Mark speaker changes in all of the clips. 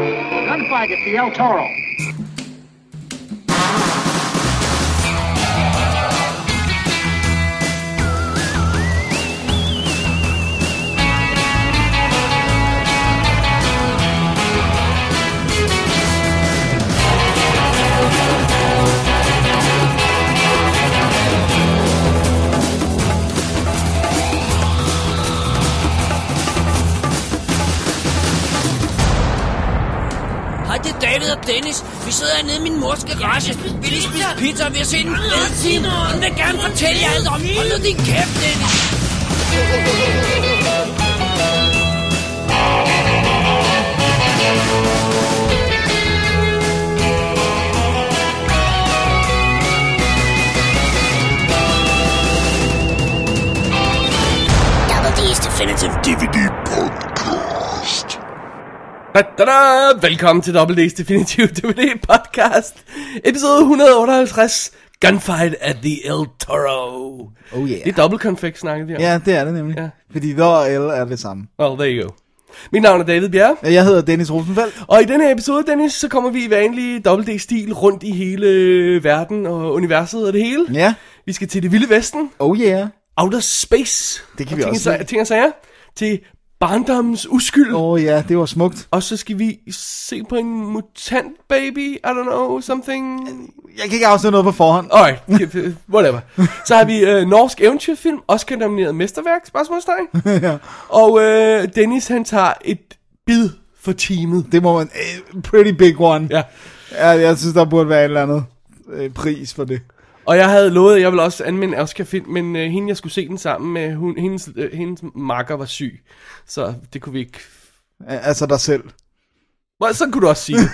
Speaker 1: Green flag, it's the El Toro.
Speaker 2: Hej, det er David og Dennis. Vi sidder nede i min mors garage. Vi lige spise pizza, og vi har set en fed film. Han vil gerne fortælle jer alt om. Hold nu din kæft, Dennis.
Speaker 3: Double D's Definitive
Speaker 4: DVD Podcast.
Speaker 5: Da-da-da! Velkommen til WD's Definitive DVD Podcast, episode 158, Gunfight at the El Toro.
Speaker 6: Oh yeah.
Speaker 5: Det er dobbelt konfekt, snakkede vi om.
Speaker 6: Ja, det er det nemlig.
Speaker 5: Ja.
Speaker 6: Ja. Fordi der og L er det samme.
Speaker 5: Well, there you go. Mit navn er David Bjerre,
Speaker 6: Jeg hedder Dennis Rosenfeldt.
Speaker 5: og i denne her episode, Dennis, så kommer vi i vanlig WD-stil rundt i hele verden og universet og det hele.
Speaker 6: Ja.
Speaker 5: Vi skal til det vilde vesten,
Speaker 6: Oh yeah.
Speaker 5: outer space.
Speaker 6: Det kan
Speaker 5: og
Speaker 6: vi
Speaker 5: ting,
Speaker 6: også
Speaker 5: og
Speaker 6: lide.
Speaker 5: sag- ting og sager, til barndommens uskyld.
Speaker 6: Åh oh, ja, det var smukt.
Speaker 5: Og så skal vi se på en mutant baby, I don't know, something...
Speaker 6: Jeg kan ikke afsløre noget på forhånd.
Speaker 5: Alright, whatever. Så har vi øh, norsk eventyrfilm, Oscar nomineret mesterværk, spørgsmålstegn.
Speaker 6: Ja.
Speaker 5: Og øh, Dennis, han tager et bid for teamet.
Speaker 6: Det må man... eh, Pretty big one.
Speaker 5: Ja.
Speaker 6: Ja, jeg synes, der burde være et eller andet øh, pris for det.
Speaker 5: Og jeg havde lovet, at jeg ville også anmelde Oscar-film, men øh, hende, jeg skulle se den sammen med, hun, hendes, øh, hendes makker var syg. Så det kunne vi ikke...
Speaker 6: Al- Altså dig selv.
Speaker 5: Well, sådan kunne du også sige det.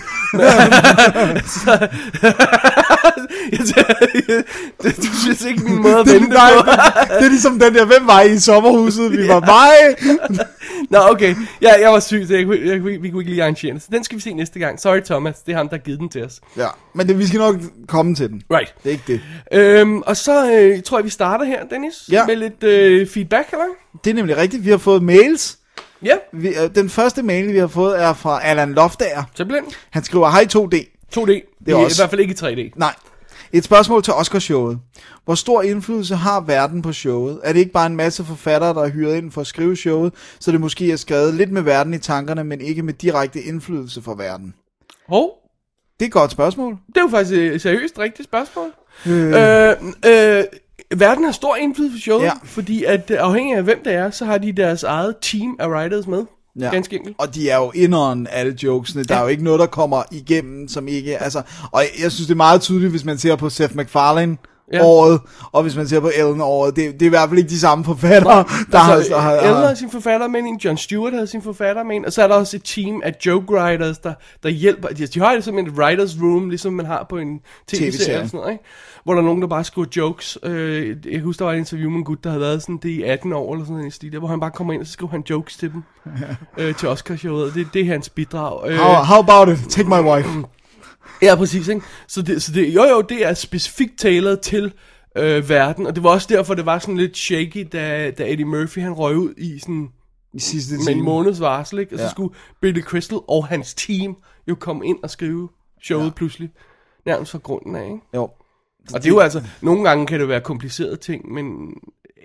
Speaker 5: så, jeg, jeg, jeg, du synes ikke, min måde at
Speaker 6: Det,
Speaker 5: vente
Speaker 6: nej,
Speaker 5: på.
Speaker 6: det er ligesom den der, hvem var I i sommerhuset? Vi var mig.
Speaker 5: Nå, okay. Ja, jeg var syg, så jeg, kunne- jeg, kunne- vi kunne ikke lige arrangere den. Så den skal vi se næste gang. Sorry, Thomas. Det er ham, der har givet den til os.
Speaker 6: Ja, men det, vi skal nok komme til den.
Speaker 5: Right.
Speaker 6: Det er ikke det.
Speaker 5: Øhm, og så øh, tror jeg, vi starter her, Dennis.
Speaker 6: Ja.
Speaker 5: Med lidt øh, feedback, eller?
Speaker 6: Det er nemlig rigtigt. Vi har fået mails.
Speaker 5: Ja,
Speaker 6: Vi, øh, den første mail, vi har fået, er fra Allan Loftager.
Speaker 5: simpelthen.
Speaker 6: Han skriver, hej 2D.
Speaker 5: 2D.
Speaker 6: Det er
Speaker 5: I, I
Speaker 6: også-
Speaker 5: hvert fald ikke i 3D.
Speaker 6: Nej. Et spørgsmål til Oscarshowet. Hvor stor indflydelse har verden på showet? Er det ikke bare en masse forfattere, der er hyret ind for at skrive showet, så det måske er skrevet lidt med verden i tankerne, men ikke med direkte indflydelse fra verden?
Speaker 5: Hov,
Speaker 6: Det er et godt spørgsmål.
Speaker 5: det er jo faktisk et seriøst rigtigt spørgsmål. Øh. Øh, øh, verden har stor indflydelse på showet,
Speaker 6: Ja.
Speaker 5: fordi at øh, afhængig af hvem det er, så har de deres eget team af writers med. Ja. Ganske enkelt.
Speaker 6: Og de er jo inderen alle jokesene. Der ja. er jo ikke noget, der kommer igennem, som ikke... Altså, og jeg synes, det er meget tydeligt, hvis man ser på Seth MacFarlane,
Speaker 5: Ja.
Speaker 6: ja. året, og hvis man ser på Ellen året, det, det er i hvert fald ikke de samme forfattere, der
Speaker 5: Altså,
Speaker 6: har... Der har,
Speaker 5: Ellen havde
Speaker 6: har
Speaker 5: sin forfatter med en, John Stewart havde sin forfatter med en, og så er der også et team af joke writers, der, der hjælper. De, de har ligesom et writers room, ligesom man har på en tv-serie,
Speaker 6: TV-serie.
Speaker 5: eller sådan noget, ikke? Hvor der er nogen, der bare skriver jokes. Øh, jeg husker, der var et interview med en gut, der havde været sådan det i 18 år, eller sådan noget, i stil der, hvor han bare kommer ind, og så skriver han jokes til dem, øh, til Oscarshowet. og Det, det er hans bidrag. Øh,
Speaker 6: how, how about it? Take my wife.
Speaker 5: Mm. Ja, præcis, ikke? Så, det, så det, jo jo, det er specifikt tailoret til øh, verden, og det var også derfor, det var sådan lidt shaky, da, da Eddie Murphy, han røg ud i sådan
Speaker 6: I sidste
Speaker 5: med en
Speaker 6: time.
Speaker 5: måneds varsel, ikke? Og så
Speaker 6: Ja.
Speaker 5: skulle Billy Crystal og hans team jo komme ind og skrive showet ja. pludselig. Nærmest fra grunden af, ikke?
Speaker 6: Jo.
Speaker 5: Og det er jo altså, nogle gange kan det være komplicerede ting, men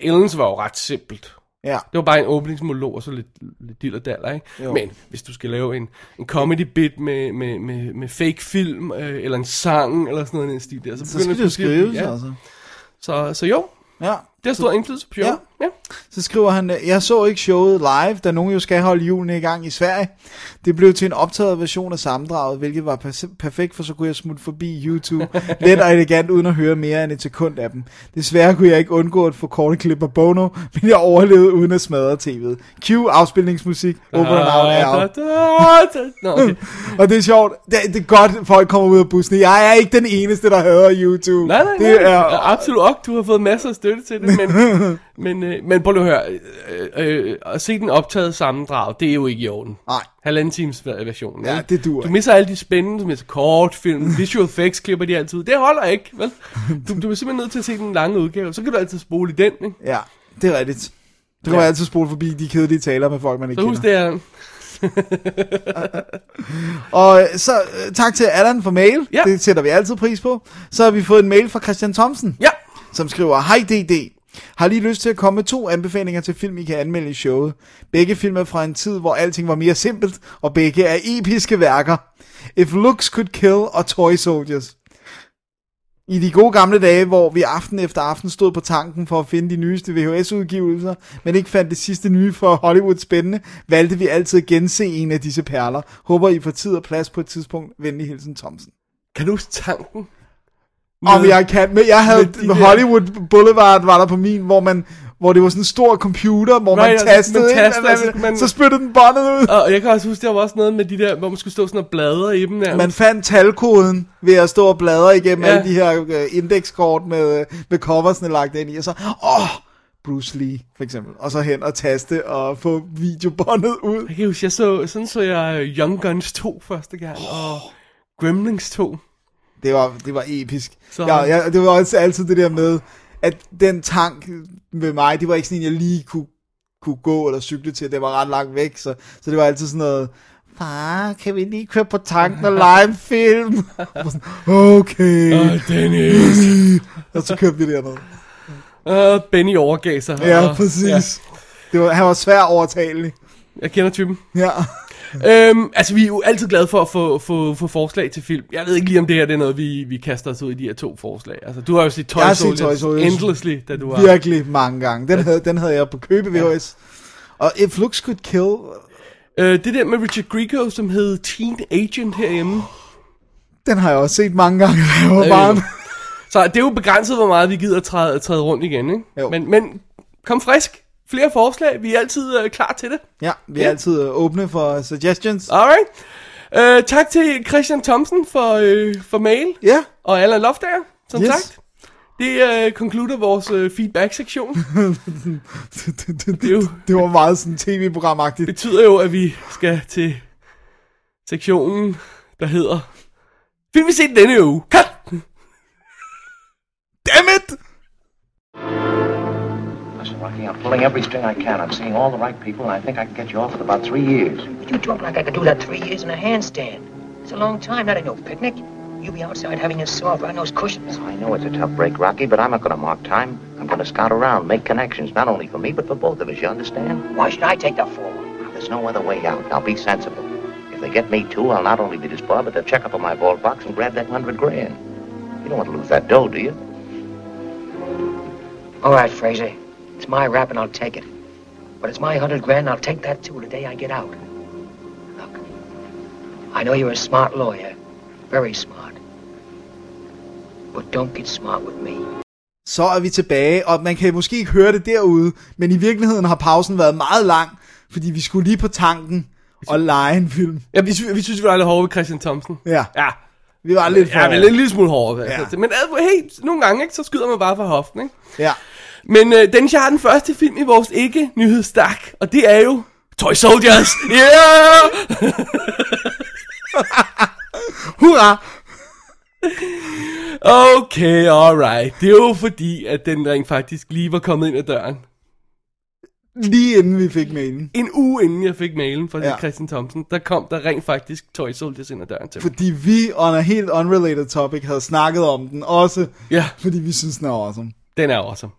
Speaker 5: Ellens var jo ret simpelt.
Speaker 6: Ja.
Speaker 5: Det var bare en åbningsmonolog og så lidt, lidt dill og daller, ikke? Jo.
Speaker 6: Jo.
Speaker 5: Men hvis du skal lave en, en comedy bit med, med, med, med fake film, øh, eller en sang, eller sådan noget i den stil der, så,
Speaker 6: Så
Speaker 5: begynder
Speaker 6: skal det jo
Speaker 5: pludselig at blive-
Speaker 6: skrives,
Speaker 5: ja.
Speaker 6: ja. altså.
Speaker 5: Så, så jo,
Speaker 6: Ja.
Speaker 5: det har stor indflydelse på showet. Ja. ja.
Speaker 6: Så skriver han, "Øh, jeg så ikke showet live, da nogen jo skal holde julene i gang i Sverige. Det blev til en optaget version af sammendraget, hvilket var perse- perfekt, for så kunne jeg smutte forbi YouTube let og elegant, uden at høre mere end et sekund af dem. Desværre kunne jeg ikke undgå at få korte klip af Bono, men jeg overlevede uden at smadre tv'et. Cue afspilningsmusik,
Speaker 5: Ah,
Speaker 6: over and out, er
Speaker 5: Da,
Speaker 6: out.
Speaker 5: da, da, da. Nå, okay.
Speaker 6: Og det er sjovt, det, det er godt, folk kommer ud af bussen. Jeg er ikke den eneste, der hader YouTube.
Speaker 5: Nej, nej,
Speaker 6: det
Speaker 5: nej.
Speaker 6: er
Speaker 5: Ja, absolut ok. Du har fået masser af støtte til det, men, men, øh, men prøv lige at høre. Øh, øh, at se den optaget sammendrag, det er jo ikke i orden.
Speaker 6: Nej.
Speaker 5: Halvanden times ver- version.
Speaker 6: Ah. Ja,
Speaker 5: ikke?
Speaker 6: det dur
Speaker 5: Du
Speaker 6: ikke.
Speaker 5: misser alle de spændende, du misser kortfilm, visual effects klipper de altid. ud. Det holder ikke, vel? Du, du er simpelthen nødt til at se den lange udgave. Så kan du altid spole i den, ikke?
Speaker 6: Ja, det er rigtigt. Du kan
Speaker 5: Ja.
Speaker 6: ja. altid spole forbi de kedelige taler med folk, man ikke
Speaker 5: Så
Speaker 6: kender.
Speaker 5: husk det her.
Speaker 6: Og øh, så øh, tak til Allan for mail.
Speaker 5: Ja.
Speaker 6: Det sætter vi altid pris på. Så har vi fået en mail fra Christian Thomsen,
Speaker 5: Ja,
Speaker 6: som skriver, Hej DD. Har lige lyst til at komme med to anbefalinger til film, I kan anmelde i showet. Begge film er fra en tid, hvor alting var mere simpelt, og begge er episke værker. If Looks Could Kill og Toy Soldiers. I de gode gamle dage, hvor vi aften efter aften stod på tanken for at finde de nyeste VHS-udgivelser, men ikke fandt det sidste nye fra Hollywood spændende, valgte vi altid at gense en af disse perler. Håber I får tid og plads på et tidspunkt. Venlig hilsen, Thomsen.
Speaker 5: kan du huske tanken?
Speaker 6: Om jeg kan, men jeg havde
Speaker 5: med de der-
Speaker 6: Hollywood Boulevard var der på min, hvor man hvor det var sådan en stor computer, hvor
Speaker 5: Right,
Speaker 6: man
Speaker 5: og man
Speaker 6: tastede, ind,
Speaker 5: taster,
Speaker 6: hvad- hvad-
Speaker 5: og så- man-
Speaker 6: så spyttede den båndet ud.
Speaker 5: Og jeg kan også huske, der var også noget med de der, hvor man skulle stå sådan og bladre i dem nærmest.
Speaker 6: Man fandt talkoden ved at stå og bladre igennem
Speaker 5: Ja.
Speaker 6: alle de her øh, indekskort med, øh, med coversne lagt ind i, og så, åh, Bruce Lee, for eksempel. Og så hen og taste og få videobåndet ud.
Speaker 5: Jeg kan huske, jeg så, sådan så jeg øh, Young Guns 2 første gang, og Gremlings 2.
Speaker 6: Det var, det var episk.
Speaker 5: Så-
Speaker 6: Ja, ja, det var også altid det der med, at den tank med mig, det var ikke sådan en, jeg lige kunne, kunne gå eller cykle til. Det var ret langt væk, så, så det var altid sådan noget, far, kan vi lige køre på tanken og lege en film? Og sådan, okay.
Speaker 5: Øh. Dennis.
Speaker 6: Og så kørte vi derned.
Speaker 5: Og Øh, Benny overgav sig.
Speaker 6: Ja,
Speaker 5: og,
Speaker 6: præcis. Ja. Det var, han var svær overtalelig.
Speaker 5: Ja, jeg kender typen.
Speaker 6: Ja.
Speaker 5: Øhm, altså, vi er jo altid glade for at få, få, få forslag til film. Jeg ved ikke lige, om det her det er noget, vi, vi kaster os ud i de her to forslag. Altså, du har jo set Toy,
Speaker 6: Jeg har set
Speaker 5: Soldiers,
Speaker 6: Toy Soldiers.
Speaker 5: endlessly, da du var...
Speaker 6: Virkelig mange gange. Den havde, den havde jeg på købe VHS. Og If Looks Could Kill,
Speaker 5: Øh, det der med Richard Grieco, som hed Teen Agent herhjemme.
Speaker 6: den har jeg også set mange gange, da jeg var
Speaker 5: Øh.
Speaker 6: barn.
Speaker 5: Så det er jo begrænset, hvor meget vi gider træde, træde rundt igen, ikke?
Speaker 6: Jo.
Speaker 5: Men, men kom frisk. Flere forslag. Vi er altid øh, klar til det.
Speaker 6: Ja, vi er
Speaker 5: Ja.
Speaker 6: altid øh, åbne for suggestions.
Speaker 5: Alright. Øh, tak til Christian Thomsen for, øh, for mail.
Speaker 6: Ja,
Speaker 5: Og Allan Loftager, som
Speaker 6: Yes.
Speaker 5: sagt. Det øh, konkluderer vores øh, feedback-sektion.
Speaker 6: det, det, det,
Speaker 5: Det er jo-
Speaker 6: det, det var meget sådan tv-programagtigt.
Speaker 5: betyder jo, at vi skal til sektionen, der hedder... Film vi set denne uge. Cut!
Speaker 6: Dammit!
Speaker 1: Listen, Rocky, I'm pulling every string I can. I'm seeing all the right people, and I think I can get you off in about three years.
Speaker 3: You talk like I could do that three years in a handstand. It's a long time, not at no picnic. You be outside having yourself on those cushions.
Speaker 1: I know it's a tough break, Rocky, but I'm not going to mark time. I'm going to scout around, make connections, not only for me, but for both of us. You understand?
Speaker 3: Why should I take the fall?
Speaker 1: There's no other way out. Now be sensible. If they get me too, I'll not only be disbarred, but they'll check up on my ball box and grab that hundred grand. You don't want to lose that dough, do you?
Speaker 3: All right, Fraser. It's my rap and I'll take it. But it's my hundred grand and I'll take that too the day I get out. Look, I know you're a smart lawyer. Very smart. But don't get smart with me.
Speaker 6: Så er vi tilbage, og man kan måske ikke høre det derude, men i virkeligheden har pausen været meget lang, fordi vi skulle lige på tanken og lege en film.
Speaker 5: Ja, vi, sy- vi synes, vi var lidt hårde ved Christian Thomsen.
Speaker 6: Ja,
Speaker 5: Ja,
Speaker 6: vi var lidt for...
Speaker 5: ja men en lille smule hårde. Altså.
Speaker 6: Ja.
Speaker 5: Men altså, hey, nogle gange, ikke, så skyder man bare fra hoften, ikke?
Speaker 6: ja.
Speaker 5: Men øh, den har den første film i vores ikke-nyhedsstak, og det er jo Toy Soldiers. Yeah!
Speaker 6: Hurra!
Speaker 5: Okay, alright. Det er jo fordi, at den ring faktisk lige var kommet ind ad døren.
Speaker 6: Lige inden vi fik mailen.
Speaker 5: En uge inden jeg fik mailen fra ja.
Speaker 6: Ja.
Speaker 5: Christian Thomsen, der kom der rent faktisk Toy Soldiers ind ad døren til mig.
Speaker 6: Fordi vi, on a helt unrelated topic, havde snakket om den også.
Speaker 5: Ja.
Speaker 6: Fordi vi synes, den er awesome.
Speaker 5: Den er awesome.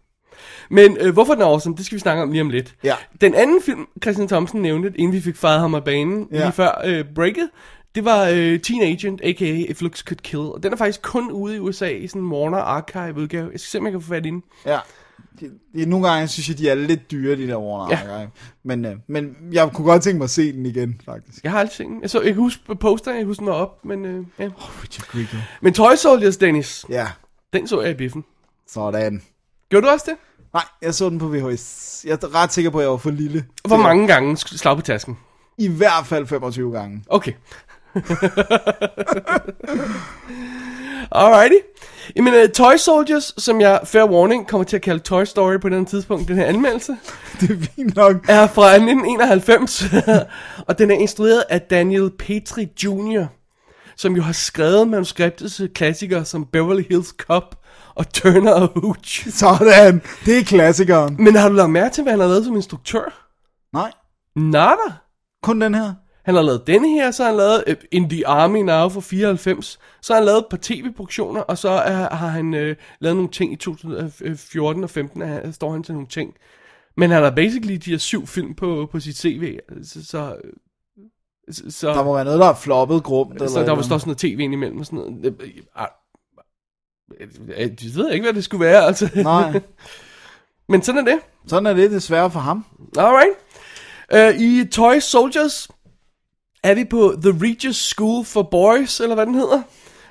Speaker 5: Men øh, hvorfor den er awesome, det skal vi snakke om lige om lidt.
Speaker 6: Ja.
Speaker 5: Den anden film, Christian Thomsen nævnte, inden vi fik faret ham af banen, ja.
Speaker 6: Ja.
Speaker 5: lige før øh, breaket, det var øh, Teen Agent, a.k.a. If Looks Could Kill. Og den er faktisk kun ude i USA i sådan en Warner Archive udgave. Jeg skal se, om jeg kan få fat i den.
Speaker 6: Ja. De, de, nogle gange synes jeg, de er lidt dyre, de der Warner
Speaker 5: Ja.
Speaker 6: Archive. Men, øh, men jeg kunne godt tænke mig at se den igen, faktisk.
Speaker 5: Jeg har aldrig set den. Jeg, så, jeg kan huske posteren, jeg husker den var op, men... Øh, ja.
Speaker 6: Richard Grieco.
Speaker 5: Men Toy Soldiers, Dennis,
Speaker 6: Ja,
Speaker 5: den så jeg i biffen.
Speaker 6: sådan.
Speaker 5: Gjorde du også det?
Speaker 6: Nej, jeg så den på VHS. Jeg er ret sikker på, at jeg var for lille.
Speaker 5: Hvor
Speaker 6: Det er-
Speaker 5: mange gange sk- slag på tasken?
Speaker 6: I hvert fald 25 gange.
Speaker 5: Okay. Alrighty. Jamen, uh, Toy Soldiers, som jeg, fair warning, kommer til at kalde Toy Story på et eller andet tidspunkt, den her anmeldelse,
Speaker 6: Det er fint nok.
Speaker 5: er fra 1991, og den er instrueret af Daniel Petrie Jr., som jo har skrevet manuskriptet til klassikere som Beverly Hills Cop og Turner og Hooch.
Speaker 6: Sådan. Det er klassikeren.
Speaker 5: Men har du lagt mærke til, hvad han har lavet som instruktør?
Speaker 6: Nej,
Speaker 5: Nada.
Speaker 6: kun den her.
Speaker 5: Han har lavet denne her, så har han lavet øh, In the Army Now for 94, så har han lavet et par tv-produktioner, og så øh, har han øh, lavet nogle ting i 2014 øh, og 15, og han, øh, står han til nogle ting. Men han har basically de her syv film på, på sit CV, så... så øh, så, så
Speaker 6: Der må være noget, der er floppet grumt. Eller
Speaker 5: så der
Speaker 6: et
Speaker 5: var
Speaker 6: eller
Speaker 5: også noget tv ind imellem og sådan noget. Øh, øh, ah, øh, Jeg ved ikke, hvad det skulle være, altså.
Speaker 6: andet. Nej,
Speaker 5: Men sådan er det.
Speaker 6: sådan er det desværre for ham.
Speaker 5: Alright. Uh, I Toy Soldiers er vi på The Regis School for Boys, eller hvad den hedder.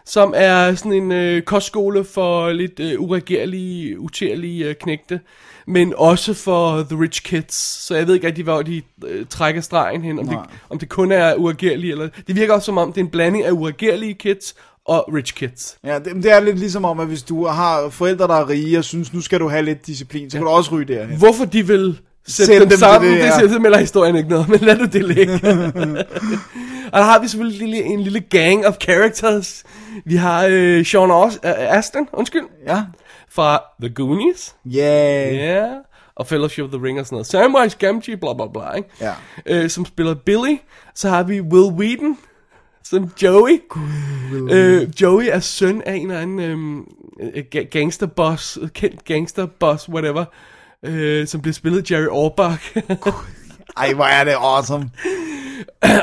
Speaker 5: Som er sådan en øh, kostskole for lidt øh, uregerlige, utærlige øh, knægte. Men også for The Rich Kids. Så jeg ved ikke rigtig, hvor de øh, trækker stregen hen. Om det,
Speaker 6: Nej.
Speaker 5: om det kun er uregerlige, eller... Det virker også som om, det er en blanding af uregerlige kids og rich kids.
Speaker 6: Ja, det, det er lidt ligesom om, at hvis du har forældre, der er rige, og synes, nu skal du have lidt disciplin, så kan du også ryge derhen.
Speaker 5: Hvorfor de vil sætte
Speaker 6: Send
Speaker 5: dem, dem
Speaker 6: dem til
Speaker 5: sammen, det,
Speaker 6: det,
Speaker 5: ja.
Speaker 6: ja.
Speaker 5: det siger simpelthen historien ikke noget, om, men lad du det ligge. og der har vi selvfølgelig en lille, en lille gang of characters. Vi har øh, Sean Aus- øh, Astin, undskyld,
Speaker 6: Ja.
Speaker 5: fra The Goonies.
Speaker 6: Yeah.
Speaker 5: Ja. Yeah. Og Fellowship of the Ring og sådan noget. Samwise Gamgee, bla bla bla, ikke?
Speaker 6: Ja.
Speaker 5: Øh, som spiller Billy. Så har vi Will Wheaton, som Joey. Øh, Joey er søn af en eller anden øhm, øh, ga- gangsterboss, øh, kendt gangsterboss, whatever, øh, som bliver spillet af Jerry Orbach.
Speaker 6: Ej, hvor er det awesome.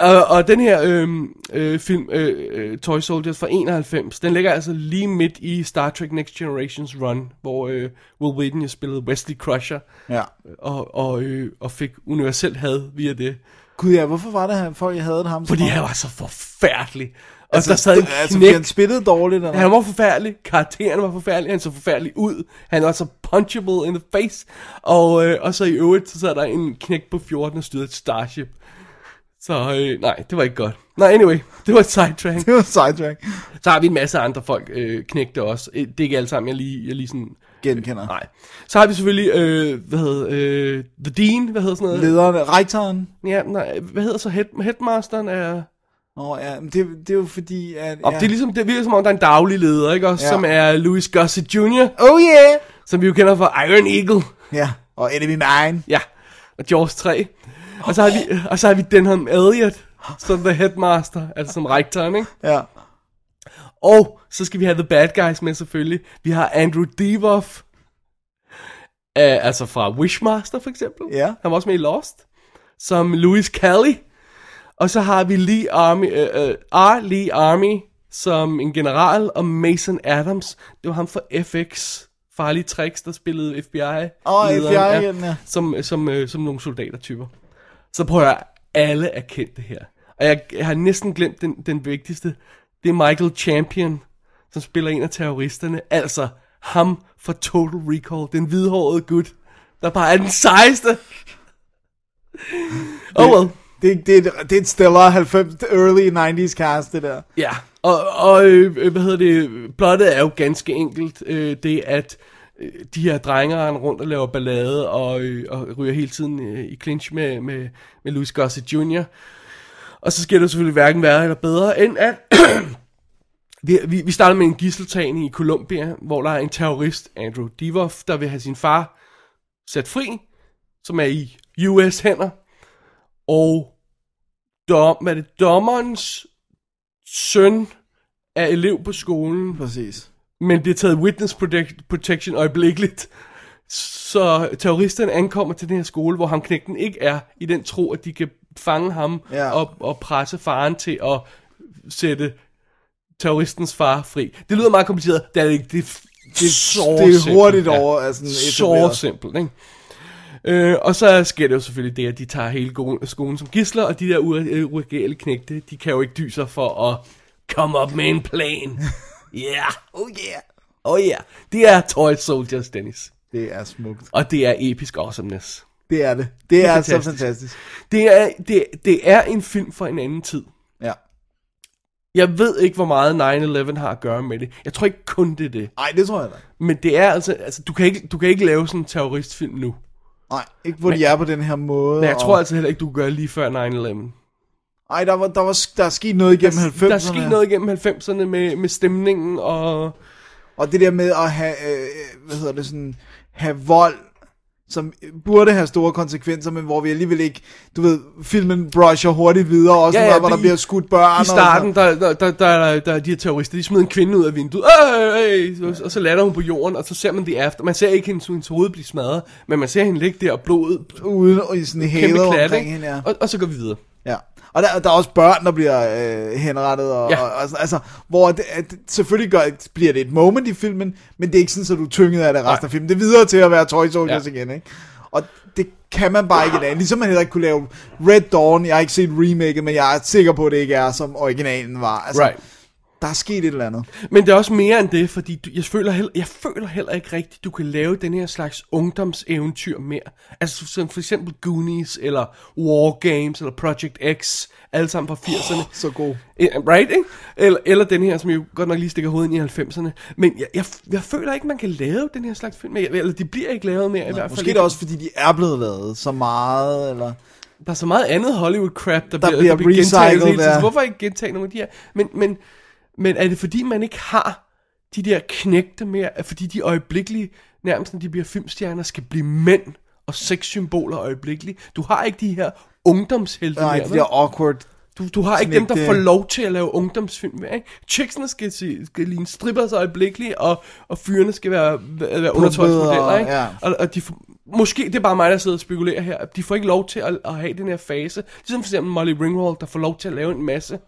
Speaker 5: og, og den her øhm, øh, film, øh, øh, Toy Soldiers fra 91, den ligger altså lige midt i Star Trek Next Generations run, hvor øh, Will Wheaton jo spillede Wesley Crusher,
Speaker 6: Ja.
Speaker 5: og, og, øh, og fik universelt had via det.
Speaker 6: Gud ja, hvorfor var det, at folk havde det ham? så
Speaker 5: Fordi
Speaker 6: meget?
Speaker 5: han var så forfærdelig. Og altså, der sad en
Speaker 6: altså,
Speaker 5: knæk.
Speaker 6: fordi han spillede dårligt, eller?
Speaker 5: Han var forfærdelig, karakteren var forfærdelig, han så forfærdelig ud, han var så punchable in the face, og, øh, og så i øvrigt, så sad der en knæk på 14 og styrede et Starship. Så øh, nej, det var ikke godt. Nej, anyway, det var et sidetrack.
Speaker 6: Det var sidetrack.
Speaker 5: Så har vi en masse andre folk, øh, knægte også. Øh, Det er ikke alle sammen, jeg lige, jeg lige sådan...
Speaker 6: Genkender.
Speaker 5: Nej. Så har vi selvfølgelig, øh, hvad hedder, øh, The Dean, hvad hedder sådan noget?
Speaker 6: Lederen, rektoren.
Speaker 5: Ja, nej, hvad hedder så head, headmasteren er...
Speaker 6: Nå ja, men det, det er jo fordi, at...
Speaker 5: Og
Speaker 6: ja.
Speaker 5: ja. det er ligesom, det virker som om, der er en daglig leder, ikke også? Ja.
Speaker 6: Ja.
Speaker 5: Som er Louis Gossett Jr.,
Speaker 6: Oh yeah!
Speaker 5: som vi jo kender fra Iron Eagle.
Speaker 6: Ja, og Enemy Mine.
Speaker 5: Ja, og Jaws 3. Og så har vi, og så har vi Denham Elliot, som the headmaster, altså som rektoren, ikke?
Speaker 6: Ja.
Speaker 5: Og så skal vi have The Bad Guys med selvfølgelig. Vi har Andrew Devoff, øh, altså fra Wishmaster for eksempel.
Speaker 6: Ja.
Speaker 5: Han var også med i Lost. Som Louis Kelly. Og så har vi Lee Army, øh, øh, R. Lee Army som en general, og Mason Adams, det var ham fra FX, farlige tricks, der spillede FBI.
Speaker 6: Åh,
Speaker 5: lederen,
Speaker 6: FBI-agenten, ja.
Speaker 5: Som, som, øh, som nogle soldatertyper. Så prøver jeg, alle er kendt det her. Og jeg, jeg har næsten glemt den, den vigtigste. Det er Michael Champion, som spiller en af terroristerne. Altså ham fra Total Recall. Den hvidhårede gut, der bare er den sejeste. Oh well.
Speaker 6: Det, det, det, det er et Stella 90, early 90's cast, det der.
Speaker 5: Ja, og, og øh, øh, hvad hedder det, plottet er jo ganske enkelt, øh, det at øh, de her drenger render rundt og laver ballade og, øh, og ryger hele tiden øh, i clinch med, med, med Louis Gossett Jr. Og så sker det jo selvfølgelig hverken værre eller bedre, end at vi, vi, vi starter med en gisseltagning i Colombia, hvor der er en terrorist, Andrew Divoff, der vil have sin far sat fri, som er i US hænder, og dom, hvad er det, dommerens søn er elev på skolen,
Speaker 6: Præcis.
Speaker 5: men det er taget witness protect- protection øjeblikkeligt. Så terroristerne ankommer til den her skole, hvor ham knægten ikke er, i den tro, at de kan fange ham
Speaker 6: Ja.
Speaker 5: og, og presse faren til at sætte terroristens far fri. Det lyder meget kompliceret, det er det ikke. Det, er- det er så
Speaker 6: det er
Speaker 5: simpelt,
Speaker 6: hurtigt over, altså,
Speaker 5: Så
Speaker 6: etableret.
Speaker 5: simpelt, ikke? Øh, og så sker det jo selvfølgelig det, at de tager hele go- skolen som gidsler, og de der uregale knægte, de kan jo ikke dyse for at komme op med en plan. Ja, yeah. oh yeah, oh yeah. Det er Toy Soldiers, Dennis.
Speaker 6: Det er smukt.
Speaker 5: Og det er episk awesomeness.
Speaker 6: Det er det. Det er, så
Speaker 5: fantastisk.
Speaker 6: fantastisk.
Speaker 5: Det er, det, det er en film for en anden tid.
Speaker 6: Ja.
Speaker 5: Jeg ved ikke, hvor meget 9-11 har at gøre med det. Jeg tror ikke kun det er det.
Speaker 6: Ej, det tror jeg da.
Speaker 5: Men det er altså, altså du, kan ikke, du kan ikke lave sådan en terroristfilm nu.
Speaker 6: Nej, ikke hvor de er på den her måde.
Speaker 5: Men jeg
Speaker 6: og-
Speaker 5: tror altså heller ikke, du kan gøre lige før 9-11.
Speaker 6: Ej, der, var, der, var, der er sket noget igennem 90'erne.
Speaker 5: Der skete noget igennem 90'erne med, med stemningen og...
Speaker 6: øh, Og det der med at have, øh, hvad hedder det sådan, have vold som burde have store konsekvenser, men hvor vi alligevel ikke, du ved, filmen brusher hurtigt videre, også ja, ja, noget, hvor
Speaker 5: det
Speaker 6: der bliver skudt børn.
Speaker 5: I starten, der, der, der, der, der er de her terrorister, de smider en kvinde ud af vinduet, øh, øh, øh, og så lander hun på jorden, og så ser man det efter. Man ser ikke hendes, hendes hoved blive smadret, men man ser hende ligge der og blodet
Speaker 6: og sådan, uden og i sådan en
Speaker 5: kæmpe
Speaker 6: halo
Speaker 5: klat,
Speaker 6: omkring hende,
Speaker 5: ikke?
Speaker 6: ja.
Speaker 5: og, og så går vi videre.
Speaker 6: Ja. Og der, der er også børn, der bliver øh, henrettet, og,
Speaker 5: Ja.
Speaker 6: ja. og, og sådan- altså, hvor det, at, selvfølgelig gør, bliver det et moment i filmen, men det er ikke sådan, at du er tynget af det resten
Speaker 5: Nej.
Speaker 6: af filmen. Det er videre til at være Toy Soldiers
Speaker 5: Ja.
Speaker 6: ja. igen, ikke? Og det kan man bare ikke i dag. Ligesom man heller ikke kunne lave Red Dawn, jeg har ikke set remake, men jeg er sikker på, at det ikke er, som originalen var. Altså,
Speaker 5: Right.
Speaker 6: Der er sket et eller andet.
Speaker 5: Men det er også mere end det, fordi du, jeg, føler heller, jeg føler heller ikke rigtigt, du kan lave den her slags ungdomseventyr mere. Altså som for eksempel Goonies, eller War Games, eller Project X, alle sammen fra 80'erne. Oh,
Speaker 6: Så god.
Speaker 5: Right, ikke? Eller, eller den her, som jo godt nok lige stikker hovedet ind i 90'erne. Men jeg, jeg, jeg føler ikke, man kan lave den her slags film. mere. Eller de bliver ikke lavet mere Nej, i hvert fald.
Speaker 6: Måske er
Speaker 5: ikke.
Speaker 6: det også, fordi de er blevet lavet så meget, eller...
Speaker 5: Der er så meget andet Hollywood-crap, der, der bliver, der
Speaker 6: bliver
Speaker 5: bliver gentaget.
Speaker 6: recyclet,
Speaker 5: hele tiden.
Speaker 6: ja.
Speaker 5: Hvorfor ikke gentage nogle af de her? Men, men, men er det fordi, man ikke har de der knægte mere? Er Fordi de øjeblikkelige, nærmest når de bliver filmstjerner, skal blive mænd og sexsymboler øjeblikkeligt. Du har ikke de her ungdomshelte
Speaker 6: Nej,
Speaker 5: mere,
Speaker 6: de
Speaker 5: vel?
Speaker 6: der awkward
Speaker 5: Du, du har ikke
Speaker 6: Sådan
Speaker 5: dem, der
Speaker 6: et,
Speaker 5: får
Speaker 6: øh,
Speaker 5: lov til at lave ungdomsfilm mere, ikke? Chicksene skal, se- skal ligne strippers øjeblikkeligt, og, og fyrene skal være, være, være undertøjsmodeller,
Speaker 6: og-
Speaker 5: ikke?
Speaker 6: ja.
Speaker 5: Og, og de får, måske, det er bare mig, der sidder og spekulerer her, de får ikke lov til at, at have den her fase. Ligesom for eksempel Molly Ringwald, der får lov til at lave en masse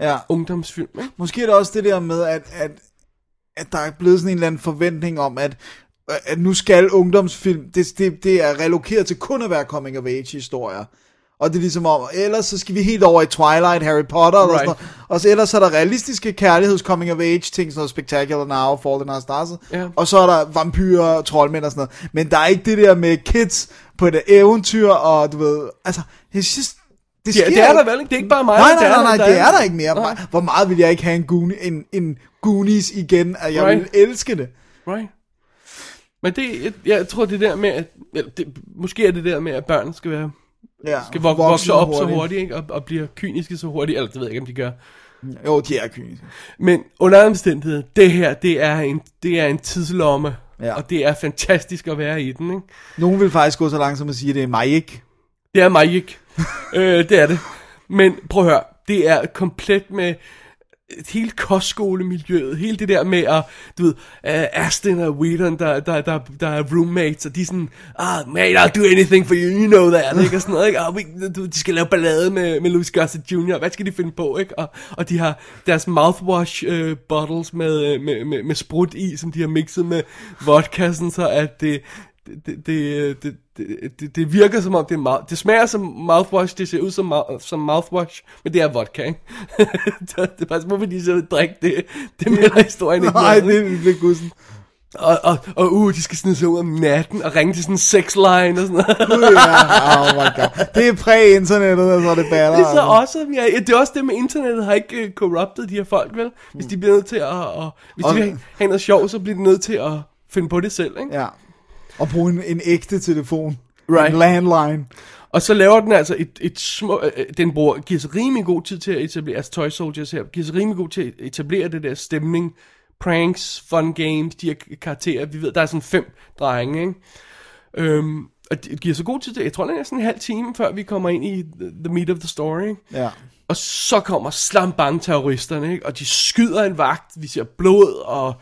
Speaker 6: ja.
Speaker 5: ungdomsfilm, ikke?
Speaker 6: Måske er det også det der med, at, at, at der er blevet sådan en eller anden forventning om, at, at nu skal ungdomsfilm, det, det, det er relokeret til kun at være coming of age historier. Og det er ligesom om, ellers så skal vi helt over i Twilight, Harry Potter right. og sådan
Speaker 5: Right.
Speaker 6: noget. Og så ellers er der realistiske kærligheds coming of age ting, sådan noget Spectacular Now, Fallen Our Stars.
Speaker 5: Ja.
Speaker 6: Og så er der vampyrer, troldmænd og sådan noget. Men der er ikke det der med kids på et eventyr, og du ved, altså, jeg synes, det,
Speaker 5: Ja,
Speaker 6: sker
Speaker 5: det er
Speaker 6: ikke.
Speaker 5: der vel ikke? Det er ikke bare mig,
Speaker 6: Nej,
Speaker 5: der-
Speaker 6: nej,
Speaker 5: der
Speaker 6: nej,
Speaker 5: er-
Speaker 6: nej,
Speaker 5: der
Speaker 6: det
Speaker 5: er-
Speaker 6: er der ikke mere.
Speaker 5: Nej.
Speaker 6: Hvor meget vil jeg ikke have en, Goonies, en, en Goonies igen? At jeg
Speaker 5: Right.
Speaker 6: right. ville elske det.
Speaker 5: Right. Men det, jeg, jeg tror det der med, at, eller det, måske er det der med, at børn skal være
Speaker 6: Ja,
Speaker 5: skal vok-
Speaker 6: voksne
Speaker 5: vokse op så hurtigt, ikke? Og, og bliver kyniske så hurtigt, eller det ved jeg ikke, om de gør.
Speaker 6: Jo, de er kyniske.
Speaker 5: Men under alle omstændigheder, det her, det er en, det er en tidslomme.
Speaker 6: Ja.
Speaker 5: Og det er fantastisk at være i den, ikke?
Speaker 6: Nogen vil faktisk gå så langt som at sige, at det er mig ikke.
Speaker 5: Det er mig ikke. øh, det er det. Men prøv at høre, det er komplet med øh, hele kostskolemiljøet, hele det der med at, du ved, uh, Aston og Whedon, der, der, der, der er roommates, og de er sådan, ah, man, I'll do anything for you, you know that, ikke, og sådan noget, ikke, og vi, du, de skal lave ballade med, med Louis Gossett Jr., hvad skal de finde på, ikke, og, og de har deres mouthwash uh, bottles med, øh, med, med, med sprut i, som de har mixet med vodka, sådan så at det, det, det, det, det, det, det, det virker som om det er mouth, det smager som mouthwash, det ser ud som, mou- som mouthwash, men det er vodka, ikke? det, det er bare sådan, hvorfor de så vil drikke det, det melder historien ikke
Speaker 6: Nej,
Speaker 5: noget om,
Speaker 6: det
Speaker 5: ikke?
Speaker 6: er lidt gudsen.
Speaker 5: Og, og, og uh, de skal snide sig ud om natten og ringe til sådan en sexline og sådan noget.
Speaker 6: Ja, oh my god. Det er præ-internettet, og så er det baller.
Speaker 5: Det er så awesome, ja. ja. Det er også det med internettet har ikke øh, corrupted de her folk, vel? Hvis de bliver nødt til at... Og, hvis
Speaker 6: Og-
Speaker 5: de vil have- have noget sjov, så bliver de nødt til at finde på det selv, ikke?
Speaker 6: Ja. Og bruge en, en ægte telefon.
Speaker 5: Right.
Speaker 6: En landline.
Speaker 5: Og så laver den altså et, et små... Øh, øh, den bruger, giver sig rimelig god tid til at etablere... Altså Toy Soldiers her, giver sig rimelig god tid til at etablere det der stemning. Pranks, fun games, de her k- karakterer. Vi ved, der er sådan fem drenge, ikke? Øhm, og det giver så god tid til... Jeg tror, det er næsten en halv time, før vi kommer ind i the, the meat of the story, ikke?
Speaker 6: Ja.
Speaker 5: Og så kommer slambang terroristerne, ikke? og de skyder en vagt, vi ser blod, og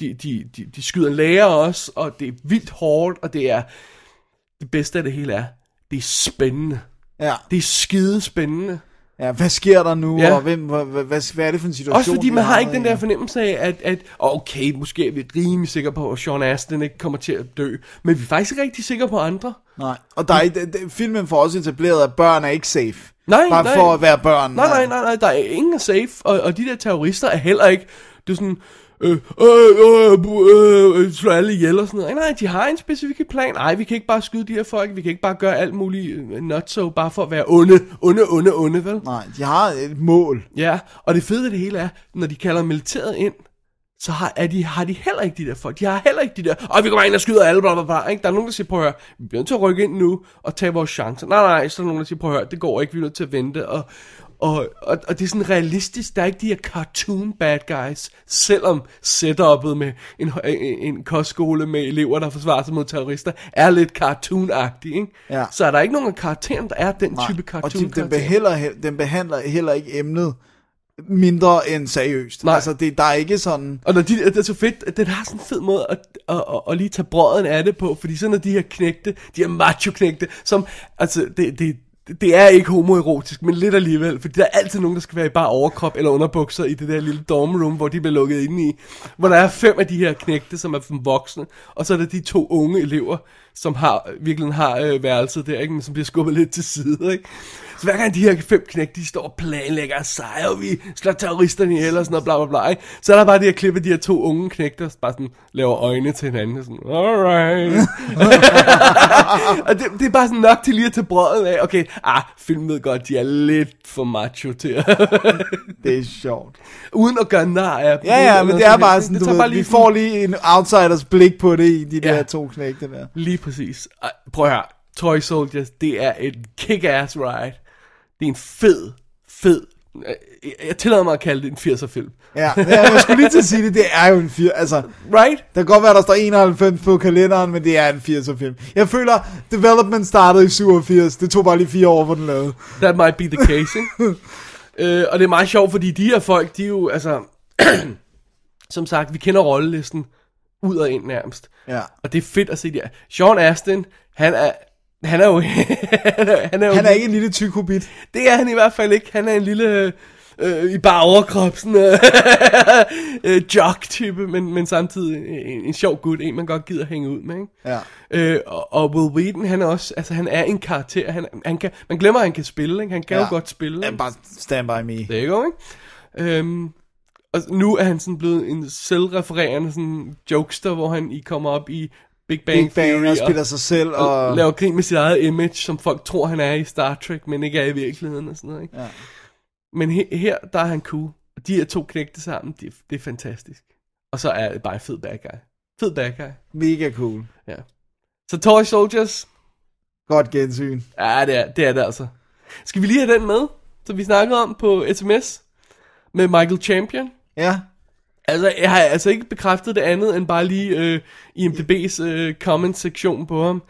Speaker 5: de, de, de, de skyder en lærer også, og det er vildt hårdt, og det er, det bedste af det hele er, det er spændende.
Speaker 6: Ja.
Speaker 5: Det er skide spændende.
Speaker 6: ja, hvad sker der nu,
Speaker 5: Ja.
Speaker 6: og hvem, hvad, hvad, hvad, hvad er det for en situation?
Speaker 5: Også fordi
Speaker 6: vi
Speaker 5: man har
Speaker 6: havnet
Speaker 5: ikke den
Speaker 6: i?
Speaker 5: der fornemmelse af, at, at okay, måske er vi rimelig sikre på, at Sean Astin ikke kommer til at dø, men vi er faktisk ikke rigtig sikre på andre.
Speaker 6: Nej, og der er, ikke- det- det- filmen får også etableret, at børn er ikke safe.
Speaker 5: Nej,
Speaker 6: Bare
Speaker 5: nej.
Speaker 6: for at være børn.
Speaker 5: Nej, nej, nej, nej, der er ingen er safe, og, og de der terrorister er heller ikke, det er sådan, øh, øh, øh, bu- øh, øh, slå alle ihjel og sådan noget. Nej, nej, de har en specifik plan. Nej, vi kan ikke bare skyde de her folk, vi kan ikke bare gøre alt muligt øh, not so, bare for at være onde, onde, onde, onde, vel?
Speaker 6: Nej, de har et mål.
Speaker 5: Ja, og det fede ved det hele er, når de kalder militæret ind, så har, er de, har de heller ikke de der folk. De har heller ikke de der, og vi kommer ind og skyder alle, bla, bla, bla, ikke? Der er nogen, der siger, prøv at høre, vi bliver nødt til at rykke ind nu og tage vores chancer. Nej, nej, så er der nogen, der siger, prøv at høre, det går ikke, vi er nødt til at vente. Og, Og, og, og det er sådan realistisk, der er ikke de her cartoon bad guys, selvom setupet med en, hø- en, en kostskole med elever, der forsvarer sig mod terrorister, er lidt cartoon ikke?
Speaker 6: Ja.
Speaker 5: Så er der ikke nogen af karakteren, der er den
Speaker 6: Nej,
Speaker 5: type
Speaker 6: og
Speaker 5: cartoon
Speaker 6: de, den, behandler, he- den behandler heller ikke emnet mindre end seriøst.
Speaker 5: Nej.
Speaker 6: Altså, det, der er ikke sådan...
Speaker 5: Og når de, det er så fedt, at den har sådan en fed måde at, at, at, at lige tage brøden af det på, fordi så når de her knægte, de her macho-knægte, som, altså, det, det, det er ikke homoerotisk, men lidt alligevel, fordi der er altid nogen, der skal være i bare overkrop eller underbukser i det der lille dorm room, hvor de bliver lukket inde i, hvor der er fem af de her knægte, som er som voksne, og så er der de to unge elever, som har, virkelig har øh, værelset der, ikke? men som bliver skubbet lidt til side, ikke? Så hver gang de her fem knægte, de står og planlægger og sejrer, og vi slår terroristerne ihjel og sådan noget, bla bla bla, ikke? Så er der bare det her klip af de her to unge knægte, der bare sådan laver øjne til hinanden, og sådan, alright. og det, det, er bare sådan nok til lige at tage brødet af, okay, ah, filmen ved godt, de er lidt for macho til at,
Speaker 6: Det er sjovt.
Speaker 5: uden at gøre nar af. dem,
Speaker 6: Ja,
Speaker 5: uden
Speaker 6: ja,
Speaker 5: at
Speaker 6: men
Speaker 5: noget
Speaker 6: det er
Speaker 5: som
Speaker 6: bare
Speaker 5: helst.
Speaker 6: sådan,
Speaker 5: Det
Speaker 6: du
Speaker 5: tager
Speaker 6: ved,
Speaker 5: bare
Speaker 6: vi
Speaker 5: lige
Speaker 6: får lige en outsiders blik på det i de
Speaker 5: Ja.
Speaker 6: der to knægte der.
Speaker 5: Lige præcis. Ej, prøv at høre. Toy Soldiers, det er et kick-ass ride. Det er en fed, fed... øh, Jeg, jeg tillader mig at kalde det en 80'er film.
Speaker 6: Ja, ja, jeg skulle lige til at sige det, det er jo en fir... Altså,
Speaker 5: Right?
Speaker 6: der kan godt være, der står 91 på kalenderen, men det er en 80'er film. Jeg føler, development startede i 87. Det tog bare lige fire år, hvor den lavede.
Speaker 5: That might be the case, ikke? øh, og det er meget sjovt, fordi de her folk, de er jo, altså... som sagt, vi kender rollelisten ud og ind nærmest.
Speaker 6: Ja.
Speaker 5: Og det er fedt at se det. Sean Astin, han er... Han er jo... han er, han er, jo
Speaker 6: Han er ikke en lille tyk hobbit.
Speaker 5: Det er han i hvert fald ikke. Han er en lille... øh, Øh, I bare overkrop, sådan øh, øh, jock-type, men, men samtidig en, en sjov gut, en man godt gider hænge ud med, ikke?
Speaker 6: Ja.
Speaker 5: Øh, og, og Will Wheaton, han er også, altså han er en karakter, han, han kan, man glemmer, at han kan spille, ikke? Han kan ja. jo godt spille.
Speaker 6: Ja,
Speaker 5: ikke?
Speaker 6: bare stand by me.
Speaker 5: Det er ikke ikke? Øhm, og nu er han sådan blevet en selvrefererende sådan jokester, hvor han i kommer op i Big Bang,
Speaker 6: Big Bang
Speaker 5: Theory
Speaker 6: og spiller sig selv,
Speaker 5: og
Speaker 6: og
Speaker 5: laver grin med sit eget image, som folk tror, han er i Star Trek, men ikke er i virkeligheden og sådan noget. Ikke?
Speaker 6: Ja.
Speaker 5: Men he- her, der er han cool. Og de her to knægte sammen, det, det er fantastisk. Og så er det bare en fed bad guy. Fed bad guy.
Speaker 6: mega cool.
Speaker 5: Ja. Så Toy Soldiers,
Speaker 6: Godt gensyn.
Speaker 5: ja, det er det, er det altså. Skal vi lige have den med, som vi snakkede om på sms med Michael Champion?
Speaker 6: Ja,
Speaker 5: Altså, jeg har altså ikke bekræftet det andet, end bare lige øh, IMDB's øh, comment-sektion på ham.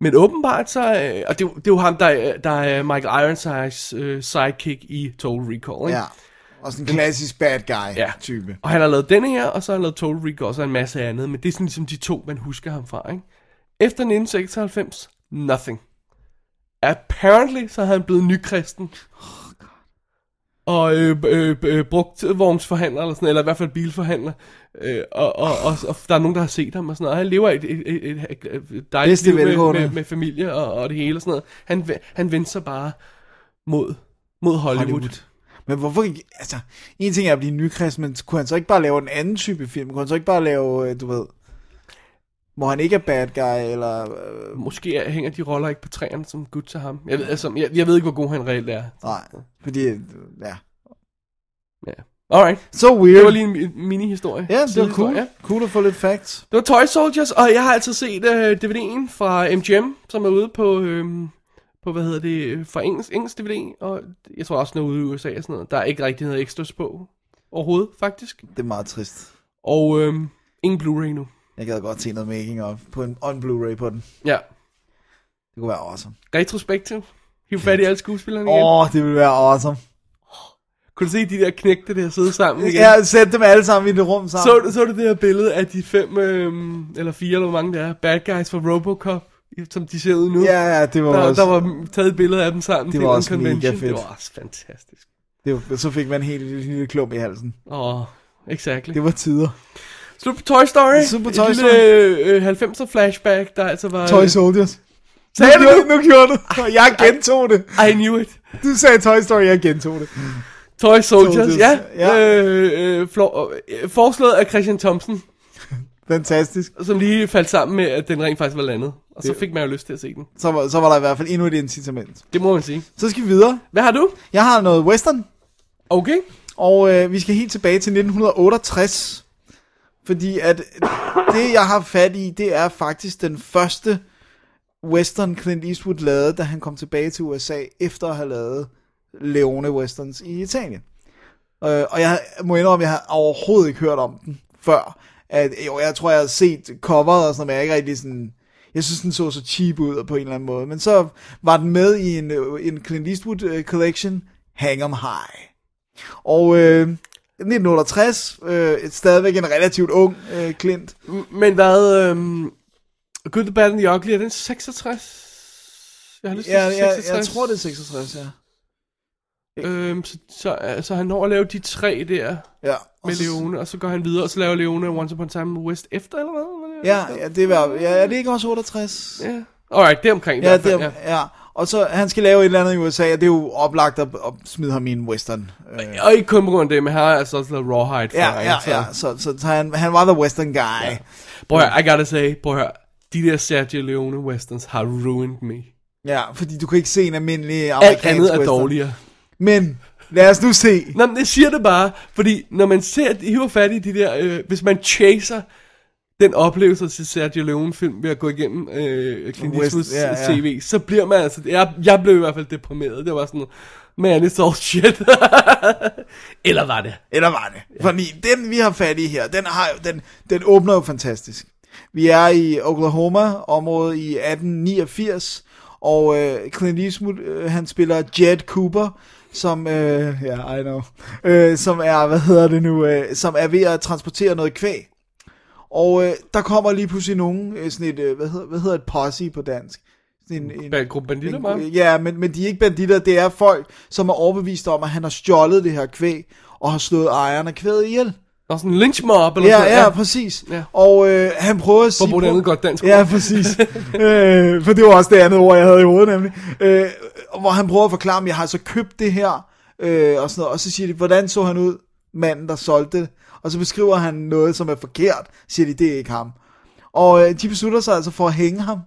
Speaker 5: Men åbenbart så, øh, og det, er jo- det er jo ham, der, er- der er Michael Ironsides øh, sidekick i Total Recall, ikke?
Speaker 6: ja. Og sådan en klassisk bad guy
Speaker 5: Ja.
Speaker 6: type.
Speaker 5: Og han har lavet denne her, og så har han lavet Total Recall, og så en masse andet, men det er sådan ligesom de to, man husker ham fra, ikke? Efter 1996, nothing. Apparently, så er han blevet nykristen. Og øh, øh, øh, brugt vognsforhandler, eller, sådan, eller i hvert fald bilforhandler. Øh, og, og, og, og, der er nogen, der har set ham og sådan noget. Og han lever et, et, et, et, et dejligt
Speaker 6: Bedste
Speaker 5: liv med,
Speaker 6: velgående.
Speaker 5: med, med familie og, og det hele og sådan noget. Han, ve- han vendte sig bare mod, mod Hollywood. Hollywood.
Speaker 6: Hollywood. Men hvorfor ikke, altså, en ting er at blive nykrist, men kunne han så ikke bare lave den anden type film? Kunne han så ikke bare lave, øh, du ved, hvor han ikke er bad guy, eller... Øh,
Speaker 5: Måske hænger de roller ikke på træerne som gud til ham. Jeg ved, altså, jeg, jeg ved ikke, hvor god han reelt er.
Speaker 6: nej, fordi, øh, ja.
Speaker 5: Ja. Alright,
Speaker 6: Så so
Speaker 5: det
Speaker 6: weird.
Speaker 5: var lige en mi- mini-historie.
Speaker 6: Ja, det var
Speaker 5: Sidehistorie,
Speaker 6: cool.
Speaker 5: ja.
Speaker 6: Cool at få lidt facts.
Speaker 5: Det var Toy Soldiers, og jeg har altså set uh, DVD'en fra MGM, som er ude på, øhm, på hvad hedder det, øh, fra engelsk, engelsk DVD, og jeg tror også, den er ude i USA og sådan noget. Der er ikke rigtig noget ekstras på overhovedet, faktisk.
Speaker 6: Det er meget trist.
Speaker 5: Og øhm, ingen Blu-ray nu.
Speaker 6: Jeg gad godt se noget making of på en on Blu-ray på den.
Speaker 5: Ja,
Speaker 6: Det kunne være awesome.
Speaker 5: retrospektiv. Hiv fat i alle skuespillerne igen.
Speaker 6: Åh, oh, det ville være awesome.
Speaker 5: Kunne du se de der knægte der sidde sammen igen?
Speaker 6: Ja, sæt dem alle sammen i det rum sammen.
Speaker 5: Så, du- så du det her billede af de fem, øhm, eller fire, eller hvor mange der er, bad guys fra Robocop, som de ser ud nu?
Speaker 6: Ja, ja, det var
Speaker 5: Der,
Speaker 6: også...
Speaker 5: der var taget et billede af dem sammen.
Speaker 6: Det
Speaker 5: til
Speaker 6: var
Speaker 5: en
Speaker 6: også mega
Speaker 5: convention.
Speaker 6: fedt.
Speaker 5: Det var også fantastisk.
Speaker 6: Det var, så fik man en helt lille, lille klump i halsen.
Speaker 5: Åh, oh, exactly.
Speaker 6: Det var tider.
Speaker 5: Slut på Toy Story.
Speaker 6: Slut på Toy
Speaker 5: et
Speaker 6: Story.
Speaker 5: lille øh, 90'er flashback, der altså var...
Speaker 6: Toy Soldiers.
Speaker 5: Sagde
Speaker 6: nu, gjorde-
Speaker 5: du?
Speaker 6: nu gjorde du. Jeg gentog det.
Speaker 5: I knew it.
Speaker 6: Du sagde Toy Story, jeg gentog det.
Speaker 5: Toy Soldiers,
Speaker 6: Soldiers,
Speaker 5: ja.
Speaker 6: ja.
Speaker 5: Øh, øh, flor, øh, forslået af Christian Thompson,
Speaker 6: Fantastisk.
Speaker 5: som lige faldt sammen med, at den rent faktisk var landet. Og så
Speaker 6: Det-
Speaker 5: fik man jo lyst til at se den.
Speaker 6: Så var, så var der i hvert fald endnu et incitament.
Speaker 5: Det må man sige.
Speaker 6: Så skal vi videre.
Speaker 5: Hvad har du?
Speaker 6: Jeg har noget western,
Speaker 5: Okay.
Speaker 6: og øh, vi skal helt tilbage til 1968. Fordi at det, jeg har fat i, det er faktisk den første western Clint Eastwood lavede, da han kom tilbage til USA, efter at have lavet Leone Westerns i Italien. Øh, og jeg må indrømme, at jeg havde overhovedet ikke hørt om den før. At, jo, jeg tror, jeg havde set coveret og sådan noget, men jeg er ikke rigtig sådan... Jeg synes, den så så cheap ud på en eller anden måde. Men så var den med i en, øh, en Clint Eastwood øh, collection, Hang 'em High. Og øh, 1968, øh, stadigvæk en relativt ung øh, Clint.
Speaker 5: Men hvad, øhm, Good, the Bad and the Ugly, er den 66? Jeg har lyst til
Speaker 6: Ja,
Speaker 5: at sige
Speaker 6: jeg,
Speaker 5: 66.
Speaker 6: jeg tror, det er 66, ja.
Speaker 5: Øhm, så, så, så han når at lave de tre der
Speaker 6: ja. og
Speaker 5: med
Speaker 6: så-
Speaker 5: Leone, og så går han videre, og så laver Leone Once Upon a Time in the West efter, eller hvad?
Speaker 6: Ja, ja, det var, ja, er det ikke også 68?
Speaker 5: ja. Alright, det er omkring i
Speaker 6: Ja,
Speaker 5: hvert fald,
Speaker 6: det er, ja. Og så, han skal lave et eller andet i USA, og det er jo oplagt at, at smide ham i en western. Øh,
Speaker 5: ja. Og ikke kun på grund af det, men her er altså også lavet Rawhide
Speaker 6: ja,
Speaker 5: for
Speaker 6: ja, ja. Så, så, så han, han var the western guy. Ja,
Speaker 5: Prøv at høre, I gotta say, prøv at høre, de der Sergio Leone westerns har ruined me.
Speaker 6: ja fordi du kan ikke se en almindelig
Speaker 5: Alt
Speaker 6: amerikansk
Speaker 5: andet er
Speaker 6: western.
Speaker 5: dårligere.
Speaker 6: Men lad os nu se.
Speaker 5: Nå, men det siger det bare, fordi når man ser, at de hiver fat i de der, øh, hvis man chaser den oplevelse til Sergio Leone film ved at gå igennem øh, Clint
Speaker 6: West-
Speaker 5: Eastwood's
Speaker 6: ja,
Speaker 5: ja,
Speaker 6: ja.
Speaker 5: ja. CV, så bliver man altså, jeg, jeg blev i hvert fald deprimeret, det var sådan, man it's all shit. Eller var det?
Speaker 6: Eller var det? Ja. Fordi den, vi har fat i her, den, har jo, den, den åbner jo fantastisk. Vi er i Oklahoma-området i 1889, og øh, Clint Eastwood, øh, han spiller Jed Cooper, som, øh, ja, I know, øh, som er, hvad hedder det nu, øh, som er ved at transportere noget kvæg. Og øh, der kommer lige pludselig nogen, øh, sådan et, øh, hvad, hedder, hvad hedder et posse på dansk? Sådan en, en,
Speaker 5: Bag en gruppe banditter,
Speaker 6: men-
Speaker 5: man.
Speaker 6: Ja, men, men de er ikke banditter, det er folk, som er overbevist om, at han har stjålet det her kvæg, og har slået ejeren af kvæget ihjel.
Speaker 5: Og sådan en lynch mob, eller
Speaker 6: Ja,
Speaker 5: sådan
Speaker 6: ja, præcis.
Speaker 5: Ja.
Speaker 6: Og øh, han prøver at sige...
Speaker 5: For at bruge et andet godt dansk
Speaker 6: Ja,
Speaker 5: ord.
Speaker 6: præcis. øh, for det var også det andet ord, jeg havde i hovedet nemlig. Øh, hvor han prøver at forklare, at jeg har så købt det her, øh, og, sådan noget. og så siger de, hvordan så han ud, manden, der solgte det? Og så beskriver han noget, som er forkert, siger de, det er ikke ham. Og øh, de beslutter sig altså for at hænge ham,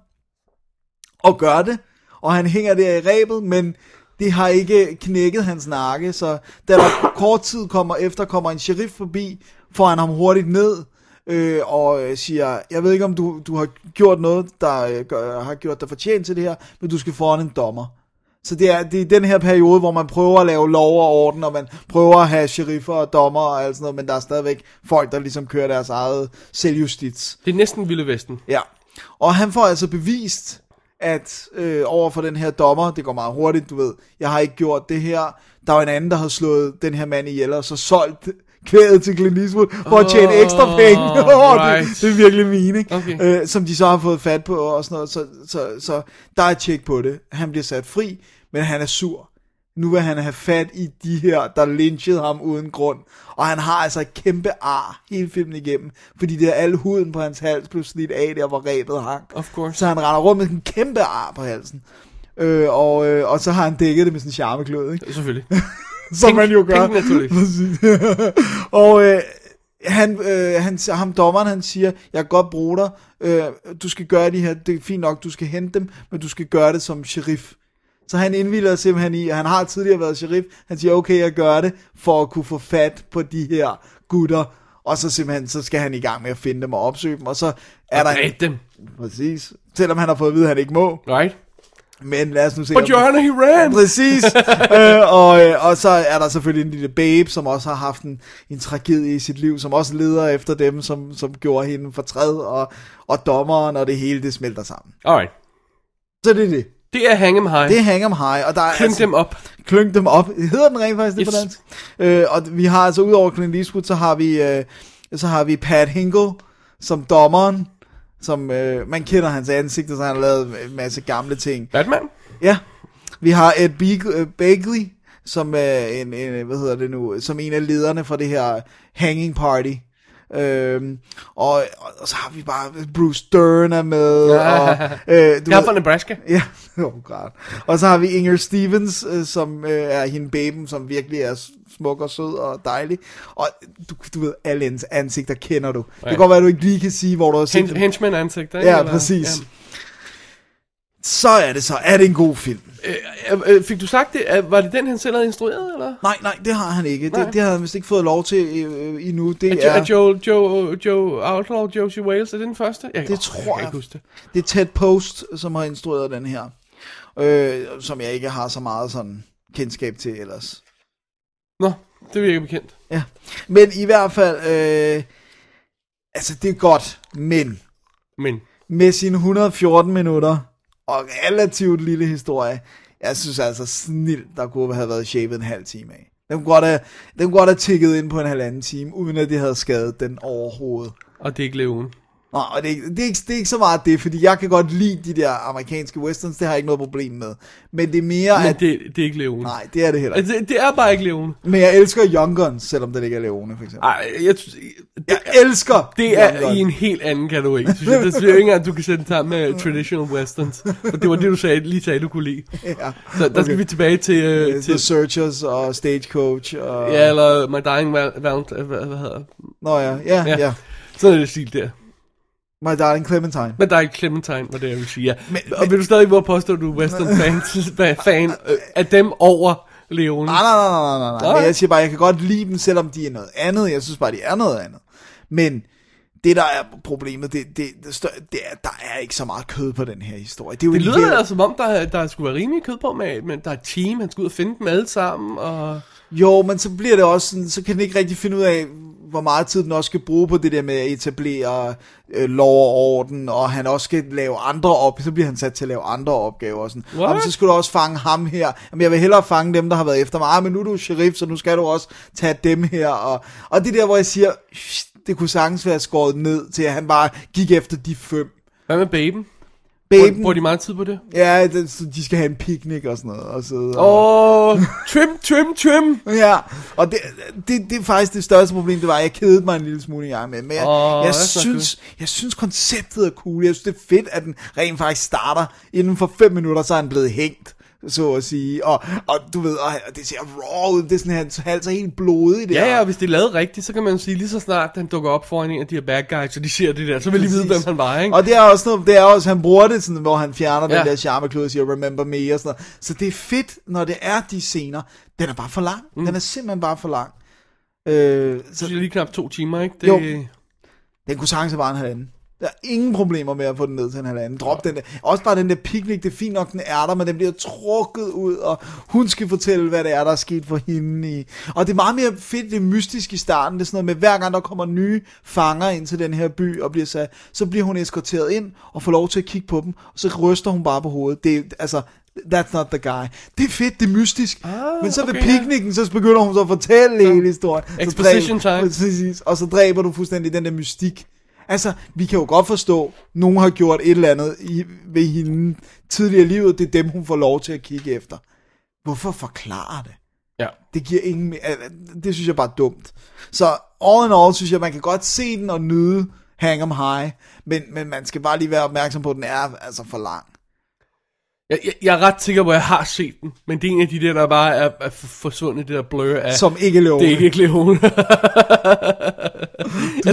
Speaker 6: og gør det, og han hænger der i rebet, men det har ikke knækket hans nakke, så da der kort tid kommer efter, kommer en sheriff forbi, får han ham hurtigt ned, øh, og øh, siger, jeg ved ikke om du, du har gjort noget, der øh, gør, har gjort dig fortjent til det her, men du skal foran en dommer. Så det er, det er den her periode, hvor man prøver at lave lov og orden, og man prøver at have sheriffer og dommer og alt sådan noget, men der er stadigvæk folk, der ligesom kører deres eget selvjustits.
Speaker 5: Det er næsten Vilde Vesten.
Speaker 6: Ja, og han får altså bevist, at øh, over for den her dommer, det går meget hurtigt, du ved, jeg har ikke gjort det her, der var en anden, der havde slået den her mand ihjel, og så solgt kvædet til Clint Eastwood, for at tjene ekstra
Speaker 5: Åh,
Speaker 6: penge. Åh, det,
Speaker 5: right.
Speaker 6: det er virkelig mine, ikke?
Speaker 5: Okay.
Speaker 6: Øh, som de så har fået fat på og sådan noget, så, så, så der er et tjek på det. Han bliver sat fri, men han er sur. Nu vil han have fat i de her, der lynchede ham uden grund. Og han har altså et kæmpe ar hele filmen igennem, fordi det er al huden på hans hals blev slidt af der, hvor rebet hang.
Speaker 5: Of course.
Speaker 6: Så han render rundt med en kæmpe ar på halsen. Øh, og, øh, og så har han dækket det med sin charmeklød, ikke?
Speaker 5: Selvfølgelig.
Speaker 6: Som
Speaker 5: Pink-
Speaker 6: man jo gør.
Speaker 5: pink naturligvis.
Speaker 6: Præcis. og øh, han, øh, han, ham dommeren, han siger, jeg kan godt bruge dig, øh, du skal gøre de her, det er fint nok, du skal hente dem, men du skal gøre det som sheriff. Så han indvilder simpelthen i, og han har tidligere været sheriff, han siger, okay, jeg gør det, for at kunne få fat på de her gutter, og så simpelthen, så skal han i gang med at finde dem og opsøge dem, og så er der...
Speaker 5: Dræb dem.
Speaker 6: Præcis. Selvom han har fået at vide, at han ikke må.
Speaker 5: Right?
Speaker 6: Men lad os nu se.
Speaker 5: But
Speaker 6: om-
Speaker 5: your honor, he ran.
Speaker 6: Præcis. øh, og, øh, og så er der selvfølgelig en lille babe, som også har haft en, en tragedie i sit liv, som også leder efter dem, som, som gjorde hende fortræd, og, og dommeren og det hele, det smelter sammen.
Speaker 5: Alright.
Speaker 6: Så det er det.
Speaker 5: Det er Hang 'em High.
Speaker 6: Det er Hang 'em High, og der er altså-
Speaker 5: Klem dem op.
Speaker 6: Klynk dem op. Hedder den rent faktisk det yes. på
Speaker 5: Yes.
Speaker 6: dansk? Øh, og vi har altså, udover Clint Eastwood, så har vi, øh, så har vi Pat Hinkle som dommeren, som øh, man kender hans ansigt, og så har han lavet en masse gamle ting.
Speaker 5: Batman?
Speaker 6: Ja. Vi har Ed Beagle- øh, Bagley, som er en, en, hvad hedder det nu, som en af lederne fra det her hanging party. Øhm, og, og, og så har vi bare Bruce Dern er med. og, øh, du
Speaker 5: Jeg er
Speaker 6: ved-
Speaker 5: fra Nebraska.
Speaker 6: Ja, oh god. Og så har vi Inger Stevens, øh, som øh, er hende baben, som virkelig er s- smuk og sød og dejlig. Og du, du ved, alle hendes ansigter kender du. Det kan
Speaker 5: Ja.
Speaker 6: godt være, at du ikke lige kan sige, hvor du har set
Speaker 5: Hen-
Speaker 6: dem.
Speaker 5: henchman ansigt, ikke?
Speaker 6: Ja,
Speaker 5: Eller-
Speaker 6: præcis. Så er det så. Er det en god film?
Speaker 5: Ja. Øh, øh, fik du sagt det? Øh, Var det den, han selv havde instrueret, eller?
Speaker 6: Nej, nej, det har han ikke.
Speaker 5: Nej.
Speaker 6: Det, det har han vist ikke fået lov til øh, endnu. Det
Speaker 5: Er,
Speaker 6: er,
Speaker 5: er Joe, Joe, Joe Outlaw, Josie Wales, er det den første? Jeg,
Speaker 6: Det
Speaker 5: åh,
Speaker 6: tror
Speaker 5: jeg.
Speaker 6: jeg.
Speaker 5: Kan ikke huske det.
Speaker 6: det er Ted Post, som har instrueret den her. Øh, som jeg ikke har så meget sådan kendskab til ellers.
Speaker 5: Nå, det virker bekendt.
Speaker 6: Ja. Men i hvert fald, øh, altså det er godt, men
Speaker 5: Men,
Speaker 6: med sine 114 minutter og relativt lille historie, jeg synes altså snilt, der kunne have været shavet en halv time af. Den kunne godt have, den kunne godt have tikket ind på en halvanden time, uden at det havde skadet den overhovedet.
Speaker 5: og det er ikke Leone.
Speaker 6: Nå, og det, er ikke- det, er ikke, det er ikke så meget det, fordi jeg kan godt lide de der amerikanske westerns, det har jeg ikke noget problem med. Men det er mere,
Speaker 5: Men
Speaker 6: at...
Speaker 5: det, det er ikke Leone.
Speaker 6: Nej, det er det heller ikke.
Speaker 5: Altså, Det, det er bare ikke Leone.
Speaker 6: Men jeg elsker Young Guns, selvom det ikke er Leone, for eksempel.
Speaker 5: Ej, jeg, det,
Speaker 6: Jeg elsker
Speaker 5: det
Speaker 6: Young
Speaker 5: er
Speaker 6: Guns.
Speaker 5: i en helt anden kategori, synes jeg. Det synes jeg ikke engang, du kan sætte den sammen med traditional westerns. For det var det, du sagde, lige sagde, du kunne lide.
Speaker 6: Ja. Øh,
Speaker 5: Så der skal vi tilbage til... Øh, til
Speaker 6: The Searchers og Stagecoach og...
Speaker 5: ja, eller My Dying Val- Valentine... Hvad, hvad hedder det?
Speaker 6: Nå ja, ja, ja.
Speaker 5: Ja.
Speaker 6: ja.
Speaker 5: Sådan er det stil der.
Speaker 6: My Darling Clementine.
Speaker 5: Men der er ikke Clementine, var det, jeg ville sige. Ja. Men,
Speaker 6: Men-
Speaker 5: og vil du stadig hvor påstå, at du er western fan, fan øh, af dem over Leone?
Speaker 6: Nej, nej, nej, nej, nej, nej.
Speaker 5: Nej.
Speaker 6: Men jeg siger bare, jeg kan godt lide dem, selvom de er noget andet. Jeg synes bare, de er noget andet. Men det, der er problemet, det, det, det, større, det er, der er ikke så meget kød på den her historie. Det, er jo
Speaker 5: Det
Speaker 6: en
Speaker 5: lyder
Speaker 6: hel-
Speaker 5: da som om, der, der skulle være rimelig kød på med, men der er et team, han skal ud og finde dem alle sammen, og...
Speaker 6: Jo, men så bliver det også sådan, så kan den ikke rigtig finde ud af, hvor meget tid den også skal bruge på det der med at etablere øh, lov og orden, og han også skal lave andre op, så bliver han sat til at lave andre opgaver og sådan.
Speaker 5: What?
Speaker 6: Jamen, så skulle du også fange ham her. Jamen, jeg vil hellere fange dem, der har været efter mig. Ah, men nu er du sheriff, så nu skal du også tage dem her. Og, og det der, hvor jeg siger, "Shh, det kunne sagtens være skåret ned til, at han bare gik efter de fem.
Speaker 5: Hvad med baben? Bruger,
Speaker 6: Baben,
Speaker 5: bruger de meget tid på det?
Speaker 6: ja, det, så de skal have en picnic og sådan noget. Og sidde og-
Speaker 5: Åh, oh, trim, trim, trim!
Speaker 6: Ja, og det, det, det er faktisk det største problem, det var, at jeg kedede mig en lille smule engang med. Men jeg,
Speaker 5: Åh,
Speaker 6: oh, jeg,
Speaker 5: that's not
Speaker 6: synes, jeg synes, konceptet er cool. Jeg synes, det er fedt, at den rent faktisk starter. Inden for fem minutter, så er han blevet hængt så at sige, og, og du ved, og, og det ser raw ud, det er sådan, hans hals er helt blodig der.
Speaker 5: Ja, ja, og hvis det er lavet rigtigt, så kan man jo sige, lige så snart han dukker op foran en af de her bad guys, og de ser det der, så vil de vide, hvem
Speaker 6: Præcis.
Speaker 5: han var, ikke?
Speaker 6: Og det er også noget, det er også, han bruger det sådan, hvor han fjerner ja.
Speaker 5: Ja.
Speaker 6: den der charmeklud og siger, remember me og sådan noget. Så det er fedt, når det er de scener. Den er bare for lang. Mm. Den er simpelthen bare for lang. Øh,
Speaker 5: Så det er lige knap to timer, ikke? Det,
Speaker 6: Jo. Den kunne sagtens have været en halvanden. Der er ingen problemer med at få den ned til en halvanden. Drop den der. Også bare den der picnic, det er fint nok, den er der, men den bliver trukket ud, og hun skal fortælle, hvad det er, der er sket for hende. I. Og det er meget mere fedt, det er mystisk i starten. Det er sådan noget med, hver gang der kommer nye fanger ind til den her by og bliver sat, så bliver hun eskorteret ind og får lov til at kigge på dem, og så ryster hun bare på hovedet. Det er, altså, That's not the guy. Det er fedt, det er mystisk. Ah, men så ved
Speaker 5: okay, ja.
Speaker 6: picnicken, så begynder hun så at fortælle hele historien. Så
Speaker 5: Exposition
Speaker 6: dræb-
Speaker 5: time.
Speaker 6: Præcis, og så dræber du fuldstændig den der mystik. Altså, vi kan jo godt forstå, nogen har gjort et eller andet i, ved hende tidligere i livet, det er dem, hun får lov til at kigge efter. Hvorfor forklare det?
Speaker 5: Ja.
Speaker 6: Det giver ingen... me- altså, Det synes jeg bare er dumt. Så all in all, synes jeg, man kan godt se den og nyde Hang 'em High, men, men man skal bare lige være opmærksom på, at den er altså for lang.
Speaker 5: Jeg, jeg, jeg er ret sikker på, at jeg har set den, men det er en af de der, der bare er, er forsvundet, det der blur af...
Speaker 6: Som ikke lov.
Speaker 5: Det er ikke Leone. jeg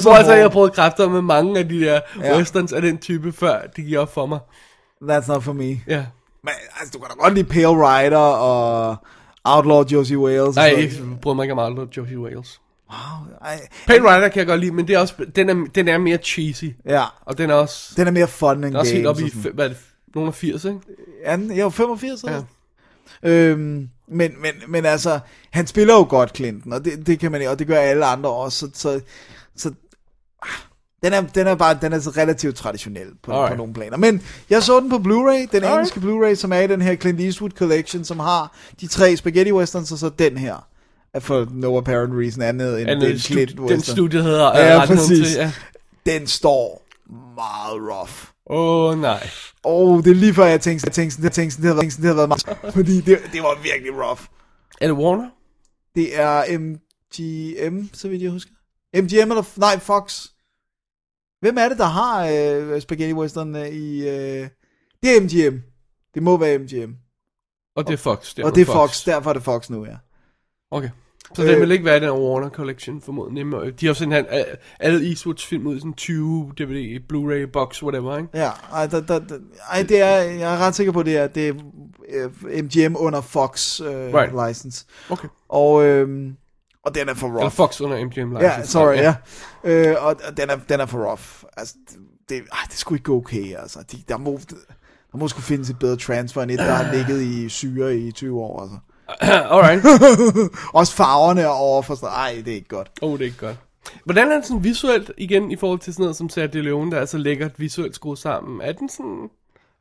Speaker 5: tror altså,
Speaker 6: så
Speaker 5: at jeg har
Speaker 6: hård.
Speaker 5: prøvet kræfter med mange af de der
Speaker 6: Ja.
Speaker 5: ja. westerns af den type, før det gik op for mig.
Speaker 6: That's not for me.
Speaker 5: Ja.
Speaker 6: Men altså, du kan da godt lide Pale Rider og Outlaw Josie Wales. og
Speaker 5: Nej,
Speaker 6: sådan
Speaker 5: jeg
Speaker 6: noget.
Speaker 5: bryder mig ikke om aldrig Josie Wales.
Speaker 6: Ej,
Speaker 5: Pale Rider kan jeg godt lide, men det er også, den, er, den er mere cheesy.
Speaker 6: Ja,
Speaker 5: Og den er også,
Speaker 6: den er mere fun end
Speaker 5: den er også helt
Speaker 6: games.
Speaker 5: oppe
Speaker 6: og
Speaker 5: i,
Speaker 6: sådan.
Speaker 5: fe- hvad er det, nogen af 80, ikke?
Speaker 6: Ja, den- jeg var 85, ja.
Speaker 5: Ja.
Speaker 6: øhm, men, men, men altså, han spiller jo godt Clinton, og det, det kan man og det gør alle andre også, så, så, så ah, den er, den er bare den er så relativt traditionel på, på
Speaker 5: Alright.
Speaker 6: nogle planer. Men jeg så den på Blu-ray, den
Speaker 5: Alright.
Speaker 6: engelske Blu-ray, som er i den her Clint Eastwood Collection, som har de tre spaghetti westerns, og så den her. For no apparent reason, andet end
Speaker 5: Den,
Speaker 6: den
Speaker 5: den,
Speaker 6: Clint
Speaker 5: studi- den
Speaker 6: Western.
Speaker 5: studie hedder øh,
Speaker 6: Ja,
Speaker 5: rettet nogen
Speaker 6: præcis.
Speaker 5: til, ja.
Speaker 6: den står meget rough.
Speaker 5: Åh, oh, nej.
Speaker 6: Åh, oh, det er lige før jeg tænkte, jeg tænkte, sådan, jeg tænkte, sådan, det havde været, tænkte, sådan, det havde været meget, fordi det, det var virkelig rough.
Speaker 5: Er det Warner?
Speaker 6: Det er MGM, så vidt jeg husker. MGM eller, nej, Fox. Hvem er det, der har øh, Spaghetti Western øh, i, øh, det er MGM. Det må være MGM.
Speaker 5: Og det er Fox.
Speaker 6: Og det er Fox, derfor er det Fox nu, ja.
Speaker 5: Okay. Så øh, den
Speaker 6: Øh.
Speaker 5: vil ikke være i den her Warner Collection, formodentlig. Men, øh, De har sådan han, alle Eastwoods film ud i sådan 20 DVD, Blu-ray, box, whatever, ikke?
Speaker 6: Ja, ej, der, der, der, ej, det er, jeg er ret sikker på, det er, det er øh, MGM under Fox øh,
Speaker 5: Right.
Speaker 6: license.
Speaker 5: Okay.
Speaker 6: Og, øh, og den er for rough.
Speaker 5: Eller Fox under MGM Live.
Speaker 6: Ja, sorry, ja. ja. Øh, og og den er, den er for rough. Altså, det, ej, det skulle ikke gå okay, altså. De, der, må, der må skulle findes et bedre transfer end et, der har ligget i syre i 20 år, altså.
Speaker 5: Alright.
Speaker 6: Også farverne er overfor. Ej, det er ikke godt.
Speaker 5: Åh, oh, det er ikke godt. Hvordan er den sådan visuelt, igen, i forhold til sådan noget som Sergio Leone, der er så lækkert visuelt skruet sammen? Er den sådan...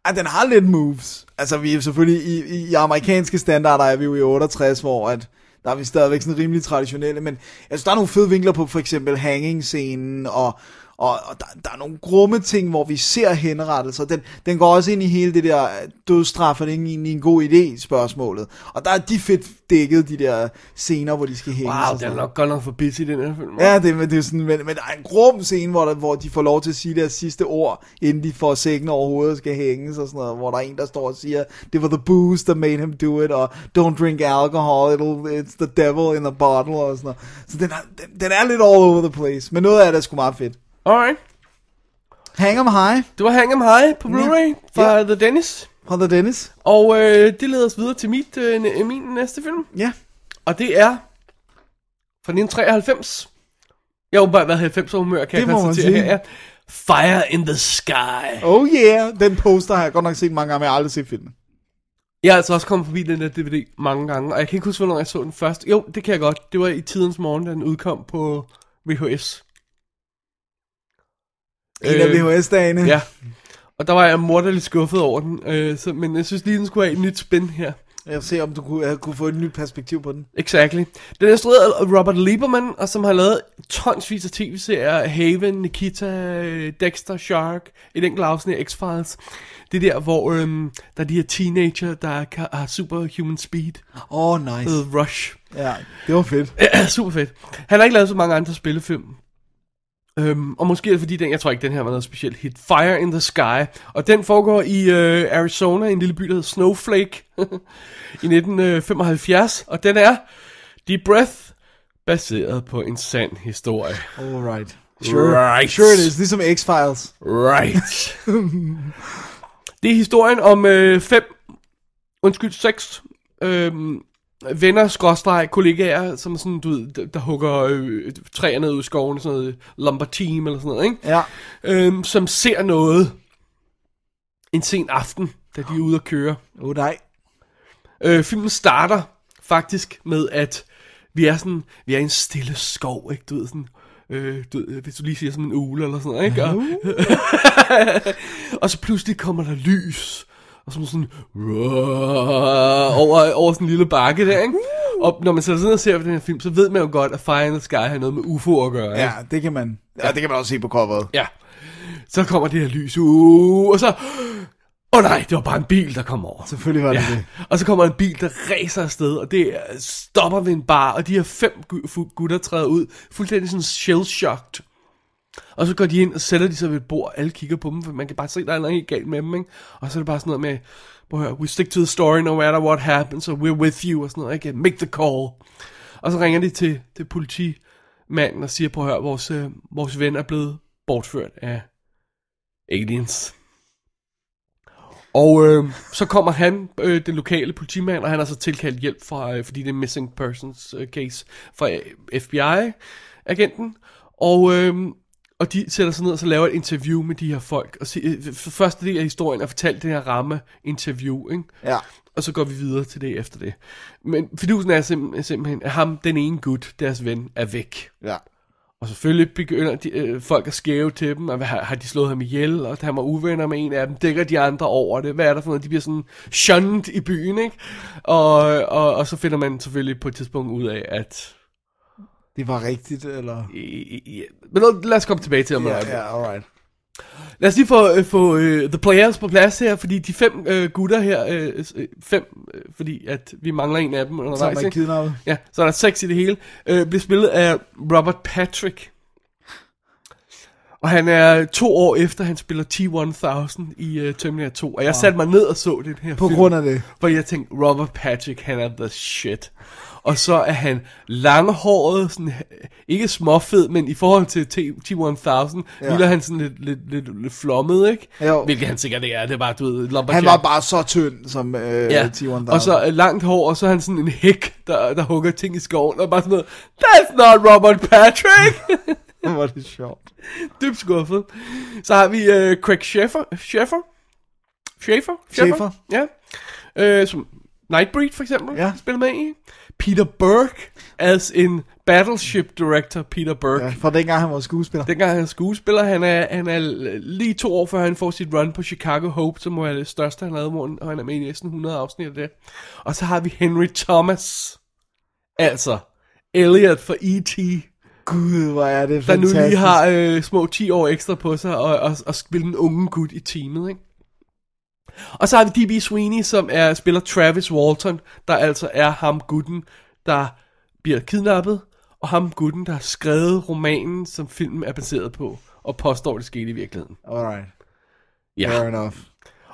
Speaker 6: Ej, den har lidt moves. Altså, vi er selvfølgelig i, i, i amerikanske standarder, er vi jo i 68, hvor at, der er vi stadigvæk sådan rimelig traditionelle, men altså, der er nogle fede vinkler på for eksempel hanging-scenen, og, og, og der, der er nogle grumme ting, hvor vi ser henrettelser. Den, den går også ind i hele det der øh, dødsstraf, er det ikke egentlig en god idé, spørgsmålet. Og der er de fedt dækket, de der scener, hvor de skal hænge.
Speaker 5: Wow, den er nok godt nok for busy, den her film.
Speaker 6: Ja, det, men det er jo sådan, men, men der er en grum scene, hvor, der, hvor de får lov til at sige deres sidste ord, inden de får sækken over hovedet og skal hænges og sådan noget, hvor der er en, der står og siger, det var the booze, der made him do it, og don't drink alcohol, it'll, it's the devil in a bottle, og sådan noget. Så den er, den, den er lidt all over the place, men noget af det er sgu meget fedt.
Speaker 5: Alright.
Speaker 6: Hang 'em high
Speaker 5: Det var Hang 'em High på Blu-ray fra
Speaker 6: Ja.
Speaker 5: The Dennis.
Speaker 6: fra The Dennis.
Speaker 5: Og øh, det leder os videre til mit, øh, næ- min næste film.
Speaker 6: Ja.
Speaker 5: Og det er fra 1993. Jeg har åbenbart været 90 humør, kan jeg
Speaker 6: Det må man
Speaker 5: konstatere.
Speaker 6: sige.
Speaker 5: her, Ja. Fire in the Sky.
Speaker 6: Oh yeah, den poster har jeg godt nok set mange gange, men jeg har aldrig set filmen.
Speaker 5: Jeg er altså også kommet forbi den der DVD mange gange, og jeg kan ikke huske, hvornår jeg så den først. Jo, det kan jeg godt. Det var i tidens morgen, da den udkom på VHS.
Speaker 6: En af VHS-dagene.
Speaker 5: Øh, Ja. Og der var jeg morderligt skuffet over den, øh, så, men jeg synes lige, den skulle have et nyt spin her.
Speaker 6: Jeg ser, om du kunne, uh, kunne få et nyt perspektiv på den.
Speaker 5: Exactly. Den er instrueret af Robert Lieberman, og som har lavet tonsvis af tv-serier. Haven, Nikita, øh, Dexter, Shark, et enkelt afsnit af X-Files. Det er der, hvor øhm, der er de her teenager, der kan, har superhuman speed.
Speaker 6: Åh, oh, nice.
Speaker 5: Øh, Rush.
Speaker 6: Ja, det var fedt.
Speaker 5: Super fedt. Han har ikke lavet så mange andre spillefilm. Øhm, og måske er det fordi, den, jeg tror ikke, den her var noget specielt hit. Fire in the Sky. Og den foregår i øh, Arizona, i en lille by, der hedder Snowflake, i 1975. Og den er Deep Breath, baseret på en sand historie.
Speaker 6: All right. Sure.
Speaker 5: Right.
Speaker 6: Sure it is. Ligesom X-Files.
Speaker 5: Right. det er historien om øh, fem, undskyld, seks øh, venner, skråstreg, kollegaer, som er sådan, du ved, der, der hugger øh, træer ned ud i skoven, sådan noget lumber team eller sådan noget, ikke?
Speaker 6: Ja.
Speaker 5: Øh, som ser noget en sen aften, da de er ude at køre.
Speaker 6: Oh, nej.
Speaker 5: Øh, filmen starter faktisk med, at vi er sådan, vi er i en stille skov, ikke? Du ved, sådan, øh, du ved, hvis du lige siger sådan en ule eller sådan noget, ikke? Og, og så pludselig kommer der lys, og så er man sådan, "Ruah," over, over sådan en lille bakke der, ikke? Og når man sætter sig ned og ser på den her film, så ved man jo godt, at Fire in the Sky har noget med UFO at gøre,
Speaker 6: Ja, det kan man. Ja, det kan man også se på coveret.
Speaker 5: Ja. Så kommer det her lys, uh, og så... Åh oh nej, det var bare en bil, der kom over.
Speaker 6: Selvfølgelig var det
Speaker 5: Ja.
Speaker 6: det.
Speaker 5: Og så kommer en bil, der racer afsted, og det øh, stopper ved en bar, og de her fem gu- fu- gutter træder ud, fuldstændig sådan shell-shocked. Og så går de ind, og sætter de sig ved et bord, alle kigger på dem, for man kan bare se, der er noget helt galt med dem, ikke? Og så er det bare sådan noget med, prøv at høre, we stick to the story, no matter what happens, so we're with you, og sådan noget, ikke? Make the call. Og så ringer de til, til politimanden og siger, prøv at høre, vores, øh, vores ven er blevet bortført af aliens. Og øh, så kommer han, øh, den lokale politimand, og han har så tilkaldt hjælp fra, øh, fordi det er missing persons øh, case, fra øh, FBI-agenten. Og, øh, og de sætter sig ned og så laver et interview med de her folk. Og se, øh, for første del af historien er fortalt det her ramme-interview, ikke?
Speaker 6: Ja.
Speaker 5: Og så går vi videre til det efter det. Men fidusen er simpelthen, simpelthen at ham, den ene gut, deres ven, er væk.
Speaker 6: Ja.
Speaker 5: Og selvfølgelig begynder de, øh, folk at skæve til dem, og hvad, har har de slået ham ihjel, og han var uvenner med en af dem, dækker de andre over det, hvad er der for noget, de bliver sådan shunned i byen, ikke? Og, og, og så finder man selvfølgelig på et tidspunkt ud af, at...
Speaker 6: Det var rigtigt, eller...
Speaker 5: I, I, I, men lad- lad os komme tilbage til om
Speaker 6: Ja,
Speaker 5: yeah, yeah.
Speaker 6: ja, all right.
Speaker 5: Lad os lige få, øh, få øh, The Players på plads her, fordi de fem øh, gutter her, øh, øh, fem, øh, fordi at vi mangler en af dem
Speaker 6: Så er
Speaker 5: undervejs,
Speaker 6: man
Speaker 5: ikke?
Speaker 6: kidnappet.
Speaker 5: Ja, så er der seks i det hele. Øh, bliver spillet af Robert Patrick. Og han er to år efter, han spiller T-1000 i uh, Terminator 2. Og jeg satte mig ned og så den her
Speaker 6: På
Speaker 5: film,
Speaker 6: grund af det.
Speaker 5: Fordi jeg tænkte, Robert Patrick, han er the shit. Og så er han langhåret, sådan, ikke småfed, men i forhold til T- T-1000,
Speaker 6: Ja.
Speaker 5: ja. lyder han sådan lidt, lidt, lidt, lidt flommet, ikke?
Speaker 6: Jo.
Speaker 5: Hvilket han sikkert ikke er, det er bare, du ved, lumberjack.
Speaker 6: Han var bare så tynd, som øh,
Speaker 5: Ja,
Speaker 6: T-1000.
Speaker 5: og så øh, langt hår, og så er han sådan en hæk, der, der hugger ting i skoven, og bare sådan noget, That's not Robert Patrick!
Speaker 6: var det sjovt.
Speaker 5: Dybt skuffet. Så har vi øh, Craig Sheffer, Sheffer? Schaefer?
Speaker 6: Sheffer.
Speaker 5: Ja. Øh, som Nightbreed for eksempel,
Speaker 6: Ja.
Speaker 5: spiller med i. Peter Burke, as in Battleship Director Peter Burke.
Speaker 6: Ja, fra dengang han var skuespiller. Det...
Speaker 5: Dengang han er skuespiller, han er, han er lige to år før han får sit run på Chicago Hope, som må være det største, han lavede, hvor- og han er med i næsten 100 afsnit af det. Og så har vi Henry Thomas, altså Elliot fra E E.T.,
Speaker 6: Gud, hvor er det
Speaker 5: der nu
Speaker 6: fantastisk.
Speaker 5: lige har øh, små 10 år ekstra på sig og, og, og spille den unge gut i teamet, ikke? Og så har vi D.B. Sweeney, som er spiller Travis Walton, der altså er ham gutten, der bliver kidnappet, og ham gutten, der har skrevet romanen, som filmen er baseret på, og påstår, det skete i virkeligheden.
Speaker 6: Alright,
Speaker 5: Ja.
Speaker 6: fair enough.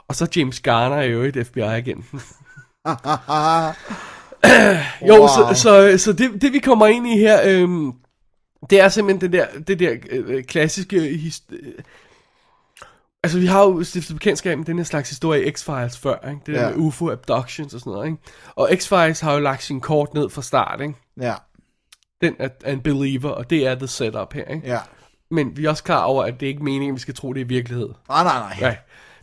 Speaker 5: Og så James Garner er jo et FBI-agenten.
Speaker 6: wow.
Speaker 5: Jo, så, så, så det, det vi kommer ind i her, øhm, det er simpelthen det der, det der øh, klassiske hist- øh, Altså, vi har jo stiftet bekendtskab med den her slags historie i X-Files før, ikke? Det der
Speaker 6: Ja.
Speaker 5: med UFO-abductions og sådan noget, ikke? Og X-Files har jo lagt sin kort ned fra start, ikke?
Speaker 6: Ja,
Speaker 5: Den er, er en believer, og det er the setup her, ikke?
Speaker 6: ja.
Speaker 5: Men vi er også klar over, at det ikke er meningen, at vi skal tro, det er virkelighed.
Speaker 6: Nej, Ah, nej, nej.
Speaker 5: Nej.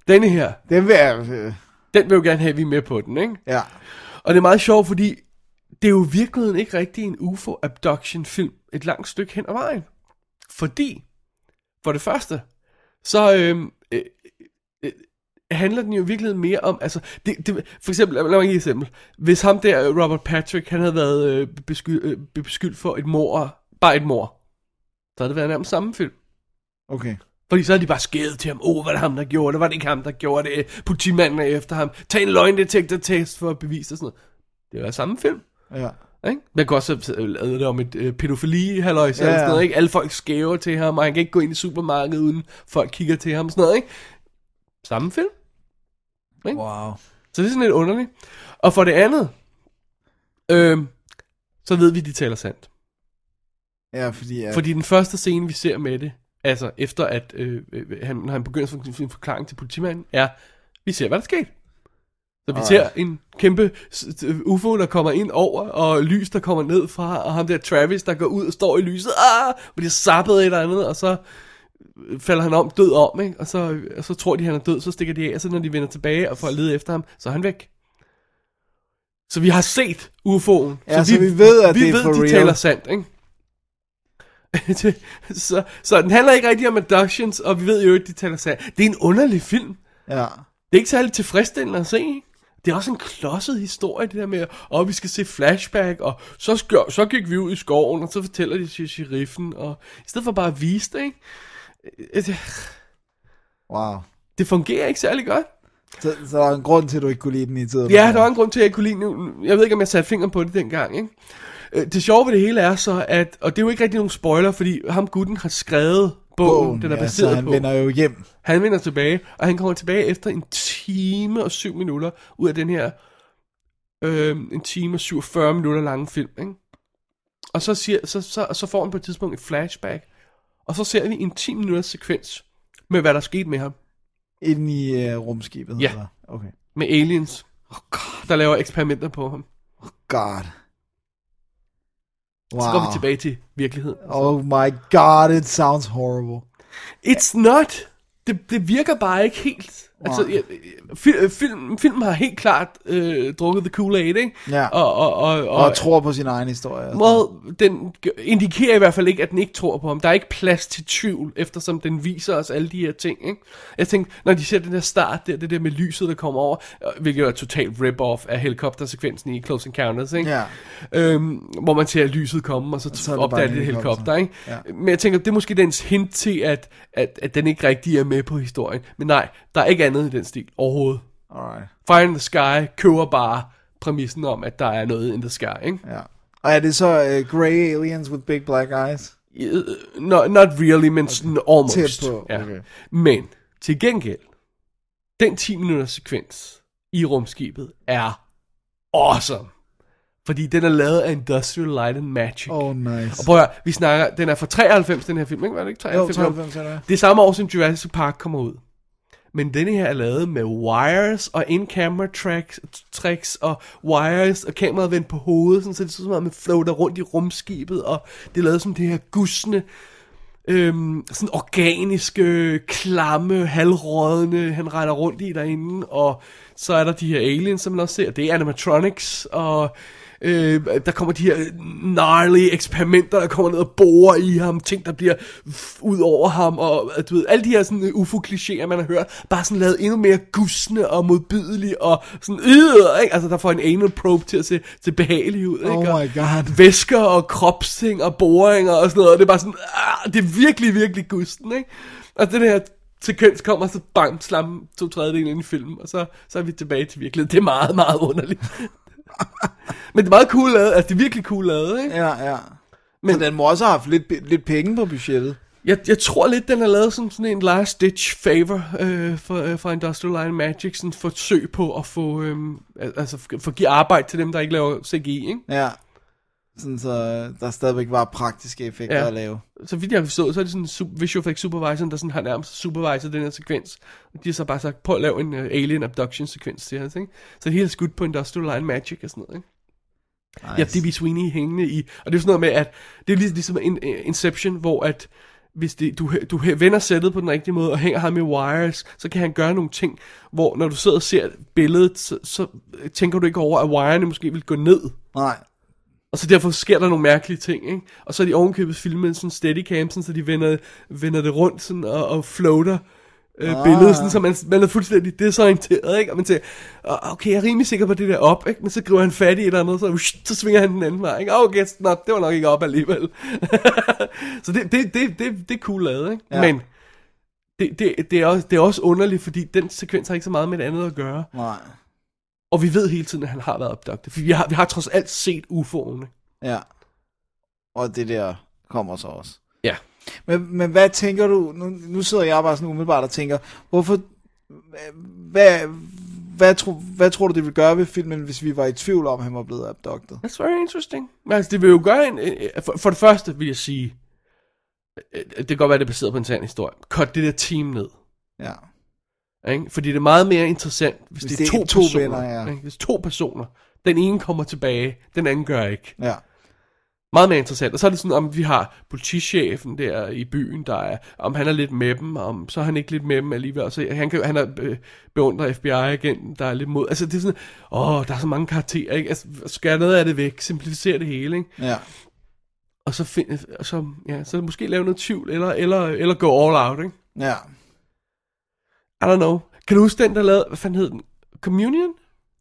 Speaker 5: Denne her,
Speaker 6: Den vil jeg... øh,
Speaker 5: den vil jo gerne have, at vi er med på den, ikke?
Speaker 6: Ja,
Speaker 5: Og det er meget sjovt, fordi det er jo i virkeligheden ikke rigtig en UFO-abduction-film et langt stykke hen ad vejen. Fordi, for det første, så øhm, øh, øh, handler den jo i virkeligheden mere om, altså, det, det, for eksempel, lad mig give et eksempel. Hvis ham der, øh, Robert Patrick, han havde været øh, beskyldt, øh, beskyldt for et mor, bare et mor, så havde det været nærmest samme film.
Speaker 6: okay.
Speaker 5: Fordi så havde de bare skævet til ham. Åh, oh, var det ham, der gjorde det? Var det ikke ham, der gjorde det? Politimanden er efter ham. Tag en løgndetektor-test for at bevise og sådan noget. Det var samme film.
Speaker 6: Ja.
Speaker 5: Ikke? Man kan også have lavet det om et øh, pædofili halløj, ja,
Speaker 6: Ja,
Speaker 5: sådan
Speaker 6: ja.
Speaker 5: noget, ikke? Alle folk skæver til ham, og han kan ikke gå ind i supermarkedet, uden folk kigger til ham, sådan noget, ikke? Samme film.
Speaker 6: Wow.
Speaker 5: Så det er sådan lidt underligt. Og for det andet, øh, så ved vi, at de taler sandt.
Speaker 6: Ja, fordi...
Speaker 5: Ja.
Speaker 6: At...
Speaker 5: Fordi den første scene, vi ser med det, altså efter at øh, øh, han, når han begynder sin- sin forklaring til politimanden, er, vi ser, hvad der skete. Så vi
Speaker 6: Alright.
Speaker 5: ser en kæmpe s- s- UFO, der kommer ind over, og lys, der kommer ned fra, og ham der Travis, der går ud og står i lyset, ah, bliver zappet et eller andet, og så øh, falder han om død om, ikke? Og, så, og så tror de, han er død, så stikker de af, og så når de vender tilbage og får at lede efter ham, så er han væk. Så vi har set UFO'en.
Speaker 6: Ja, så vi ved, at
Speaker 5: vi
Speaker 6: det er
Speaker 5: ved,
Speaker 6: for
Speaker 5: de
Speaker 6: real.
Speaker 5: taler sandt, ikke? Det- så, så den handler ikke rigtig om abductions, og vi ved jo ikke, de taler sandt. Det er en underlig film.
Speaker 6: Ja.
Speaker 5: Det er ikke særlig tilfredsstillende at se, ikke? Det er også en klodset historie, det der med, at vi skal se flashback, og så, skør, så gik vi ud i skoven, og så fortæller de til sheriffen, og i stedet for bare at vise det, ikke? Øh, det-
Speaker 6: Wow.
Speaker 5: Det fungerer ikke særlig godt.
Speaker 6: Så, så der er en grund til, at du ikke kunne lide den i tiden.
Speaker 5: Ja, der var en grund til, at jeg ikke kunne lide den. Jeg ved ikke, om jeg satte fingeren på det dengang, ikke? Øh, Det sjove ved det hele er så, at... Og det er jo ikke rigtig nogen spoiler, fordi ham gutten har skrevet bogen, bogen den er
Speaker 6: ja,
Speaker 5: baseret
Speaker 6: så han
Speaker 5: på.
Speaker 6: vender jo hjem.
Speaker 5: Han vender tilbage, og han kommer tilbage efter en time og syv minutter ud af den her øh, en time og 47 minutter lange film. Ikke? Og så, siger, så, så, så får han på et tidspunkt et flashback, og så ser vi en 10 minutters sekvens med, hvad der skete med ham.
Speaker 6: Inden i uh, rumskibet.
Speaker 5: Ja.
Speaker 6: Eller? Okay.
Speaker 5: Med aliens, oh God. der laver eksperimenter på ham.
Speaker 6: God. Wow.
Speaker 5: Så går vi tilbage til virkeligheden.
Speaker 6: Oh my god, it sounds horrible.
Speaker 5: It's not. Det, det virker bare ikke helt. Altså, jeg, jeg- fil, film, filmen har helt klart øh, drukket the Kool-Aid, ikke?
Speaker 6: Ja.
Speaker 5: Og, og, og,
Speaker 6: Og, og tror på sin egen historie. altså.
Speaker 5: Well, den g- indikerer i hvert fald ikke, at den ikke tror på ham. Der er ikke plads til tvivl, eftersom den viser os alle de her ting. Ikke? Jeg tænkte, når de ser den der start, der, det der med lyset, der kommer over, øh, hvilket er et totalt rip-off af helikoptersekvensen i Close Encounters, ikke?
Speaker 6: Ja.
Speaker 5: Øhm, hvor man ser lyset komme, og så,
Speaker 6: så
Speaker 5: så
Speaker 6: er det
Speaker 5: opdager
Speaker 6: bare en
Speaker 5: det et helikopter.
Speaker 6: helikopter.
Speaker 5: Ikke?
Speaker 6: Ja.
Speaker 5: Men jeg tænker, det er måske dens hint til, at, at, at den ikke rigtig er med på historien. Men nej, der er ikke andet i den stil overhovedet.
Speaker 6: Alright.
Speaker 5: Fire in the Sky køber bare præmissen om, at der er noget in the sky. Ikke?
Speaker 6: Ja. Og er det så uh, Grey Aliens with Big Black Eyes?
Speaker 5: Uh, no, not really, men sådan almost.
Speaker 6: Tæt på, okay.
Speaker 5: Men til gengæld, den 10 minutters sekvens i rumskibet er awesome. Fordi den er lavet af Industrial Light and Magic.
Speaker 6: Oh, nice.
Speaker 5: Og prøv at høre, vi snakker, den er fra 93, den her film, ikke? Var det ikke
Speaker 6: Jo,
Speaker 5: 93?
Speaker 6: 92 er det.
Speaker 5: Det er samme år, som Jurassic Park kommer ud. Men denne her er lavet med wires og in-camera tracks, tricks og wires og kameraet vendt på hovedet, sådan, så det ser ud som om, man floater rundt i rumskibet, og det er lavet som det her gusne øhm, sådan organiske, klamme, halvrådne, han render rundt i derinde, og så er der de her aliens, som man også ser, det er animatronics, og øh, der kommer de her gnarly eksperimenter, der kommer ned og borer i ham, ting, der bliver f- ud over ham, og øh, du ved, alle de her sådan ufo-klichéer, man har hørt, bare sådan lavet endnu mere gusne og modbydelige, og sådan, øh, ikke? altså der får en anal probe til at se, se behagelig ud, ikke?
Speaker 6: Oh
Speaker 5: Og-
Speaker 6: my god.
Speaker 5: væsker og kropsting og boringer og sådan noget, og det er bare sådan, ah, det er virkelig, virkelig gusten, ikke? Og den her sekvens kommer, så bang, slam to tredjedel ind i filmen, og så, så er vi tilbage til virkeligheden. Det er meget, meget underligt. Men det er meget cool lavet, altså det er virkelig cool lavet, ikke?
Speaker 6: Ja, ja. Men
Speaker 5: Men-
Speaker 6: den må også have haft lidt, lidt penge på budgettet.
Speaker 5: Jeg, jeg tror lidt, den er lavet som sådan en last ditch favor øh, for, øh, fra Industrial Light and Magic, sådan et forsøg på at få, øh, altså for, for at give arbejde til dem, der ikke laver CGI, ikke?
Speaker 6: Ja. Sådan så øh, der stadigvæk var praktiske effekter ja.
Speaker 5: Ja.
Speaker 6: at lave.
Speaker 5: så vidt jeg har forstået, så er det sådan su- visual effects supervisor, der sådan har nærmest supervisor den her sekvens. Og de har så bare sagt, prøv at lave en uh, alien abduction sekvens til os, ikke? Så det hele er skudt på Industrial Line Magic og sådan noget, ikke? Nice. Ja, D.B. Sweeney hængende i. Og det er jo sådan noget med, at det er lig- ligesom en, øh, Inception, hvor at hvis det, du, hæ- du hæ- vender sættet på den rigtige måde og hænger ham i wires, så kan han gøre nogle ting, hvor når du sidder og ser billedet, så, så øh, tænker du ikke over, at wirene måske vil gå ned.
Speaker 6: Nej.
Speaker 5: Og så derfor sker der nogle mærkelige ting, ikke? Og så er de ovenkøbet filmet i sådan en steadicam, sådan, så de vender, vender det rundt sådan, og, og floater øh, ah. billedet, sådan, så man, man er fuldstændig desorienteret, ikke? Og man tænker, "Ah, okay, jeg er rimelig sikker på det der op, ikke? Men så griber han fat i et eller andet, så, ush, så svinger han den anden vej, ikke? "Ah, Okay, nå, det var nok ikke op alligevel. så det, det, det, det, det er cool lavet, ikke?
Speaker 6: Ja.
Speaker 5: Ja. Men det, det, det, er også, det er også underligt, fordi den sekvens har ikke så meget med det andet at gøre.
Speaker 6: Nej.
Speaker 5: Og vi ved hele tiden, at han har været opdagtet, for vi har, vi har trods alt set UFO'erne.
Speaker 6: Ja. Og det der kommer så også.
Speaker 5: Ja.
Speaker 6: Men, men hvad tænker du, nu, nu sidder jeg bare sådan umiddelbart og tænker, hvorfor, hvad, hvad, tro, hvad tror du, det ville gøre ved filmen, hvis vi var i tvivl om, at han var blevet abductet?
Speaker 5: That's very interesting. Men altså, det vil jo gøre en... øh, øh, For, for det første vil jeg sige... øh, Det kan godt være, det er baseret på en sand historie. Cut det der team ned.
Speaker 6: Ja.
Speaker 5: Ikke? Fordi det er meget mere interessant, hvis,
Speaker 6: Hvis
Speaker 5: det er to,
Speaker 6: to
Speaker 5: personer.
Speaker 6: venner, ja.
Speaker 5: ikke? Hvis to personer. Den ene kommer tilbage, den anden gør ikke.
Speaker 6: Ja.
Speaker 5: Meget mere interessant. Og så er det sådan, om vi har politichefen der i byen, der er, om han er lidt med dem, om så er han ikke lidt med dem alligevel. Så han, kan, han er øh, beundrer FBI-agenten, der er lidt mod. Altså det er sådan, åh, der er så mange karakterer, ikke? Altså, skær noget af det væk, simplificere det hele, ikke?
Speaker 6: Ja.
Speaker 5: Og så, find, og så, ja, så måske lave noget tvivl, eller, eller, eller gå all out, ikke?
Speaker 6: Ja.
Speaker 5: I don't know. Kan du huske den, der lavede, hvad fanden hed den? Communion?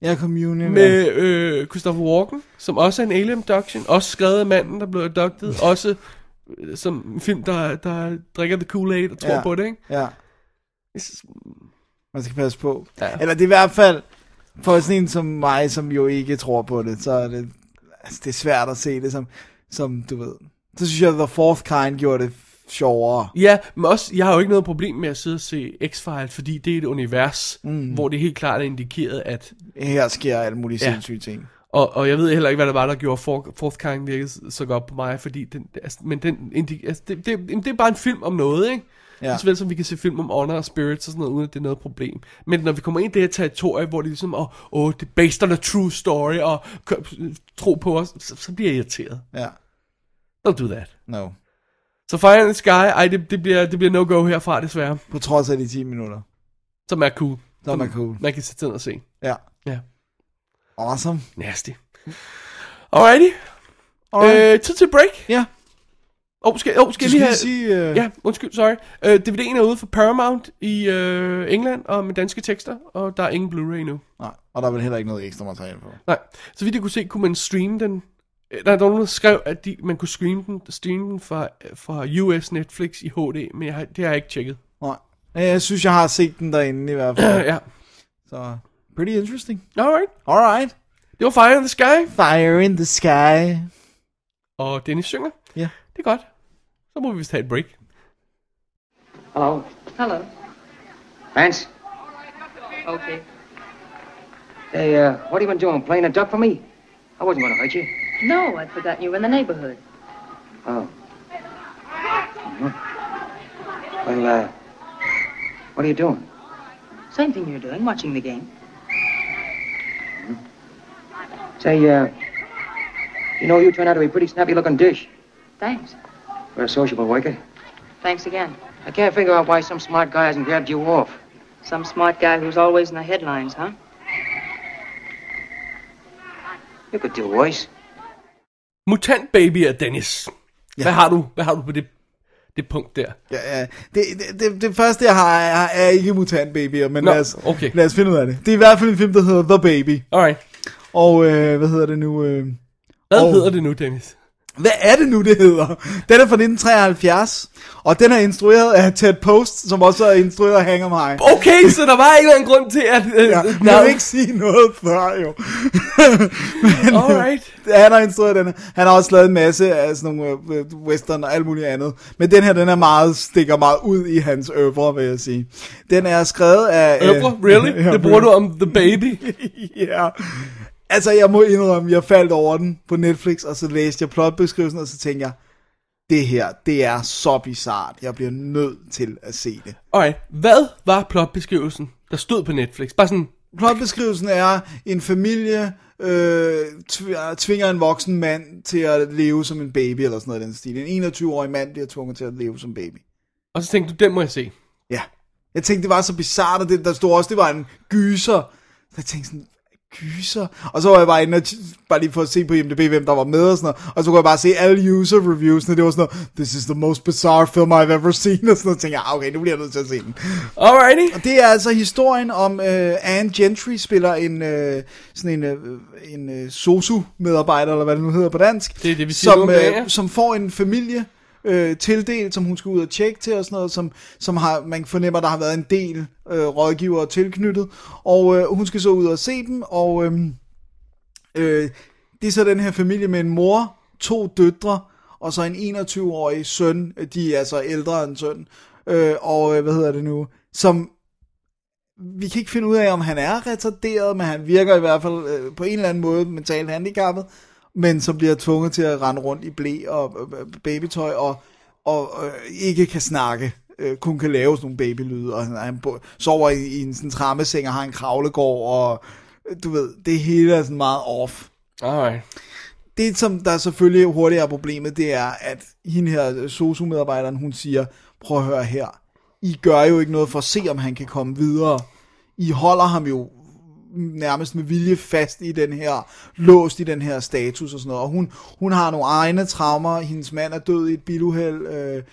Speaker 6: Ja, Communion. ja.
Speaker 5: Med øh, Christopher Walken, som også er en alien abduction. Også skrevet af manden, der blev abducted. også øh, som en film, der, der drikker The Kool-Aid og tror
Speaker 6: Ja.
Speaker 5: på det, ikke?
Speaker 6: Ja.
Speaker 5: Jeg synes-
Speaker 6: Man skal passe på. Ja.
Speaker 5: Ja.
Speaker 6: Eller det er i hvert fald, for sådan en som mig, som jo ikke tror på det, så er det, altså det er svært at se det som, som du ved. Så synes jeg, The Fourth Kind gjorde det sjovere.
Speaker 5: Ja, men også, jeg har jo ikke noget problem med at sidde og se X-Files, fordi det er et univers, mm. hvor det helt klart er indikeret, at
Speaker 6: Her sker alle mulige ja.
Speaker 5: Ja.
Speaker 6: sindssyge ting.
Speaker 5: Og, og jeg ved heller ikke, hvad der var, der gjorde for, Fourth Kind virkede så godt på mig, fordi den, altså, men den, indi- altså, det, det, jamen, det er bare en film om noget, ikke?
Speaker 6: Ja.
Speaker 5: Ja. Såvel som vi kan se film om Honor og Spirits og sådan noget, uden at det er noget problem. Men når vi kommer ind i det her territorie, hvor det ligesom, åh, oh, oh, det er based on a true story, og k- tro på os, så, så bliver jeg irriteret.
Speaker 6: Ja.
Speaker 5: Don't do that.
Speaker 6: No.
Speaker 5: Så Fire in the Sky, ej, det, det, bliver, det bliver no-go herfra, desværre.
Speaker 6: På trods af de 10 minutter.
Speaker 5: Som er cool.
Speaker 6: Som er cool.
Speaker 5: Man kan sætte ned og se.
Speaker 6: Ja.
Speaker 5: Ja.
Speaker 6: Awesome.
Speaker 5: Nasty. Alrighty.
Speaker 6: Alright.
Speaker 5: Øh, tid til break.
Speaker 6: Ja.
Speaker 5: Åh, oh, skal, oh, skal
Speaker 6: Du
Speaker 5: jeg lige
Speaker 6: skal
Speaker 5: have...
Speaker 6: lige sige... Øh,
Speaker 5: Ja, undskyld, sorry. Uh, DVD'en er ude for Paramount i uh, England og med danske tekster, og der er ingen Blu-ray nu.
Speaker 6: Nej, og der er vel heller ikke noget ekstra materiale på.
Speaker 5: Nej, så vidt jeg kunne se, kunne man streame den. Øh, Nej, der var nogen, der skrev, at de, man kunne streame den, streame den fra, fra US Netflix i HD, men jeg, har- det har jeg ikke tjekket.
Speaker 6: Nej. Men Jeg synes, jeg har set den derinde i hvert fald.
Speaker 5: ja,
Speaker 6: Så, pretty interesting.
Speaker 5: alright.
Speaker 6: Alright.
Speaker 5: Det var Fire in the Sky,
Speaker 6: Fire in the sky.
Speaker 5: og Dennis synger.
Speaker 6: Ja.
Speaker 5: Det er godt. Så må vi vist have et break.
Speaker 7: Hello.
Speaker 8: Hello.
Speaker 7: Oh. Vance?
Speaker 8: Okay.
Speaker 7: Hey, uh, what have you been doing? Playing a duck for me? I wasn't gonna hurt you.
Speaker 8: No, I'd forgotten you were in the neighborhood.
Speaker 7: Oh. Mhm. Well, uh, what are you doing?
Speaker 8: Same thing you're doing, watching the game.
Speaker 7: Say, uh, you know, you turn out to be a pretty snappy looking dish
Speaker 8: Thanks.
Speaker 7: for a sociable worker.
Speaker 8: Thanks again.
Speaker 7: I can't figure out why some smart guy hasn't grabbed you off.
Speaker 8: Some smart guy who's always in the headlines, huh?
Speaker 7: You could do worse.
Speaker 5: Mutant Baby af Dennis. Ja. Hvad har du? Hvad har du på det, det punkt der?
Speaker 6: Ja, ja. Det, det, det, det første, jeg har, er, er ikke mutantbabyer, men
Speaker 5: Nå,
Speaker 6: lad, os,
Speaker 5: okay.
Speaker 6: lad os finde ud af det. Det er i hvert fald en film, der hedder The Baby.
Speaker 5: Alright.
Speaker 6: Og øh, hvad hedder det nu? Øh,
Speaker 5: Hvad
Speaker 6: Og-
Speaker 5: hedder det nu, Dennis?
Speaker 6: hvad er det nu, det hedder? Den er fra 1973, og den er instrueret af Ted Post, som også er instrueret af Hang 'em High.
Speaker 5: Okay, så der var en eller anden grund til, at... Øh,
Speaker 6: Ja, men jeg vil ikke sige noget før, jo. men, øh,
Speaker 5: Alright.
Speaker 6: Han har instrueret den her. Han har også lavet en masse af sådan nogle øh, øh, western og alt muligt andet. Men den her, den er meget, stikker meget ud i hans øvre, vil jeg sige. Den er skrevet af... øh,
Speaker 5: Øvre, really? Det bruger du om The Baby?
Speaker 6: Ja. Altså, jeg må indrømme, jeg faldt over den på Netflix, og så læste jeg plotbeskrivelsen, og så tænkte jeg, det her, det er så bizart. Jeg bliver nødt til at se det.
Speaker 5: Alright. Hvad var plotbeskrivelsen, der stod på Netflix? Bare sådan...
Speaker 6: Plotbeskrivelsen er, en familie øh, tv- tvinger en voksen mand til at leve som en baby, eller sådan noget i den stil. En 21-årig mand bliver tvunget til at leve som baby.
Speaker 5: Og så tænkte du, den må jeg se.
Speaker 6: Ja. Jeg tænkte, det var så bizart, og det, der stod også, det var en gyser. Så jeg tænkte sådan, gyser? Og så var jeg bare inde og t- bare lige for at se på IMDb, hvem der var med og sådan noget. Og så kunne jeg bare se alle user reviewsene. Det var sådan noget, this is the most bizarre film I've ever seen. Og sådan noget. Så tænkte jeg, "Ah, okay, nu bliver jeg nødt til at se den.
Speaker 5: Alrighty.
Speaker 6: Og det er altså historien om øh, Anne Gentry spiller en øh, sådan en, øh, en øh, sosu medarbejder eller hvad det nu hedder på dansk.
Speaker 5: Det er det, vi siger nu
Speaker 6: som, øh,
Speaker 5: om dagen, ja.
Speaker 6: som får en familie øh, tildelt, som hun skal ud og tjekke til og sådan noget, som, som har, man fornemmer, der har været en del øh, rådgivere tilknyttet. Og øh, hun skal så ud og se dem, og øh, øh, det er så den her familie med en mor, to døtre og så en 21-årig søn. De er altså ældre end søn. Øh, og øh, hvad hedder det nu? Som vi kan ikke finde ud af, om han er retarderet, men han virker i hvert fald øh, på en eller anden måde mentalt handicappet, men som bliver tvunget til at rende rundt i blæ og øh, øh, babytøj, og, og øh, ikke kan snakke, øh, kun kan lave sådan nogle babylyde, og han, han bo, sover i, i en sådan trammeseng og har en kravlegård, og øh, du ved, det hele er sådan meget off
Speaker 5: Alright.
Speaker 6: det, som der selvfølgelig hurtigt er problemet, det er, at hende her, sosu-medarbejderen, hun siger, prøv at høre her, I gør jo ikke noget for at se, om han kan komme videre. I holder ham jo nærmest med vilje fast i den her, låst i den her status og sådan noget. Og hun, hun har nogle egne traumer, hendes mand er død i et biluheld, øh,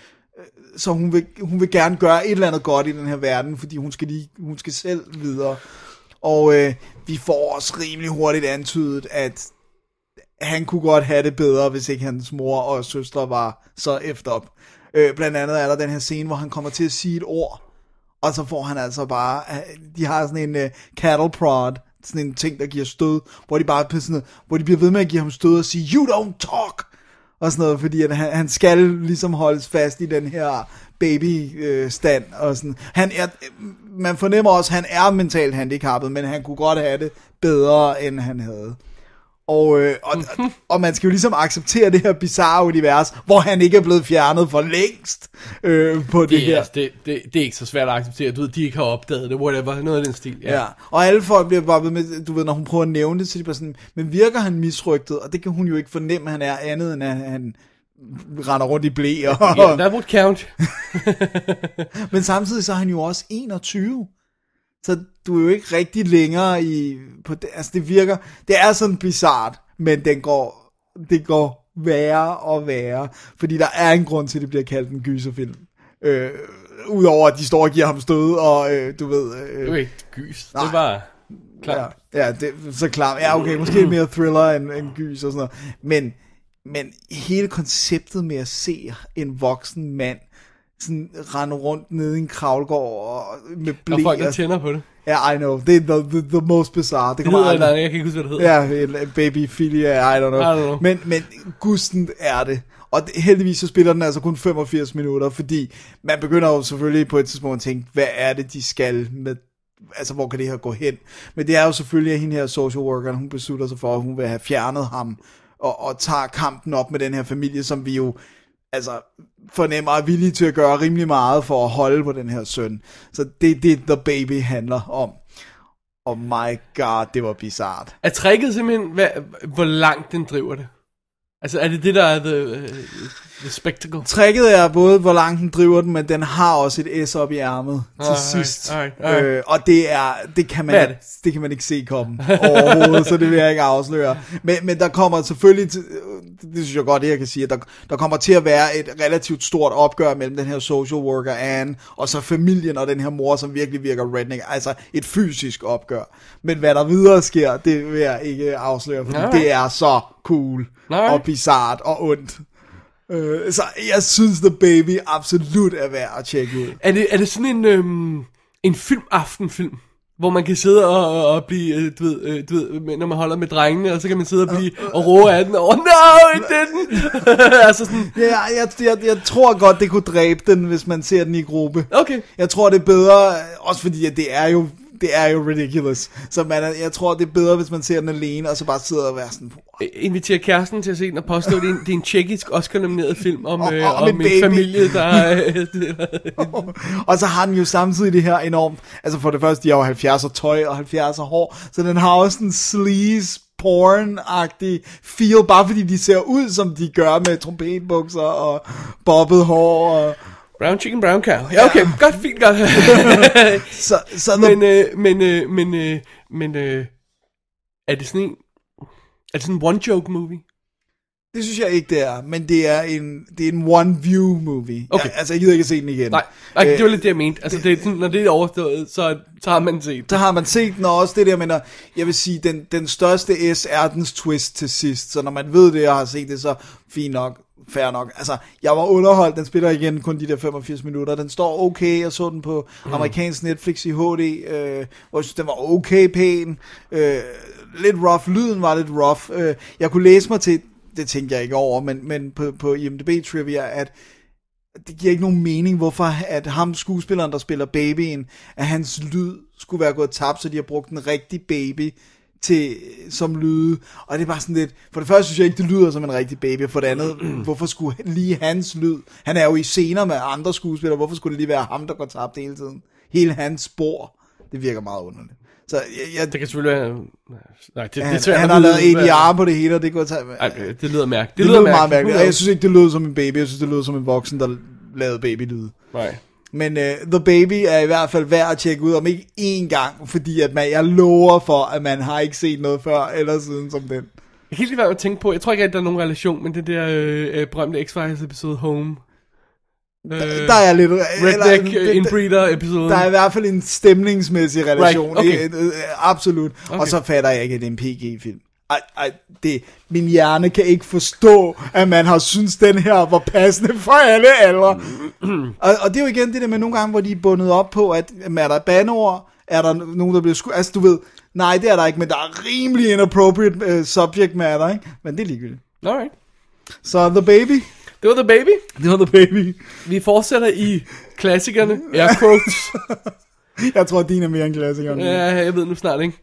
Speaker 6: så hun vil, hun vil gerne gøre et eller andet godt i den her verden, fordi hun skal, lige, hun skal selv videre. Og øh, vi får også rimelig hurtigt antydet, at han kunne godt have det bedre, hvis ikke hans mor og søstre var så efter op. Øh, blandt andet er der den her scene, hvor han kommer til at sige et ord, og så får han altså bare, de har sådan en uh, cattle prod, sådan en ting, der giver stød, hvor de bare bliver sådan noget, hvor de bliver ved med at give ham stød og sige, you don't talk, og sådan noget, fordi at han, han skal ligesom holdes fast i den her baby øh, stand, og sådan, han er, man fornemmer også, at han er mentalt handicappet, men han kunne godt have det bedre, end han havde. Og, øh, og, og- og man skal jo ligesom acceptere det her bizarre univers, hvor han ikke er blevet fjernet for længst øh, på det, det
Speaker 5: Det
Speaker 6: her.
Speaker 5: er, det, det, det er ikke så svært at acceptere. Du ved, de ikke har opdaget det, whatever. Noget af den stil. Ja.
Speaker 6: Ja. Og alle folk bliver bare ved med, du ved, når hun prøver at nævne det, så de bare sådan, men virker han misrygtet? Og det kan hun jo ikke fornemme, at han er andet, end at han render rundt i blæer.
Speaker 5: Yeah, that would count.
Speaker 6: Men samtidig så er han jo også 21. Så du er jo ikke rigtig længere i... På det, altså det virker... Det er sådan bizart, men den går, det går værre og værre. Fordi der er en grund til, at det bliver kaldt en gyserfilm. Øh, Udover at de står og giver ham stød, og øh, du ved... Øh,
Speaker 5: Det var ikke gys.
Speaker 6: Nej.
Speaker 5: Det var klart.
Speaker 6: Ja, ja det, så klar. Ja, okay, måske mere thriller end, end gys og sådan noget. Men, men hele konceptet med at se en voksen mand sådan rende rundt nede i en kravlgård og med
Speaker 5: Der er
Speaker 6: blæ.
Speaker 5: folk, der
Speaker 6: og-
Speaker 5: tænder på det.
Speaker 6: Ja, I know. Det er the, the, the most bizarre. Det
Speaker 5: Det
Speaker 6: kommer
Speaker 5: hedder
Speaker 6: aldrig.
Speaker 5: noget, jeg kan ikke huske, hvad det hedder.
Speaker 6: Ja, en babyfilia, I don't know.
Speaker 5: I don't know.
Speaker 6: Men, men gusten er det. Og det- heldigvis så spiller den altså kun 85 minutter, fordi man begynder jo selvfølgelig på et tidspunkt at tænke, hvad er det, de skal med altså hvor kan det her gå hen? Men det er jo selvfølgelig, at hende her social worker, hun beslutter sig for, at hun vil have fjernet ham, og, og tager kampen op med den her familie, som vi jo altså fornemmer er villige til at gøre rimelig meget for at holde på den her søn. Så det er det, The Baby handler om. Og my god, det var bizart.
Speaker 5: Er tricket simpelthen, hvad, hvor langt den driver det? Altså, er det det, der er the, øh, the spectacle?
Speaker 6: Tricket er både, hvor langt den driver den, men den har også et S op i ærmet til
Speaker 5: Alright,
Speaker 6: sidst.
Speaker 5: alright, alright.
Speaker 6: Øh, og det er, det kan, man,
Speaker 5: Hvad er
Speaker 6: det?
Speaker 5: det?
Speaker 6: det kan man ikke se komme overhovedet, så det vil jeg ikke afsløre. Men, men der kommer selvfølgelig, til, øh, det synes jeg godt, det jeg kan sige, at der, der kommer til at være et relativt stort opgør mellem den her social worker Anne, og så familien og den her mor, som virkelig virker redneck. Altså et fysisk opgør. Men hvad der videre sker, det vil jeg ikke afsløre, fordi
Speaker 5: Alright.
Speaker 6: det er så cool
Speaker 5: Alright.
Speaker 6: og bizart og ondt. Øh, så jeg synes, The Baby absolut er værd at tjekke ud.
Speaker 5: Er det, er det sådan en, øhm, en filmaftenfilm? Hvor man kan sidde og, og- og blive, øh, du ved, øh, du ved, med- når man holder med drengene, og så kan man sidde og blive og roe af den over, no, ikke den! altså sådan,
Speaker 6: Ja, jeg, jeg, jeg tror godt, det kunne dræbe den, hvis man ser den i gruppe.
Speaker 5: okay.
Speaker 6: Jeg tror, det er bedre, også fordi at det er jo det er jo ridiculous. Så man, er- jeg tror, det er bedre, hvis man ser den alene, og så bare sidder og er sådan, "Wow."
Speaker 5: Øh, Inviterer kæresten til at se den og påstå, at det er en, det er en tjekkisk Oscar-nomineret film om,
Speaker 6: Om-
Speaker 5: øh,
Speaker 6: om
Speaker 5: om,
Speaker 6: en
Speaker 5: en
Speaker 6: baby.
Speaker 5: familie, der... Øh,
Speaker 6: og så har den jo samtidig det her enormt, altså for det første, de har jo 70'er tøj og 70'er hår, så den har også en sleaze porn-agtig feel, bare fordi de ser ud, som de gør med trompetbukser og bobbet hår. Og,
Speaker 5: brown chicken, brown cow. Ja, okay, godt, fint, godt.
Speaker 6: så, så the
Speaker 5: men, øh, men, øh, men, øh, men, øh, er det sådan en... Er det sådan en one-joke-movie? øh,
Speaker 6: Det synes jeg ikke, det er, men det er en, det er en one-view movie.
Speaker 5: Okay.
Speaker 6: Jeg, altså, jeg gider ikke se den igen.
Speaker 5: Nej, nej
Speaker 6: Øh,
Speaker 5: det var lidt det, jeg mente. Altså, det, er sådan, når det er overstået, så, så har man set.
Speaker 6: Så har man set den, og også det der med, når, jeg vil sige, den, den største S er dens twist til sidst, så når man ved det, og har set det, så fint nok, fair nok. Altså, jeg var underholdt, den spiller igen kun de der 85 minutter, den står okay, jeg så den på mm. amerikansk Netflix i HD, øh, hvor jeg synes, den var okay pæn, øh, lidt rough, lyden var lidt rough, øh, jeg kunne læse mig til, det tænkte jeg ikke over, men, men på, på IMDb Trivia, at det giver ikke nogen mening, hvorfor at ham skuespilleren, der spiller babyen, at hans lyd skulle være gået tabt, så de har brugt en rigtig baby til, som lyde. Og det er bare sådan lidt, for det første synes jeg ikke, det lyder som en rigtig baby, og for det andet, hvorfor skulle lige hans lyd, han er jo i scener med andre skuespillere, hvorfor skulle det lige være ham, der går tabt hele tiden? Hele hans spor, det virker meget underligt. Så jeg, jeg,
Speaker 5: Det kan selvfølgelig være... Nej, det, det er
Speaker 6: han,
Speaker 5: svært
Speaker 6: han
Speaker 5: at
Speaker 6: har
Speaker 5: vide,
Speaker 6: lavet
Speaker 5: hvad-
Speaker 6: ADR på det hele, og det går tabt.
Speaker 5: Ej, øh, det lyder mærkeligt.
Speaker 6: Det, det lyder meget
Speaker 5: mærkeligt.
Speaker 6: mærkeligt, og jeg synes ikke, det lød som en baby, jeg synes, det lød som en voksen, der lavede babylyde.
Speaker 5: Nej.
Speaker 6: Men uh, The Baby er i hvert fald værd at tjekke ud, om ikke én gang, fordi at man, jeg lover for, at man har ikke set noget før eller siden som den.
Speaker 5: Jeg kan ikke lige være med at tænke på, jeg tror ikke, at der er nogen relation, men den der øh, øh, berømte X-Files episode Home. Øh,
Speaker 6: Der er lidt...
Speaker 5: Redneck
Speaker 6: eller-
Speaker 5: øh, Inbreeder episode.
Speaker 6: der er i hvert fald en stemningsmæssig relation.
Speaker 5: Right, okay.
Speaker 6: ikke? Øh, øh, Absolut. Okay. Og så fatter jeg ikke, at det er en PG-film. Ej, ej, det, min hjerne kan ikke forstå, at man har synes den her var passende for alle aldre. og, og det er jo igen det der med nogle gange, hvor de er bundet op på, at jamen, er der banord, er der nogen, der bliver skudt, altså du ved, nej, det er der ikke, men der er rimelig inappropriate uh, subject matter, ikke? Men det er ligegyldigt.
Speaker 5: Alright.
Speaker 6: Så The Baby,
Speaker 5: Det var The Baby.
Speaker 6: det var The Baby.
Speaker 5: Vi fortsætter i klassikerne. Air quotes.
Speaker 6: Jeg tror, din er mere en klassiker. end min.
Speaker 5: ja, jeg ved nu snart, ikke?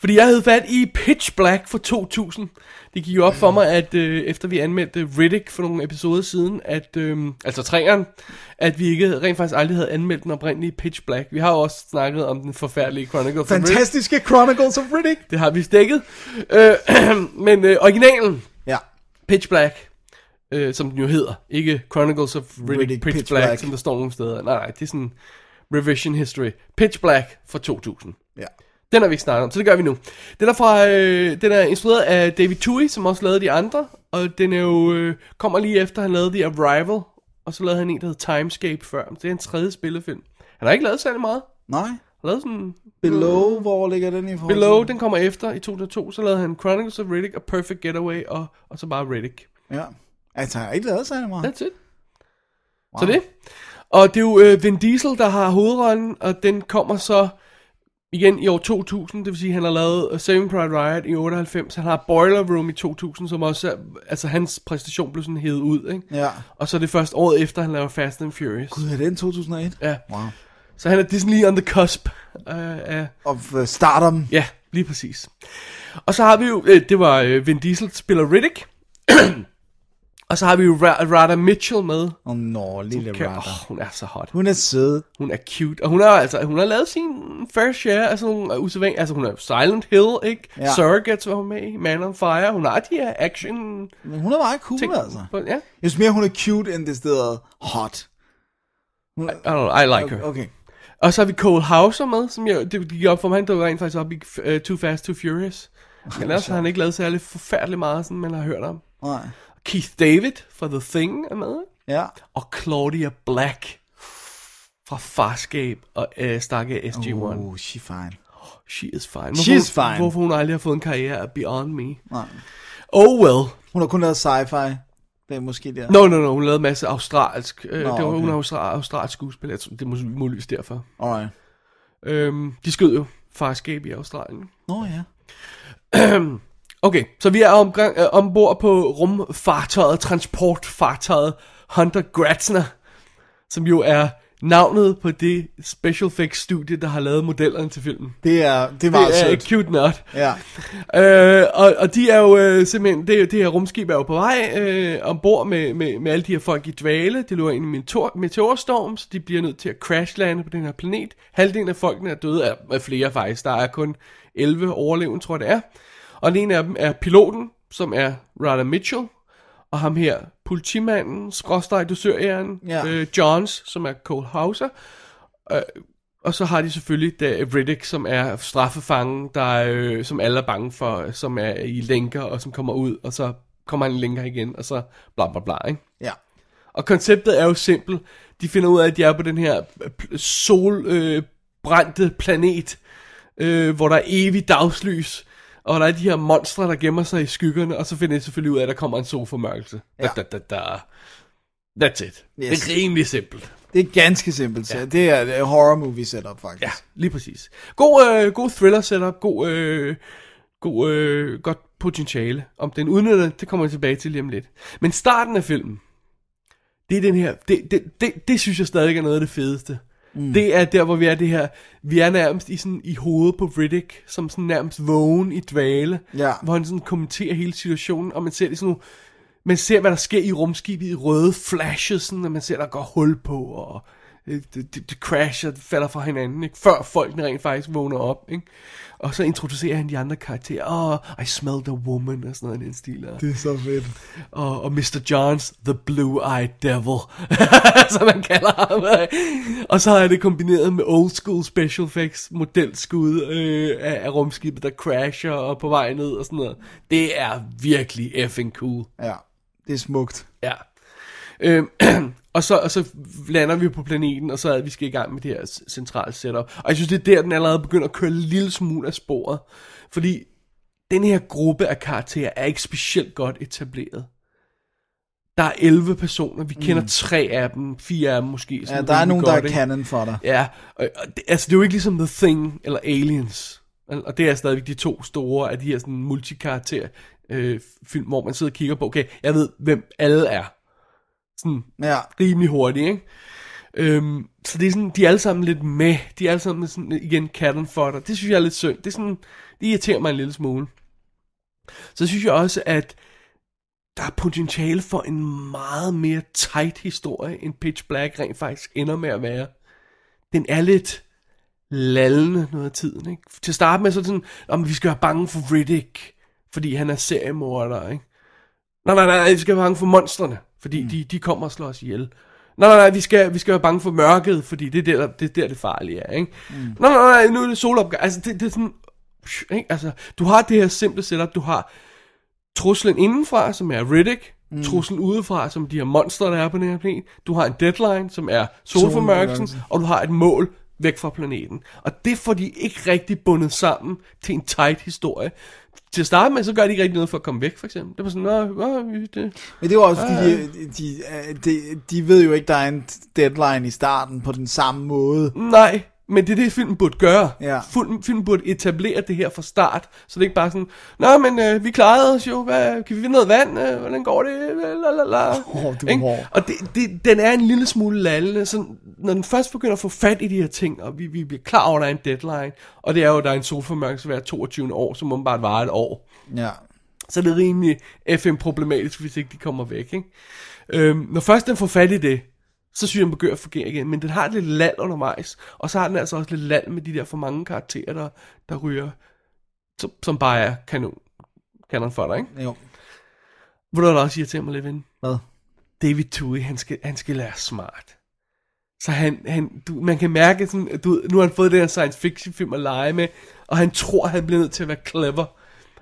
Speaker 5: Fordi jeg havde fat i Pitch Black fra 2000. Det gik jo op for mig, at øh, efter vi anmeldte Riddick for nogle episoder siden, at, øh, altså træeren, at vi ikke rent faktisk aldrig havde anmeldt den oprindelige Pitch Black. Vi har jo også snakket om den forfærdelige Chronicle of Riddick.
Speaker 6: Fantastiske Chronicles of Riddick.
Speaker 5: Det har vi stikket. Øh, men øh, originalen,
Speaker 6: Ja.
Speaker 5: Pitch Black, øh, som den jo hedder, ikke Chronicles of Riddick,
Speaker 6: Riddick,
Speaker 5: Riddick Pitch,
Speaker 6: Pitch
Speaker 5: Pitch Black,
Speaker 6: Black.
Speaker 5: Black, som der står nogle steder. Nej, nej, det er sådan revision history. Pitch Black fra 2000.
Speaker 6: ja.
Speaker 5: Den har vi ikke snakket om, så det gør vi nu. Den er, fra, øh, den er instrueret af David Tui, som også lavede de andre, og den er jo, øh, kommer lige efter, han lavede The Arrival, og så lavede han en, der hed Timescape før. Det er en tredje spillefilm. Han har ikke lavet særlig meget.
Speaker 6: Nej.
Speaker 5: Han lavede sådan
Speaker 6: Below, hvor ligger den i forhold
Speaker 5: Below,
Speaker 6: til?
Speaker 5: den kommer efter i 2002, så lavede han Chronicles of Riddick og Perfect Getaway, og, og så bare Riddick.
Speaker 6: Ja. Altså, jeg har ikke lavet særlig meget.
Speaker 5: That's it. Wow. Så det. Og det er jo øh, Vin Diesel, der har hovedrollen, og den kommer så igen i år 2000, det vil sige, han har lavet øh, Saving Private Riot i 98, han har Boiler Room i 2000, som også er, altså hans præstation blev sådan hævet ud, ikke?
Speaker 6: Ja.
Speaker 5: Og så er det først året efter, han laver Fast and Furious.
Speaker 6: Gud, er den 2001?
Speaker 5: Ja.
Speaker 6: Wow.
Speaker 5: Så han er Disney lige on the cusp øh, af,
Speaker 6: Of uh, Stardom.
Speaker 5: Ja, lige præcis. Og så har vi jo, øh, det var øh, Vin Diesel spiller Riddick. Og så har vi jo Ra- Rada Mitchell med.
Speaker 6: Åh, oh, nå, lille
Speaker 5: Kan-
Speaker 6: okay.
Speaker 5: Åh, hun er så hot.
Speaker 6: Hun er sød.
Speaker 5: Hun er cute, og hun har altså, hun har lavet sin fair share af sådan nogle usædvanlige, altså hun er Silent Hill, ikke?
Speaker 6: Ja.
Speaker 5: Ja. Surrogates var hun med i, Man on Fire, hun har de her action
Speaker 6: Men hun er meget cool,
Speaker 5: ting.
Speaker 6: altså.
Speaker 5: Ja,
Speaker 6: Jeg synes mere, hun er cute, end det stedet hot.
Speaker 5: I, I, don't know, I like her.
Speaker 6: Okay. okay.
Speaker 5: Og så har vi Cole Hauser med, som jeg, det gik op for mig, han dukker rent faktisk op i uh, Too Fast, Too Furious. Men ellers har han ikke lavet særlig forfærdelig meget, sådan man har hørt om.
Speaker 6: Nej.
Speaker 5: Keith David fra The Thing er med,
Speaker 6: Ja.
Speaker 5: og Claudia Black fra Farscape og uh, Stakke SG-1.
Speaker 6: Oh, she fine.
Speaker 5: She is fine.
Speaker 6: She is fine.
Speaker 5: Hvorfor hun aldrig har fået en karriere af Beyond Me.
Speaker 6: Nej.
Speaker 5: Oh well.
Speaker 6: Hun har kun lavet sci-fi. Det er måske der.
Speaker 5: No, no, no. Hun lavede en masse australsk. Øh, det var,
Speaker 6: okay.
Speaker 5: Hun er austral, australsk skuespiller. Jeg tror, Det er mås- muligvis derfor.
Speaker 6: Alright.
Speaker 5: Øhm, de skød jo Farscape i Australien.
Speaker 6: Nå ja.
Speaker 5: Okay, så vi er omgang, øh, ombord på rumfartøjet, transportfartøjet Hunter Gratzner, som jo er navnet på det special effects studie, der har lavet modellerne til filmen.
Speaker 6: Det er, det er meget
Speaker 5: Det er
Speaker 6: sødt.
Speaker 5: cute not.
Speaker 6: Ja.
Speaker 5: Øh, og, og de er jo øh, simpelthen, det, det her rumskib er jo på vej øh, ombord med, med, med alle de her folk i dvale. Det løber ind i en meteor, meteorstorm, så de bliver nødt til at crashlande på den her planet. Halvdelen af folkene er døde af, af flere faktisk. Der er kun 11 overlevende, tror jeg det er. Og den ene af dem er piloten, som er Rada Mitchell. Og ham her, politimanden, skråstrej dusørjæren,
Speaker 6: Ja.
Speaker 5: ja. øh, Johns, som er Cole Hauser. Øh, Og så har de selvfølgelig da Riddick, som er straffefangen, der, er, øh, som alle er bange for, som er i lænker, og som kommer ud, og så kommer han i lænker igen, og så bla bla bla, ikke?
Speaker 6: Ja.
Speaker 5: Og konceptet er jo simpelt. De finder ud af, at de er på den her øh, pl- solbrændte øh, brændte planet, øh, hvor der er evig dagslys, og der er de her monstre, der gemmer sig i skyggerne, og så finder de selvfølgelig ud af, at der kommer en solformørkelse. Ja. Da, da, da, da. That's it. Yes. Det
Speaker 6: Yes.
Speaker 5: er rimelig simpelt.
Speaker 6: Det er ganske simpelt. Ja. Det er det er horror movie setup, faktisk.
Speaker 5: Ja, lige præcis. God, øh, god thriller setup, god, øh, god, øh, godt potentiale. Om den udnytter, det kommer jeg tilbage til lige om lidt. Men starten af filmen, det er den her, det, det, det, det synes jeg stadig er noget af det fedeste. Mm. Det er der, hvor vi er det her, vi er nærmest i, sådan, i hovedet på Riddick, som sådan nærmest vågen i dvale,
Speaker 6: Ja.
Speaker 5: hvor han sådan kommenterer hele situationen, og man ser det sådan nogle, man ser, hvad der sker i rumskibet i røde flashes, sådan, og man ser, der går hul på, og øh, det, det, det crasher, det falder fra hinanden, ikke? før folkene rent faktisk vågner op. Ikke? Og så introducerer han de andre karakterer, oh, I smelled a woman, og sådan noget i den stil. Og,
Speaker 6: Det er så fedt.
Speaker 5: og, og Mr. Johns, the blue-eyed devil, som man kalder ham. øh. Og så er det kombineret med old school special effects, modelskud øh, af, af rumskibet, der crasher og på vej ned og sådan noget. Det er virkelig effing cool.
Speaker 6: Ja. Det er smukt.
Speaker 5: Ja. Øhm, og, så, og så lander vi på planeten, og så er vi skal i gang med det her c- centrale setup. Og jeg synes, det er der, den allerede begynder at køre en lille smule af sporet. Fordi den her gruppe af karakterer er ikke specielt godt etableret. Der er 11 personer, vi kender tre af dem, fire af dem måske.
Speaker 6: Mm. Ja,
Speaker 5: sådan
Speaker 6: der er
Speaker 5: rimelig
Speaker 6: nogen, der
Speaker 5: godt,
Speaker 6: er
Speaker 5: ikke?
Speaker 6: canon for dig.
Speaker 5: Ja, og, og det, altså det er jo ikke ligesom The Thing eller Aliens. Og og det er stadigvæk de to store af de her sådan multikarakter øh, film, hvor man sidder og kigger på, okay, jeg ved, hvem alle er. Sådan
Speaker 6: Ja.
Speaker 5: rimelig hurtigt, ikke? Øhm, så det er sådan, de er alle sammen lidt med. De er alle sammen sådan, igen, katten for dig. Det synes jeg er lidt synd. Det, er sådan, det irriterer mig en lille smule. Så synes jeg også, at der er potentiale for en meget mere tight historie, end Pitch Black rent faktisk ender med at være. Den er lidt lallende noget af tiden, ikke? Til at starte med så er det sådan, om vi skal være bange for Riddick, fordi han er seriemorder, ikke? Nej, nej, nej, vi skal være bange for monstrene, fordi mm. de, de kommer og slår os ihjel. Nej, nej, nej, vi skal, vi skal være bange for mørket, fordi det er der, det, er der, det farlige er, ikke? Mm. Nej, nej, nej, nu er det solopgang. Altså, det, det er sådan... psh, Ikke? Altså, du har det her simple setup, du har truslen indenfra, som er Riddick, mm. truslen udefra, som de her monster, der er på den her planet, du har en deadline, som er solformørkelsen,
Speaker 6: Solformørkelsen.
Speaker 5: og du har et mål væk fra planeten. Og det får de ikke rigtig bundet sammen til en tight historie. Til at starte med, så gør de ikke rigtig noget for at komme væk, for eksempel. Det var sådan, nå, nå vi- det,
Speaker 6: Men det var også fordi, de, de, øh, de, de ved jo ikke, der er en deadline i starten på den samme måde.
Speaker 5: Nej, men det er det, filmen burde gøre.
Speaker 6: Ja.
Speaker 5: Filmen, filmen burde etablere det her fra start, så det ikke bare sådan, Nå, men øh, vi klarede os jo, Hvad, kan vi finde noget vand, øh, hvordan går det, la la la.
Speaker 6: Åh, du er
Speaker 5: Ikke?
Speaker 6: hård.
Speaker 5: Og det, det, den er en lille smule lallende, så når den først begynder at få fat i de her ting, og vi, vi bliver klar over, at der er en deadline, og det er jo, at der er en solformørkelse hver 22 år, som åbenbart varer et år.
Speaker 6: Ja.
Speaker 5: så er det rimelig FM-problematisk, hvis ikke de kommer væk. Ikke? Øhm, når først den får fat i det, så synes jeg, den begynder at fungere igen. Men den har lidt land undervejs, og så har den altså også lidt land med de der for mange karakterer, der, der ryger, som, som bare er kanon, kanon for dig. Ikke?
Speaker 6: Jo.
Speaker 5: Ved du, hvad der også irriterer mig lidt ven?
Speaker 6: Hvad?
Speaker 5: David Tui, han skal, han skal lære smart. Så han, han du, man kan mærke, sådan, du, ved, nu har han fået den her science fiction film at lege med, og han tror, han bliver nødt til at være clever.